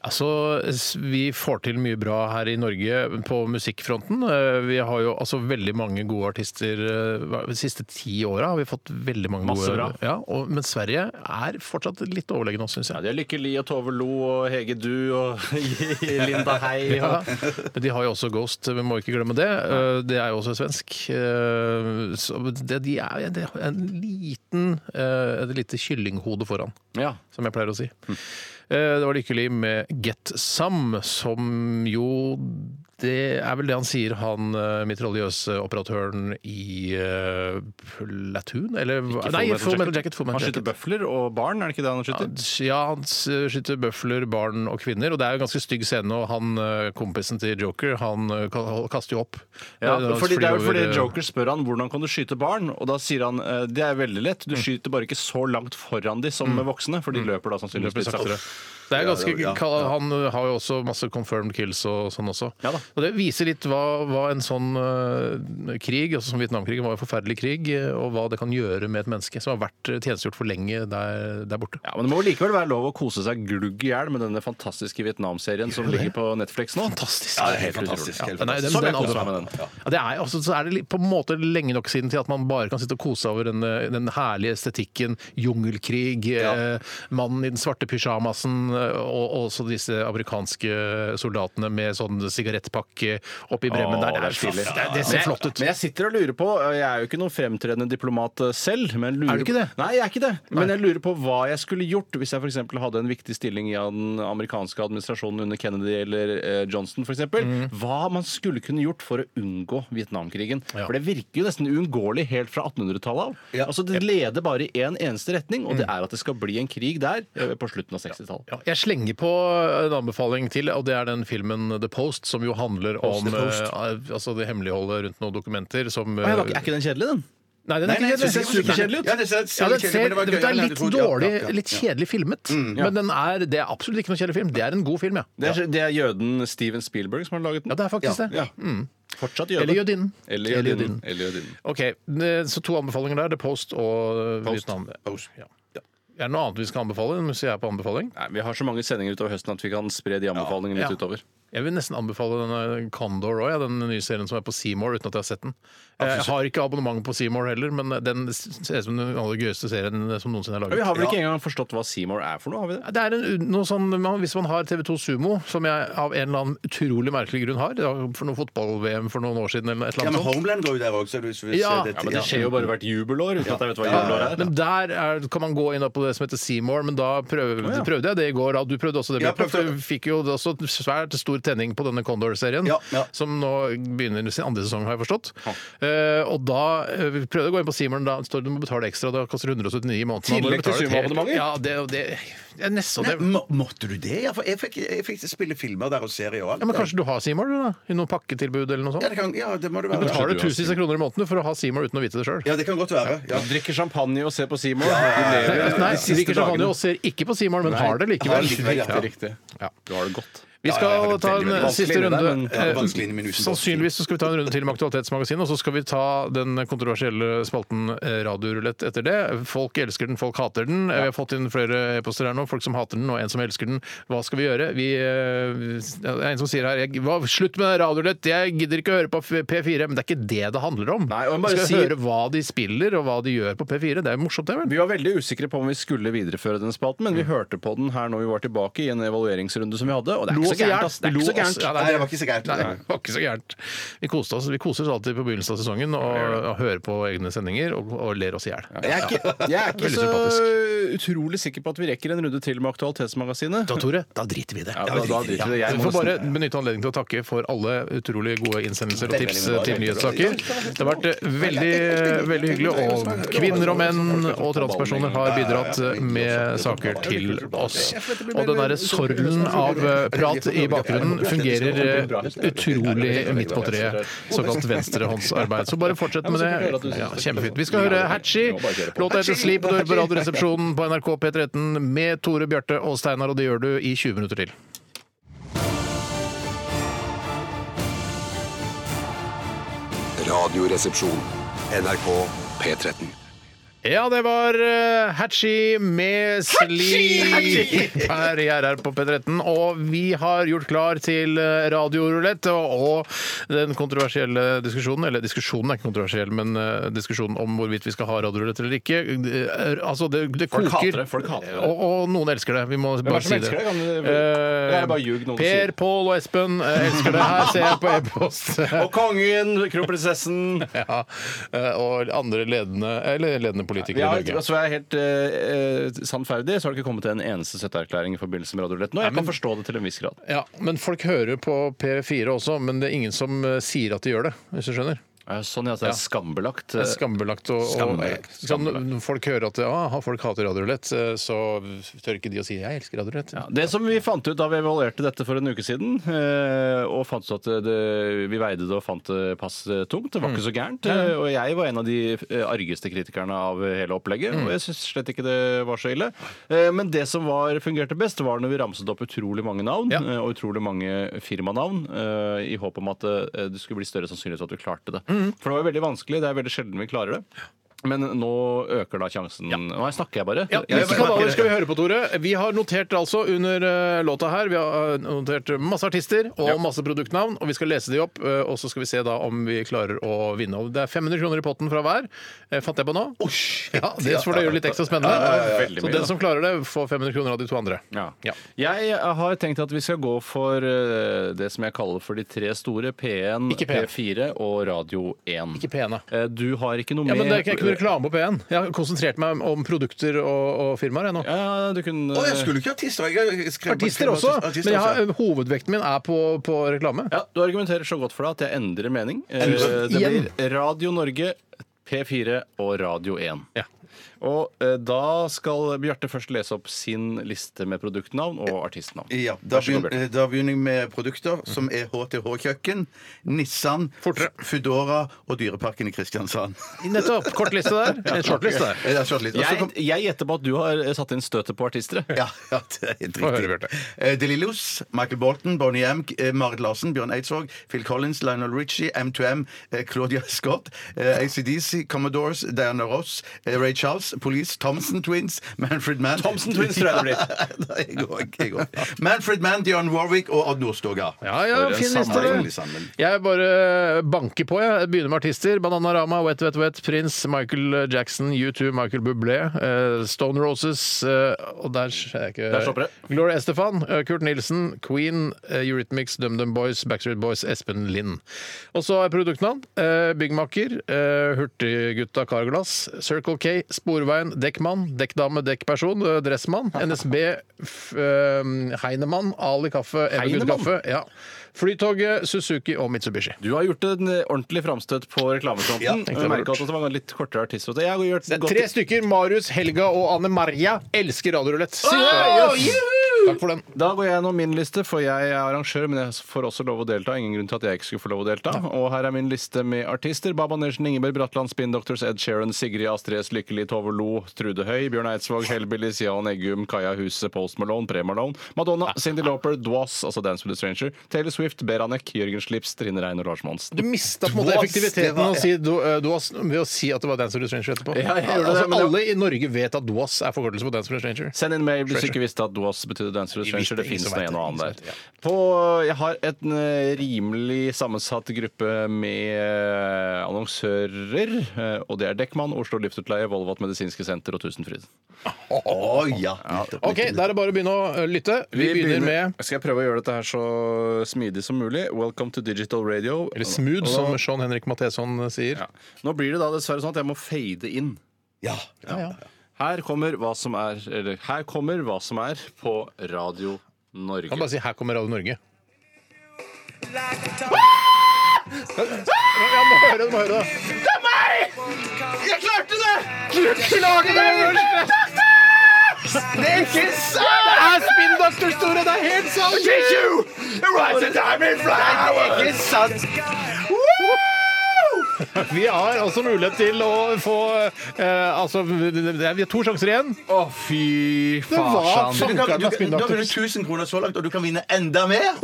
S1: Altså, s- Vi får til mye bra her i Norge på musikkfronten. Eh, Vi har jo altså veldig mange gode artister. eh, hva- De siste ti åra har vi fått veldig mange
S3: Masse
S1: gode.
S3: bra.
S1: Ja, og, men Sverige er fortsatt litt overlegne oss, syns jeg.
S3: Ja, det er Lykke Li og Tove Lo og Hege Du og Linda Hei. Og...
S1: Ja. Men de har jo også Ghost, vi må ikke glemme det. Eh, Det er jo også svensk. Eh, Så det, de er det er en liten, eh, et lite kyllinghode foran.
S3: Ja.
S1: som jeg pleier å si. Eh, Det var lykkelig med Get Some, som jo Det er vel det han sier, han eh, mitraljøseoperatøren i eh, Platoon? Eller hva- Nei, Full Metal Jacket. Full
S3: Han
S1: Metal
S3: skyter
S1: Jacket.
S3: bøfler og barn, er det ikke det han
S1: Ja,
S3: skyter?
S1: s- Ja, han s- skyter bøfler, barn og kvinner. Og det er jo en ganske stygg scene, og han eh, kompisen til Joker, han eh, ka- kaster jo opp.
S3: Ja,
S1: Eh, når han
S3: fordi det er jo
S1: flyr
S3: fordi
S1: over, eh,
S3: Joker spør han hvordan kan du skyte barn, og da sier han eh, det er veldig lett, du skyter bare ikke så langt foran de som voksne, for de løper da sannsynligvis
S1: Løper
S3: litt saktere.
S1: saktere. Det er ganske,
S2: Ja, ja,
S1: kal- Han øh, har jo også masse confirmed kills og sånn også.
S3: Ja da.
S1: og Det viser litt hva, hva en sånn eh, krig, altså som Vietnamkrigen var en forferdelig krig, eh, og hva det kan gjøre med et menneske som har vært øh, tjenestegjort for lenge der, der borte.
S3: Ja, men Det må likevel være lov å kose seg glugg i hjel med denne fantastiske Vietnam-serien som ligger på Netflix nå.
S1: Fantastisk.
S2: Ja, det er helt fantastisk,
S1: utrolig.
S2: helt
S1: Ja, nei, sånn den-
S3: fantastisk. Som jeg
S1: den
S3: koser
S1: anbefaler.
S3: meg med den.
S1: Ja, det er, altså, så er det li- på en måte lenge nok siden til at man bare kan sitte og kose seg over den, eh, den herlige estetikken, jungelkrig, eh, mannen i den svarte pysjamasen, eh, og og også disse amerikanske soldatene med sånn sigarettpakke oppi bremmen
S3: Å,
S1: der. Det,
S3: det er
S1: er, så-
S3: stilig.
S1: det, det ser flott ut.
S3: Men jeg sitter og lurer på øh, Jeg er jo ikke noen fremtredende diplomat øh, selv. Men lurer,
S1: Er du ikke det?
S3: Nei, jeg er ikke det. Men jeg lurer på hva jeg skulle gjort hvis jeg for eksempel hadde en viktig stilling i den amerikanske administrasjonen under Kennedy eller eh, Johnson f.eks. eksempel
S1: Mm.
S3: Hva man skulle kunne gjort for å unngå Vietnamkrigen. For det virker jo nesten uunngåelig helt fra 1800-tallet av. Altså Det leder bare i én eneste retning, og det er at det skal bli en krig der eh, på slutten av 60-tallet.
S1: Mm. Ja, jeg slenger på en anbefaling til, og det er den filmen The Post, som jo handler om
S3: The Post.
S1: eh, altså det hemmeligholdet rundt noen dokumenter som
S3: Å, jeg var ikke- Er ikke den kjedelig, den?
S1: Nei, den er
S2: Nei,
S1: ikke
S2: nei,
S1: kjedelig.
S2: jeg synes det er superkjedelig ut. Ja, det ser- ser
S1: Ja, den
S2: kjedelig,
S1: ser,
S2: men det var
S1: det
S2: gøy.
S1: er
S2: Jeg
S1: litt
S2: lærte fort, ja,
S1: dårlig,
S2: ja, ja,
S1: litt
S2: ja.
S1: kjedelig filmet. Men den er, det er absolutt ikke noen kjedelig film. Det er en god film, ja.
S3: Det er, det er jøden Steven Spielberg som har laget den.
S1: Ja, det er faktisk det. Mm.
S3: Ja. Fortsatt jøde.
S1: Eller jødinnen.
S3: Eller jødinnen. Eller jødinnen.
S1: Ok, eh, så to anbefalinger der. The Post og Vietnam. Ja. Er det noe annet vi skal anbefale? Hvis jeg er på anbefaling?
S3: Nei, vi har så mange sendinger utover høsten at vi kan spre de anbefalingene litt
S1: Ja.
S3: utover.
S1: Jeg vil nesten anbefale denne Condor òg, ja, den nye serien som er på Seymour, uten at jeg har sett den. Jeg har ikke abonnement på Seymour heller, men den ser ut som den aller gøyeste serien som noensinne er
S3: Men vi
S1: laget.
S3: har vel ikke engang forstått hva Seymour er for noe? har vi det?
S1: Det er en, noe sånn, man- Hvis man har TV2 Sumo, som jeg av en eller annen utrolig merkelig grunn har, det var for noe fotball-VM for noen år siden eller et
S2: Ja,
S1: eller
S2: men
S1: annet sånt.
S2: Homeland går jo der også. Hvis vi
S1: Ja,
S2: ser det,
S1: ja,
S3: Ja, men Det skjer jo bare hvert jubelår. uten at jeg vet hva jubelår er.
S1: Men der er, kan man gå inn på det som heter Seymour, men da prøvde, prøvde jeg det i går. da. Du prøvde også det,
S2: Ja, prøvde.
S1: Bjarte, for du fikk jo også svært stor tenning på denne Condor-serien,
S2: Ja, ja.
S1: som nå begynner sin andre sesong, har jeg forstått. Eh, og da eh, vi prøvde jeg å gå inn på Seymour, men da står det du må betale ekstra. Det koster 179 i måneden. Da må du
S3: Tillegg til
S1: betale et helt-
S3: Sumo-abonnementet?
S1: Ja, det, det, det er nesten
S2: Nei,
S1: det.
S2: må, måtte du det? Ja, for jeg fikk, jeg fikk spille filmer der og serier og alt.
S1: Ja, men kanskje du har Seymour du, da? I noen pakketilbud eller noe sånt?
S2: Ja, det, kan, ja, det må det være.
S1: betaler tusenvis av kroner i måneden for å ha Seymour uten å vite det sjøl.
S2: Ja, det kan godt være. Ja.
S3: Drikker champagne og ser på Seymour. De lever
S1: Nei,
S3: de
S1: de
S3: siste
S1: liker champagne
S3: dagene.
S1: og ser ikke på Seymour, men har det
S2: Har
S1: likevel.
S2: det likevel, ja.
S1: Ja.
S3: Riktig. Du har det godt.
S1: Vi
S2: Ja, ja,
S1: skal
S2: det er
S1: ta
S2: veldig,
S1: en eh,
S2: veldig
S1: siste
S3: vanskelig, det der,
S1: runde.
S3: men-
S2: Ja, det er
S1: Eh,
S2: vanskelig inn i minusene.
S1: Sannsynligvis så skal vi ta en runde til med Aktualitetsmagasinet, og så skal vi ta den kontroversielle spalten eh, Radiorulett etter det. Folk elsker den, folk hater den. Eh, Vi har fått inn flere e-poster her nå. Folk som hater den, og en som elsker den. Hva skal vi gjøre? Vi, eh, det er en som sier her jeg, hva, Slutt med radiorulett! Jeg gidder ikke å høre på F- P4. Men det er ikke det det handler om.
S3: Nei,
S1: vi
S3: og jeg bare
S1: skal
S3: sier-
S1: høre hva de spiller, og hva de gjør på P4. Det er jo morsomt, det, vel?
S3: Vi var veldig usikre på om vi skulle videreføre denne spalten,
S1: Mm.
S3: men vi hørte på den her når vi var tilbake i en evalueringsrunde som vi hadde, og det
S1: Lo oss i
S3: er ikke så gærent.
S1: hjel.
S3: ass. Det er
S1: Lo
S3: ikke så
S1: oss-
S3: gærent.
S1: Ja,
S2: Nei, det var ikke så gærent.
S1: Nei, det var ikke så gærent. Vi koste oss. Vi koser oss alltid på begynnelsen av sesongen og, og hører på egne sendinger og, og ler oss i hjel.
S3: Jeg er ikke, jeg er ikke
S1: Veldig
S3: så
S1: sympatisk.
S3: utrolig sikker på at vi rekker en runde til med Aktualitetsmagasinet.
S1: Da, Tore, da driter vi i det.
S3: Ja, da, da driter vi det. Jeg
S1: Vi
S3: må
S1: får
S3: nesten-
S1: bare benytte anledningen til å takke for alle utrolig gode innsendelser og tips til nyhetssaker. Det har vært veldig, veldig hyggelig, og kvinner og menn og transpersoner har bidratt med saker til oss. Og den derre sorlen av eh, prat i bakgrunnen fungerer eh, utrolig midt på treet. Såkalt venstrehåndsarbeid. Så bare fortsett med det. Ja, kjempefint. Vi skal høre Hatchie. Låta heter 'Sleep' og du hører på Radioresepsjonen på NRK P13 med Tore Bjarte og Steinar, og det gjør du i 20 minutter til.
S8: Radioresepsjon. NRK P13.
S1: Ja, det var eh, Hatchie med Sleep her i RR på P13. Og vi har gjort klar til eh, radiorulett og, og den kontroversielle diskusjonen. Eller diskusjonen er ikke kontroversiell, men eh, diskusjonen om hvorvidt vi skal ha radiorulett eller ikke. Det er- Altså, det, det
S3: Folk
S1: koker.
S3: hater det, folk hater det.
S1: Og, og noen elsker det. Vi må
S3: er
S1: bare
S3: det som
S1: si det.
S3: elsker det? Kan du-
S1: Eh,
S3: Det er bare ljug noen sier.
S1: per, Pål og Espen eh, elsker det. Her ser jeg på e-post.
S3: Og kongen, kronprinsessen
S1: Ja, eh, og andre ledende, eller ledende politikere
S3: Vi har,
S1: i Norge.
S3: altså, jeg er helt eh, eh, sannferdig, så har det ikke kommet til en eneste støtteerklæring i forbindelse med Radiolett. Nå, jeg kan forstå det til en viss grad.
S1: Ja, men folk hører på P4 også, men det er ingen som eh, sier at de gjør det, hvis du skjønner.
S3: Eh, Sånn ja, at det er skambelagt. eh,
S1: Det er skambelagt. Og, og,
S3: Skambelagt.
S1: Sånn, når folk hører at ah, folk hater radiorulett, eh, så tør ikke de å si 'jeg elsker radiorulett'.
S3: Ja, det som vi fant ut da vi evaluerte dette for en uke siden, eh, og fant ut at det, vi veide det og fant det pass eh, tungt, det var
S1: Mm.
S3: ikke så gærent. eh, Og jeg var en av de eh, argeste kritikerne av hele opplegget,
S1: Mm.
S3: og jeg syns slett ikke det var så ille. Eh, Men det som var, fungerte best, var når vi ramset opp utrolig mange navn,
S1: Ja.
S3: eh, og utrolig mange firmanavn, eh, i
S1: Mm.
S3: håp om at eh, det skulle bli større sannsynlighet for at du klarte det. For det var jo veldig vanskelig, det er veldig sjelden vi klarer det. Men nå øker da sjansen. Nå snakker jeg bare.
S1: Ja,
S3: Jeg
S1: Hvilke
S3: snakker.
S1: kanaler skal vi høre på, Tore? Vi har notert altså under eh, låta her Vi har eh, notert masse artister og masse produktnavn, og vi skal lese de opp. eh, Og så skal vi se da om vi klarer å vinne. Og det er 500 kroner i potten fra hver, eh, fant jeg på nå. Ja, Det får det gjøre litt ekstra spennende.
S3: Veldig
S1: Så
S3: mye,
S1: den
S3: da.
S1: som klarer det, får 500 kroner av de to andre.
S3: Ja.
S1: Ja.
S3: Jeg eh, har tenkt at vi skal gå for eh, det som jeg kaller for de tre store. P1,
S1: Ikke P1.
S3: P4 og Radio 1.
S1: Ikke pene.
S3: Eh, Du har ikke noe
S1: Ja,
S3: med
S1: men det er ikke ikke noe reklame på P1. Jeg har konsentrert meg om produkter og, og firmaer. jeg nå.
S3: Ja, du kunne
S2: Å, jeg skulle ikke artister. Jeg jeg skrev-
S1: Artister
S2: skrev
S1: også,
S2: artister
S1: men jeg
S2: også.
S1: har, hovedvekten min er på, på reklame.
S3: Ja, Du argumenterer så godt for deg at jeg endrer mening. Eh, Det
S1: Igjen.
S3: blir Radio Norge, P4 og Radio 1.
S1: Ja.
S3: Og eh, da skal Bjarte først lese opp sin liste med produktnavn og artistnavn.
S2: Ja, da,
S3: Vær så god,
S2: begyn, eh, da begynner jeg med produkter som er HTH-kjøkken, Nissan,
S1: Fortere.
S2: Foodora og Dyreparken i Kristiansand.
S1: Nettopp. Kort liste der. En shortlist der.
S2: Jeg har slått litt. Og så
S3: Jeg,
S2: kom-
S3: jeg gjetter på at du har eh, satt inn støtet på artister.
S2: Ja, ja, det er helt
S1: Få høre,
S2: riktig.
S1: Bjarte.
S2: Eh, De Lillos, Michael Bolton, Bonnie M, eh, Marit Larsen, Bjørn Eidsvåg, Phil Collins, Lionel Richie, M2M, eh, Claudia Scott, eh, ACDC, Commodores, Diana Ross, eh, Ray Charles, Police, Thompson Twins, Manfred Mann
S3: Thompson Twins, tror jeg det
S2: blir. jeg òg. jeg òg. Manfred Mann, Dionne Warwick og Odd Nordstoga.
S1: Ja, ja,
S2: For en
S1: fin liste,
S2: samling,
S1: det.
S2: sammen.
S1: Jeg bare banker på. Jeg begynner med artister. Bananarama, Wet Wet Wet, Prince, Michael Jackson, U2, Michael Bublé, eh, Stone Roses eh, Og der er jeg ikke
S3: Der stopper det.
S1: Gloria Estefan, eh, Kurt Nilsen, Queen, eh, Eurythmics, DumDum Boys, Backstreet Boys, Espen Lind. Og så er produktnavn. eh, Byggmaker, eh, Hurtiggutta Carglass, Circle K, Sporveien, Dekkmann, Dekkdame, Dekkperson, eh, Dressmann, NSB, f, eh, Heinemann, Ali Kaffe, Evergood
S3: Heinemann?
S1: Kaffe. Ja. Flytoget, Suzuki og Mitsubishi.
S3: Du har gjort en eh, ordentlig framstøt på reklamefronten.
S2: Ja,
S3: og
S2: tenkte
S1: jeg
S3: jeg
S1: var
S3: merker
S1: lurt.
S3: at det var en litt kortere artist. Jeg har gjort
S1: Det er
S3: godt
S1: tre stykker. Marius, Helga og Anne Maria elsker radiorulett. Takk for den.
S3: Da går jeg gjennom min liste, for jeg er arrangør, men jeg får også lov å delta. Ingen grunn til at jeg ikke skulle få lov å delta. Og her er min liste med artister. Baba Nation, Ingeborg Bratland, Spin Doctors, Ed Sheeran, Sigrid Astrid S, Lykkelig, Tove Lo, Trude Høy, Bjørn Eidsvåg, Hellbillies, Jan Eggum, Kaja Huset, Post Malone, Pre Malone, Madonna, Cindy Lauper, Dwas, altså Dance with a Stranger, Taylor Swift, Beranek, Jørgen Slips, Trine Rein og Lars Monsen.
S1: Du mista på en måte
S2: Dwas, det
S1: effektiviteten
S2: var-
S1: å si do, eh, Dwas ved å si at det var Dance with a Stranger etterpå.
S3: Ja, jeg gjorde det,
S1: altså,
S3: men det-
S1: alle i Norge vet at Dwas er forkortelse på Dance with a Stranger.
S3: Send inn mail hvis du ikke visste at DOAS betydde Dance with a Stranger. Det
S1: Ingen
S3: fins
S1: som
S3: nå
S1: vet
S3: en og
S1: det, ingen
S3: annen
S1: som
S3: der.
S1: vet
S3: På, jeg har en eh, rimelig sammensatt gruppe med eh, annonsører. eh, Og det er Dekkmann, Oslo Luftutleie, Volvat Medisinske Senter og Tusenfryd.
S2: Å ja. nettopp,
S1: OK,
S2: nettopp.
S1: da er det bare å begynne å eh, lytte. Vi, begynner med
S3: Skal jeg prøve å gjøre dette her så smidig som mulig? Welcome to digital radio.
S1: eller smooth,
S3: Og
S1: som
S3: da-
S1: Sean Henrik Matheson sier.
S3: ja. Nå blir det da dessverre sånn at jeg må fade inn.
S2: Ja.
S3: Her kommer hva som er, eller, her kommer hva som er på Radio Norge.
S1: Kan bare si 'Her kommer Radio Norge'. Ja, må høre, det, må høre det. Vi har også mulighet til å få eh, Altså, det er- vi har to sjanser igjen.
S3: Å, fy
S1: var
S2: Du
S3: farsan.
S1: faen-
S2: kan, du,
S1: Lukas
S2: kan-
S1: Spindoktor.
S2: da blir det 1000 kroner så langt, og du kan vinne enda mer!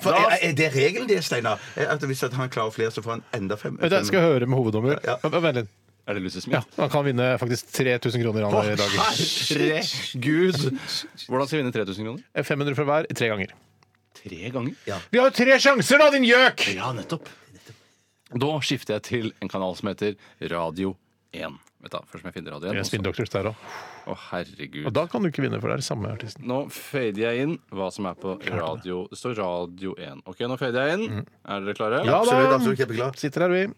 S2: For er, er det regelen det, Steinar? Er At hvis at han klarer flere, så får han enda fem?
S1: Vent, jeg skal høre med hoveddommer.
S2: Ja.
S1: Vent litt.
S3: Er det Lucy Smith?
S1: Ja, han kan vinne faktisk 3000 kroner han i dag.
S3: Herregud! Hvordan skal jeg vinne 3000 kroner?
S1: 500 fra Eh, hver i tre ganger.
S3: Tre ganger? Ja,
S1: Vi har jo tre sjanser, da, din gjøk!
S3: nettopp. Da skifter jeg til en kanal som heter Radio 1. Vet da, først må jeg finne Radio 1. også.
S1: Spinndoctors der òg.
S3: Å,
S1: Og
S3: herregud.
S1: da kan du ikke vinne, for det er samme artisten.
S3: Nå fader jeg inn hva som er på radio. Det står Radio 1. OK, nå fader jeg inn. Er dere klare?
S1: Mm. Ja da.
S2: Absolutt, absolutt, kjempeglad.
S1: Sitter her, vi.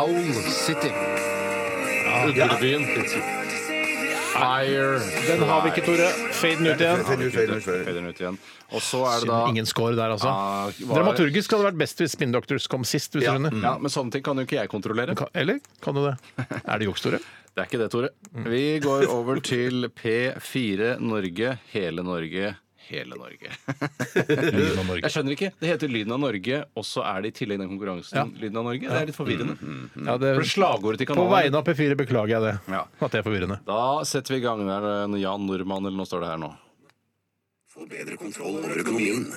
S3: Owl City. Ulvebyen. Fire.
S1: Den har vi ikke, Tore. Fade den ut igjen.
S2: Fade den ut, fade den ut, fade den ut.
S3: Fader den ut igjen. Og så er det da
S1: Ingen score der, altså.
S3: Ah, hva-
S1: Dramaturgisk hadde det vært best hvis Spinndoctors kom sist. Hvis
S2: Ja,
S1: du vinner.
S3: Ja, Mm. Men sånne ting kan jo ikke jeg kontrollere.
S1: Ka- Eller kan du det? Er det juks, Tore?
S3: Det er ikke det, Tore.
S1: Mm.
S3: Vi går over til P4 Norge, hele Norge, hele Norge.
S1: Lyden av Norge.
S3: Jeg skjønner ikke. Det heter Lyden av Norge, og så er det i tillegg den konkurransen Lyden av Norge. Det er litt forvirrende.
S1: Ja, Mm, det,
S3: For slagordet til
S1: på
S3: kanalen
S1: vegne av P4 beklager jeg det.
S3: Ja.
S1: At det er forvirrende.
S3: Da setter vi i gang der eh, Jan Nordmann, eller nå står det her nå.
S8: Få bedre kontroll over økonomien.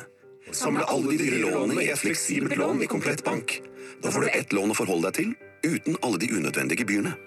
S8: Samle alle de dyre lånene i et fleksibelt lån i Komplett Bank. Da får du ett lån å forholde deg til, uten alle de unødvendige gebyrene.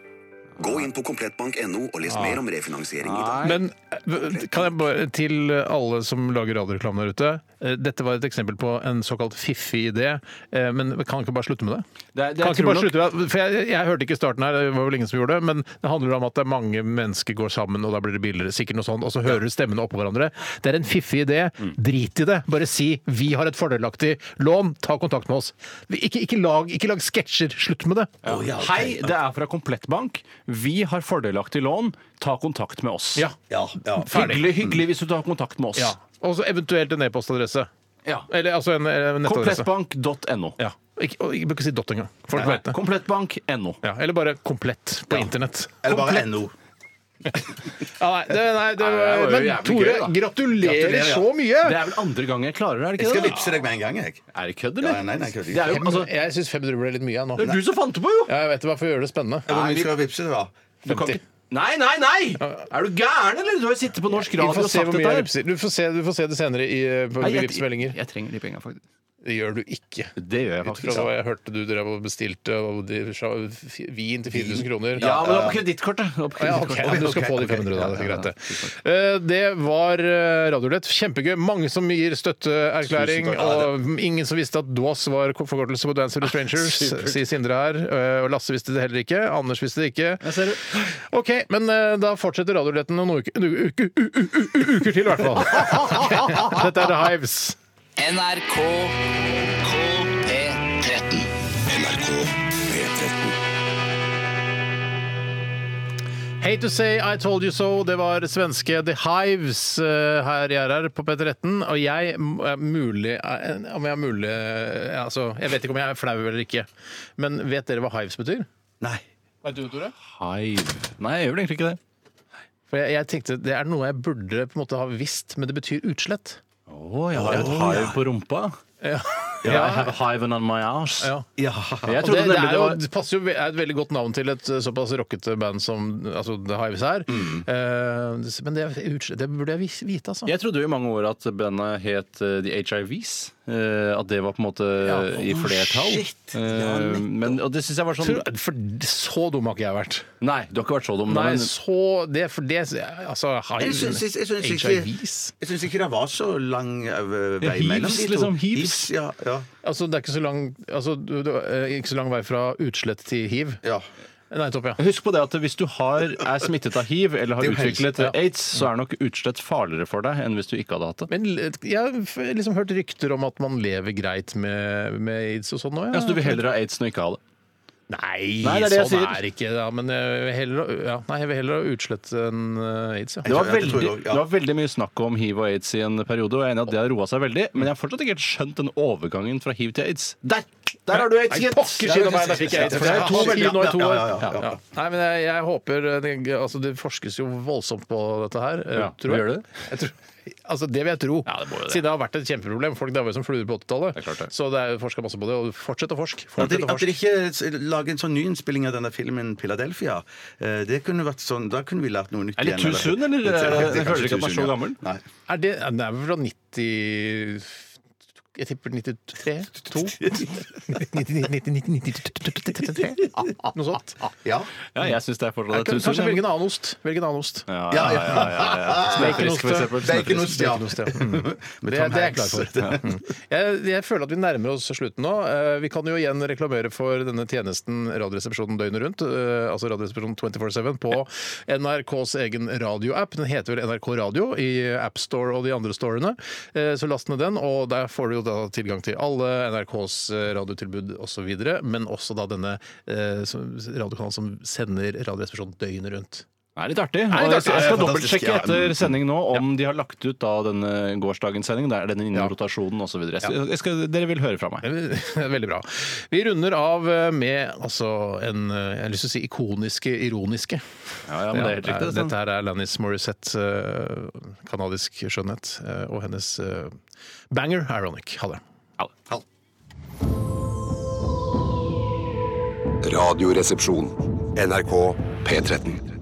S8: Gå inn på komplettbank.no og les mer om refinansiering i dag.
S1: Men eh, kan jeg bare, til alle som lager radioreklame der ute eh, Dette var et eksempel på en såkalt fiffig idé, eh, men kan ikke bare slutte med det?
S3: Det er- det- jeg
S1: kan ikke
S3: tror
S1: bare
S3: nok-
S1: slutte med det? For jeg, jeg hørte ikke starten her, det var vel ingen som gjorde det, men det handler om at det er mange mennesker går sammen, og da blir det billigere, sikkert noe sånt, og så hører du stemmene oppå hverandre. Det er en fiffig idé.
S3: Mm.
S1: Drit i det. Bare si 'vi har et fordelaktig lån', ta kontakt med oss. Vi- Ikke, ikke lag, ikke lag sketsjer. Slutt med det.
S2: ja, ok.
S3: Hei, det er fra Komplettbank. Vi har fordelaktig lån. Ta kontakt med oss.
S1: Ja.
S2: Ja, ja.
S1: Ferdig. Mm.
S3: Hyggelig, hyggelig hvis du tar kontakt med oss.
S1: Ja. Og så eventuelt en e-postadresse.
S3: Ja.
S1: Eller altså en, en nettadresse.
S3: Komplettbank.no.
S1: Ja. Ikke, og ikke bruk å si dot engang. Folk
S3: Nei,
S1: vet det.
S3: Komplettbank.no.
S1: Ja, eller bare komplett på internett.
S2: Eller bare NO.
S1: Ja, nei, det, nei, det,
S3: Nei, det var jo
S1: men
S3: jævlig
S1: Tore,
S3: gøy, da.
S1: gratulerer
S2: Gratulerer, ja.
S1: så mye!
S3: Det er vel andre gang jeg klarer det, er det
S2: Jeg
S3: ikke
S2: skal
S3: det?
S2: vippse deg med en gang, jeg.
S3: Er det kødd,
S2: Ja,
S3: eller?
S2: nei, nei, kødd.
S3: det er jo, altså,
S1: jeg syns 500 ble litt mye jeg, nå.
S3: det er du som fant det på, jo!
S1: Ja, jeg vet det, bare for å gjøre det spennende.
S2: Hvor mye skal jeg vippse deg, da?
S3: Du kan
S1: 50.
S3: ikke... Nei, nei, nei! Er du gæren, eller? Du har jo sittet på norsk
S1: Vi
S3: radio
S1: får
S3: og
S1: se
S3: sagt
S1: hvor mye
S3: dette
S1: jeg
S3: her.
S1: vipser. Du får se, du får se det senere i eh, på
S3: Nei, jeg-
S1: Vips meldinger.
S3: Jeg trenger de penga, faktisk.
S1: Det gjør du ikke.
S3: Det gjør jeg
S1: Ut fra
S3: faktisk.
S1: hva
S3: Ja,
S1: jeg hørte du drev og bestilte og de, sa- f- vin til 4000 kroner.
S3: men det var på kredittkortet. Det var på
S1: Å Ja, ok,
S3: kredittkortet.
S1: ja, du skal
S2: ok,
S1: få de
S2: ok.
S1: 500, da. Det er
S3: Ja, ja,
S1: greit,
S3: ja.
S1: det. Eh, Det var eh, Radiolett. Kjempegøy. Mange som gir støtteerklæring.
S2: Tusen takk.
S1: Og ingen som visste at DOAS var forkortelse på Dance with the Strangers, sier Sindre her. Eh, Og Lasse visste det heller ikke. Anders visste det ikke. OK, men eh, da fortsetter Radioletten noen uker, u- uke- u- u- u- u- uker til, i hvert fall. Dette er The Hives.
S9: NRK P13.
S8: NRK P13.
S1: Hate to say I told you so. Det var svenske The Hives eh, her i RR på P13. Og jeg m- er mulig er- Om jeg er mulig eh, altså, Jeg vet ikke om jeg er flau eller ikke. Men vet dere hva Hives betyr?
S2: Nei.
S1: Vet du, Tore?
S3: Hive. Nei, jeg gjør vel egentlig ikke det.
S1: For jeg, jeg tenkte Det er noe jeg burde på en måte ha visst, men det betyr utslett.
S3: Å, jeg har et hive på rumpa. Ja, I have a hive on my ass.
S1: Ja.
S2: Ja.
S3: Jeg
S1: Og det,
S3: trodde
S1: det,
S3: nemlig
S1: er
S3: det
S1: jo,
S3: var
S1: det passer jo ve- er et veldig godt navn til et eh, såpass rockete band som altså, The Hives er. Eh, men det, er utslett, det burde jeg vis- vite, altså.
S3: Mm. Jeg trodde jo i mange år at bandet het eh, The HIVs. eh, At det var på en måte i flertall.
S2: shit.
S3: Eh, Men, og det syns jeg var sånn
S1: Tror- For så dum har ikke jeg vært.
S3: Nei, du har ikke vært så dum.
S1: Nei,
S3: men-
S1: så det For det Altså, hive,
S2: Jeg syns- jeg syns- jeg syns ikke-
S1: HIVs
S2: Jeg syns ikke det var så lang eh, vei
S3: hives,
S2: mellom de to.
S3: liksom, hives.
S2: Hives, Ja, ja,
S1: Altså, det er ikke så lang altså, du, du, eh, Ikke så lang vei fra utslett til hiv.
S2: ja.
S1: Nei, topp, ja.
S3: Husk på det at hvis du har, er smittet av hiv eller har
S2: Det er jo
S3: utviklet
S1: helst, ja.
S3: aids, så er nok utslett farligere for deg enn hvis du ikke hadde hatt det.
S1: Men l- jeg har f- liksom hørt rykter om at man lever greit med, med aids og sånn nå.
S3: Ja, så du vil heller ha aids enn å ikke ha det?
S1: Nei,
S3: Nei, det er det jeg
S1: sånn
S3: sier.
S1: er det ikke. Ja, men jeg vil heller, ja, nei, jeg vil heller ha utslett enn eh, aids.
S3: Det
S1: Ja.
S2: Ja, det tror
S3: var,
S2: jeg
S3: veldig,
S2: også, ja.
S3: det var veldig mye snakk om hiv og aids i en periode, og jeg er enig i at det har roa seg veldig, men jeg har fortsatt ikke helt skjønt den overgangen fra hiv til aids. Der! Der har du aids,
S1: Nei,
S3: gitt!
S1: pokker skyld meg, der fikk jeg aids. For jeg har hatt hiv nå i to
S2: Ja,
S1: år.
S2: ja, ja, ja.
S1: Ja. Nei, men jeg, jeg håper det, altså, det forskes jo voldsomt på dette her. eh,
S3: Ja,
S1: tror jeg.
S3: gjør det?
S1: Jeg tror, altså, det vil jeg tro.
S3: Ja, det må jo det.
S1: Siden det har vært et kjempeproblem. Folk dauer som fluer på
S3: Det er klart
S1: 80-tallet.
S3: det.
S1: Så det er forska masse på det. Og fortsett å forske.
S2: At
S1: Fortsett
S2: dere
S1: å
S2: at dere
S1: forske.
S2: ikke s- lager en sånn nyinnspilling av denne filmen 'Piladelfia'. eh, Det kunne vært sånn, Da kunne vi lært noe nytt.
S3: Er det
S2: igjen,
S3: too soon, eller?
S2: Det er kanskje
S3: Jeg føler ikke
S2: too
S3: at man er så
S2: soon, ja.
S3: gammel.
S2: Nei.
S1: Er det, den er vel fra 90 jeg tipper 93? 2? 93? Noe sånt.
S2: Ja.
S3: Ja, jeg syns det er fortsatt et
S1: Kanskje velge
S3: tusen.
S1: en annen ost. Velg en annen ost.
S3: Ja, Ah, ja,
S2: Ja,
S3: ja, ja, ja, ja. Snøfrisk, for eksempel. Snøfrisk.
S2: Baconost, ja.
S1: Baconost, ja. Mm.
S2: Med Tom
S1: Det, det er jeg
S2: Hanks.
S1: klar for. Mm. Jeg, jeg føler at vi nærmer oss slutten nå. Eh, Vi kan jo igjen reklamere for denne tjenesten Radioresepsjonen døgnet rundt, eh, altså Radioresepsjonen 24-7 på NRKs egen radioapp. Den heter vel NRK Radio i AppStore og de andre storene. Eh, Så last ned den, og der får du jo da tilgang til alle NRKs eh, radiotilbud osv., men også da denne eh, som- radiokanalen som sender Radioresepsjonen døgnet rundt.
S3: Det er litt artig. Og
S1: litt artig.
S3: jeg skal- jeg skal
S2: Fantastisk,
S3: dobbeltsjekke
S2: ja.
S3: etter sending nå om de har lagt ut da denne gårsdagens sending. Der er den inne i rotasjonen osv. Dere vil høre fra meg.
S1: Veldig bra. Vi runder av eh, med altså en eh, jeg har lyst til å si ikoniske ironiske.
S3: Ja, ja, men det er helt
S1: Ja,
S3: riktig. det er sant.
S1: Dette her er Lannis Morissette, eh, kanadisk skjønnhet, eh, og hennes eh, banger Ironic. Ha det.
S8: Radioresepsjon. NRK P13.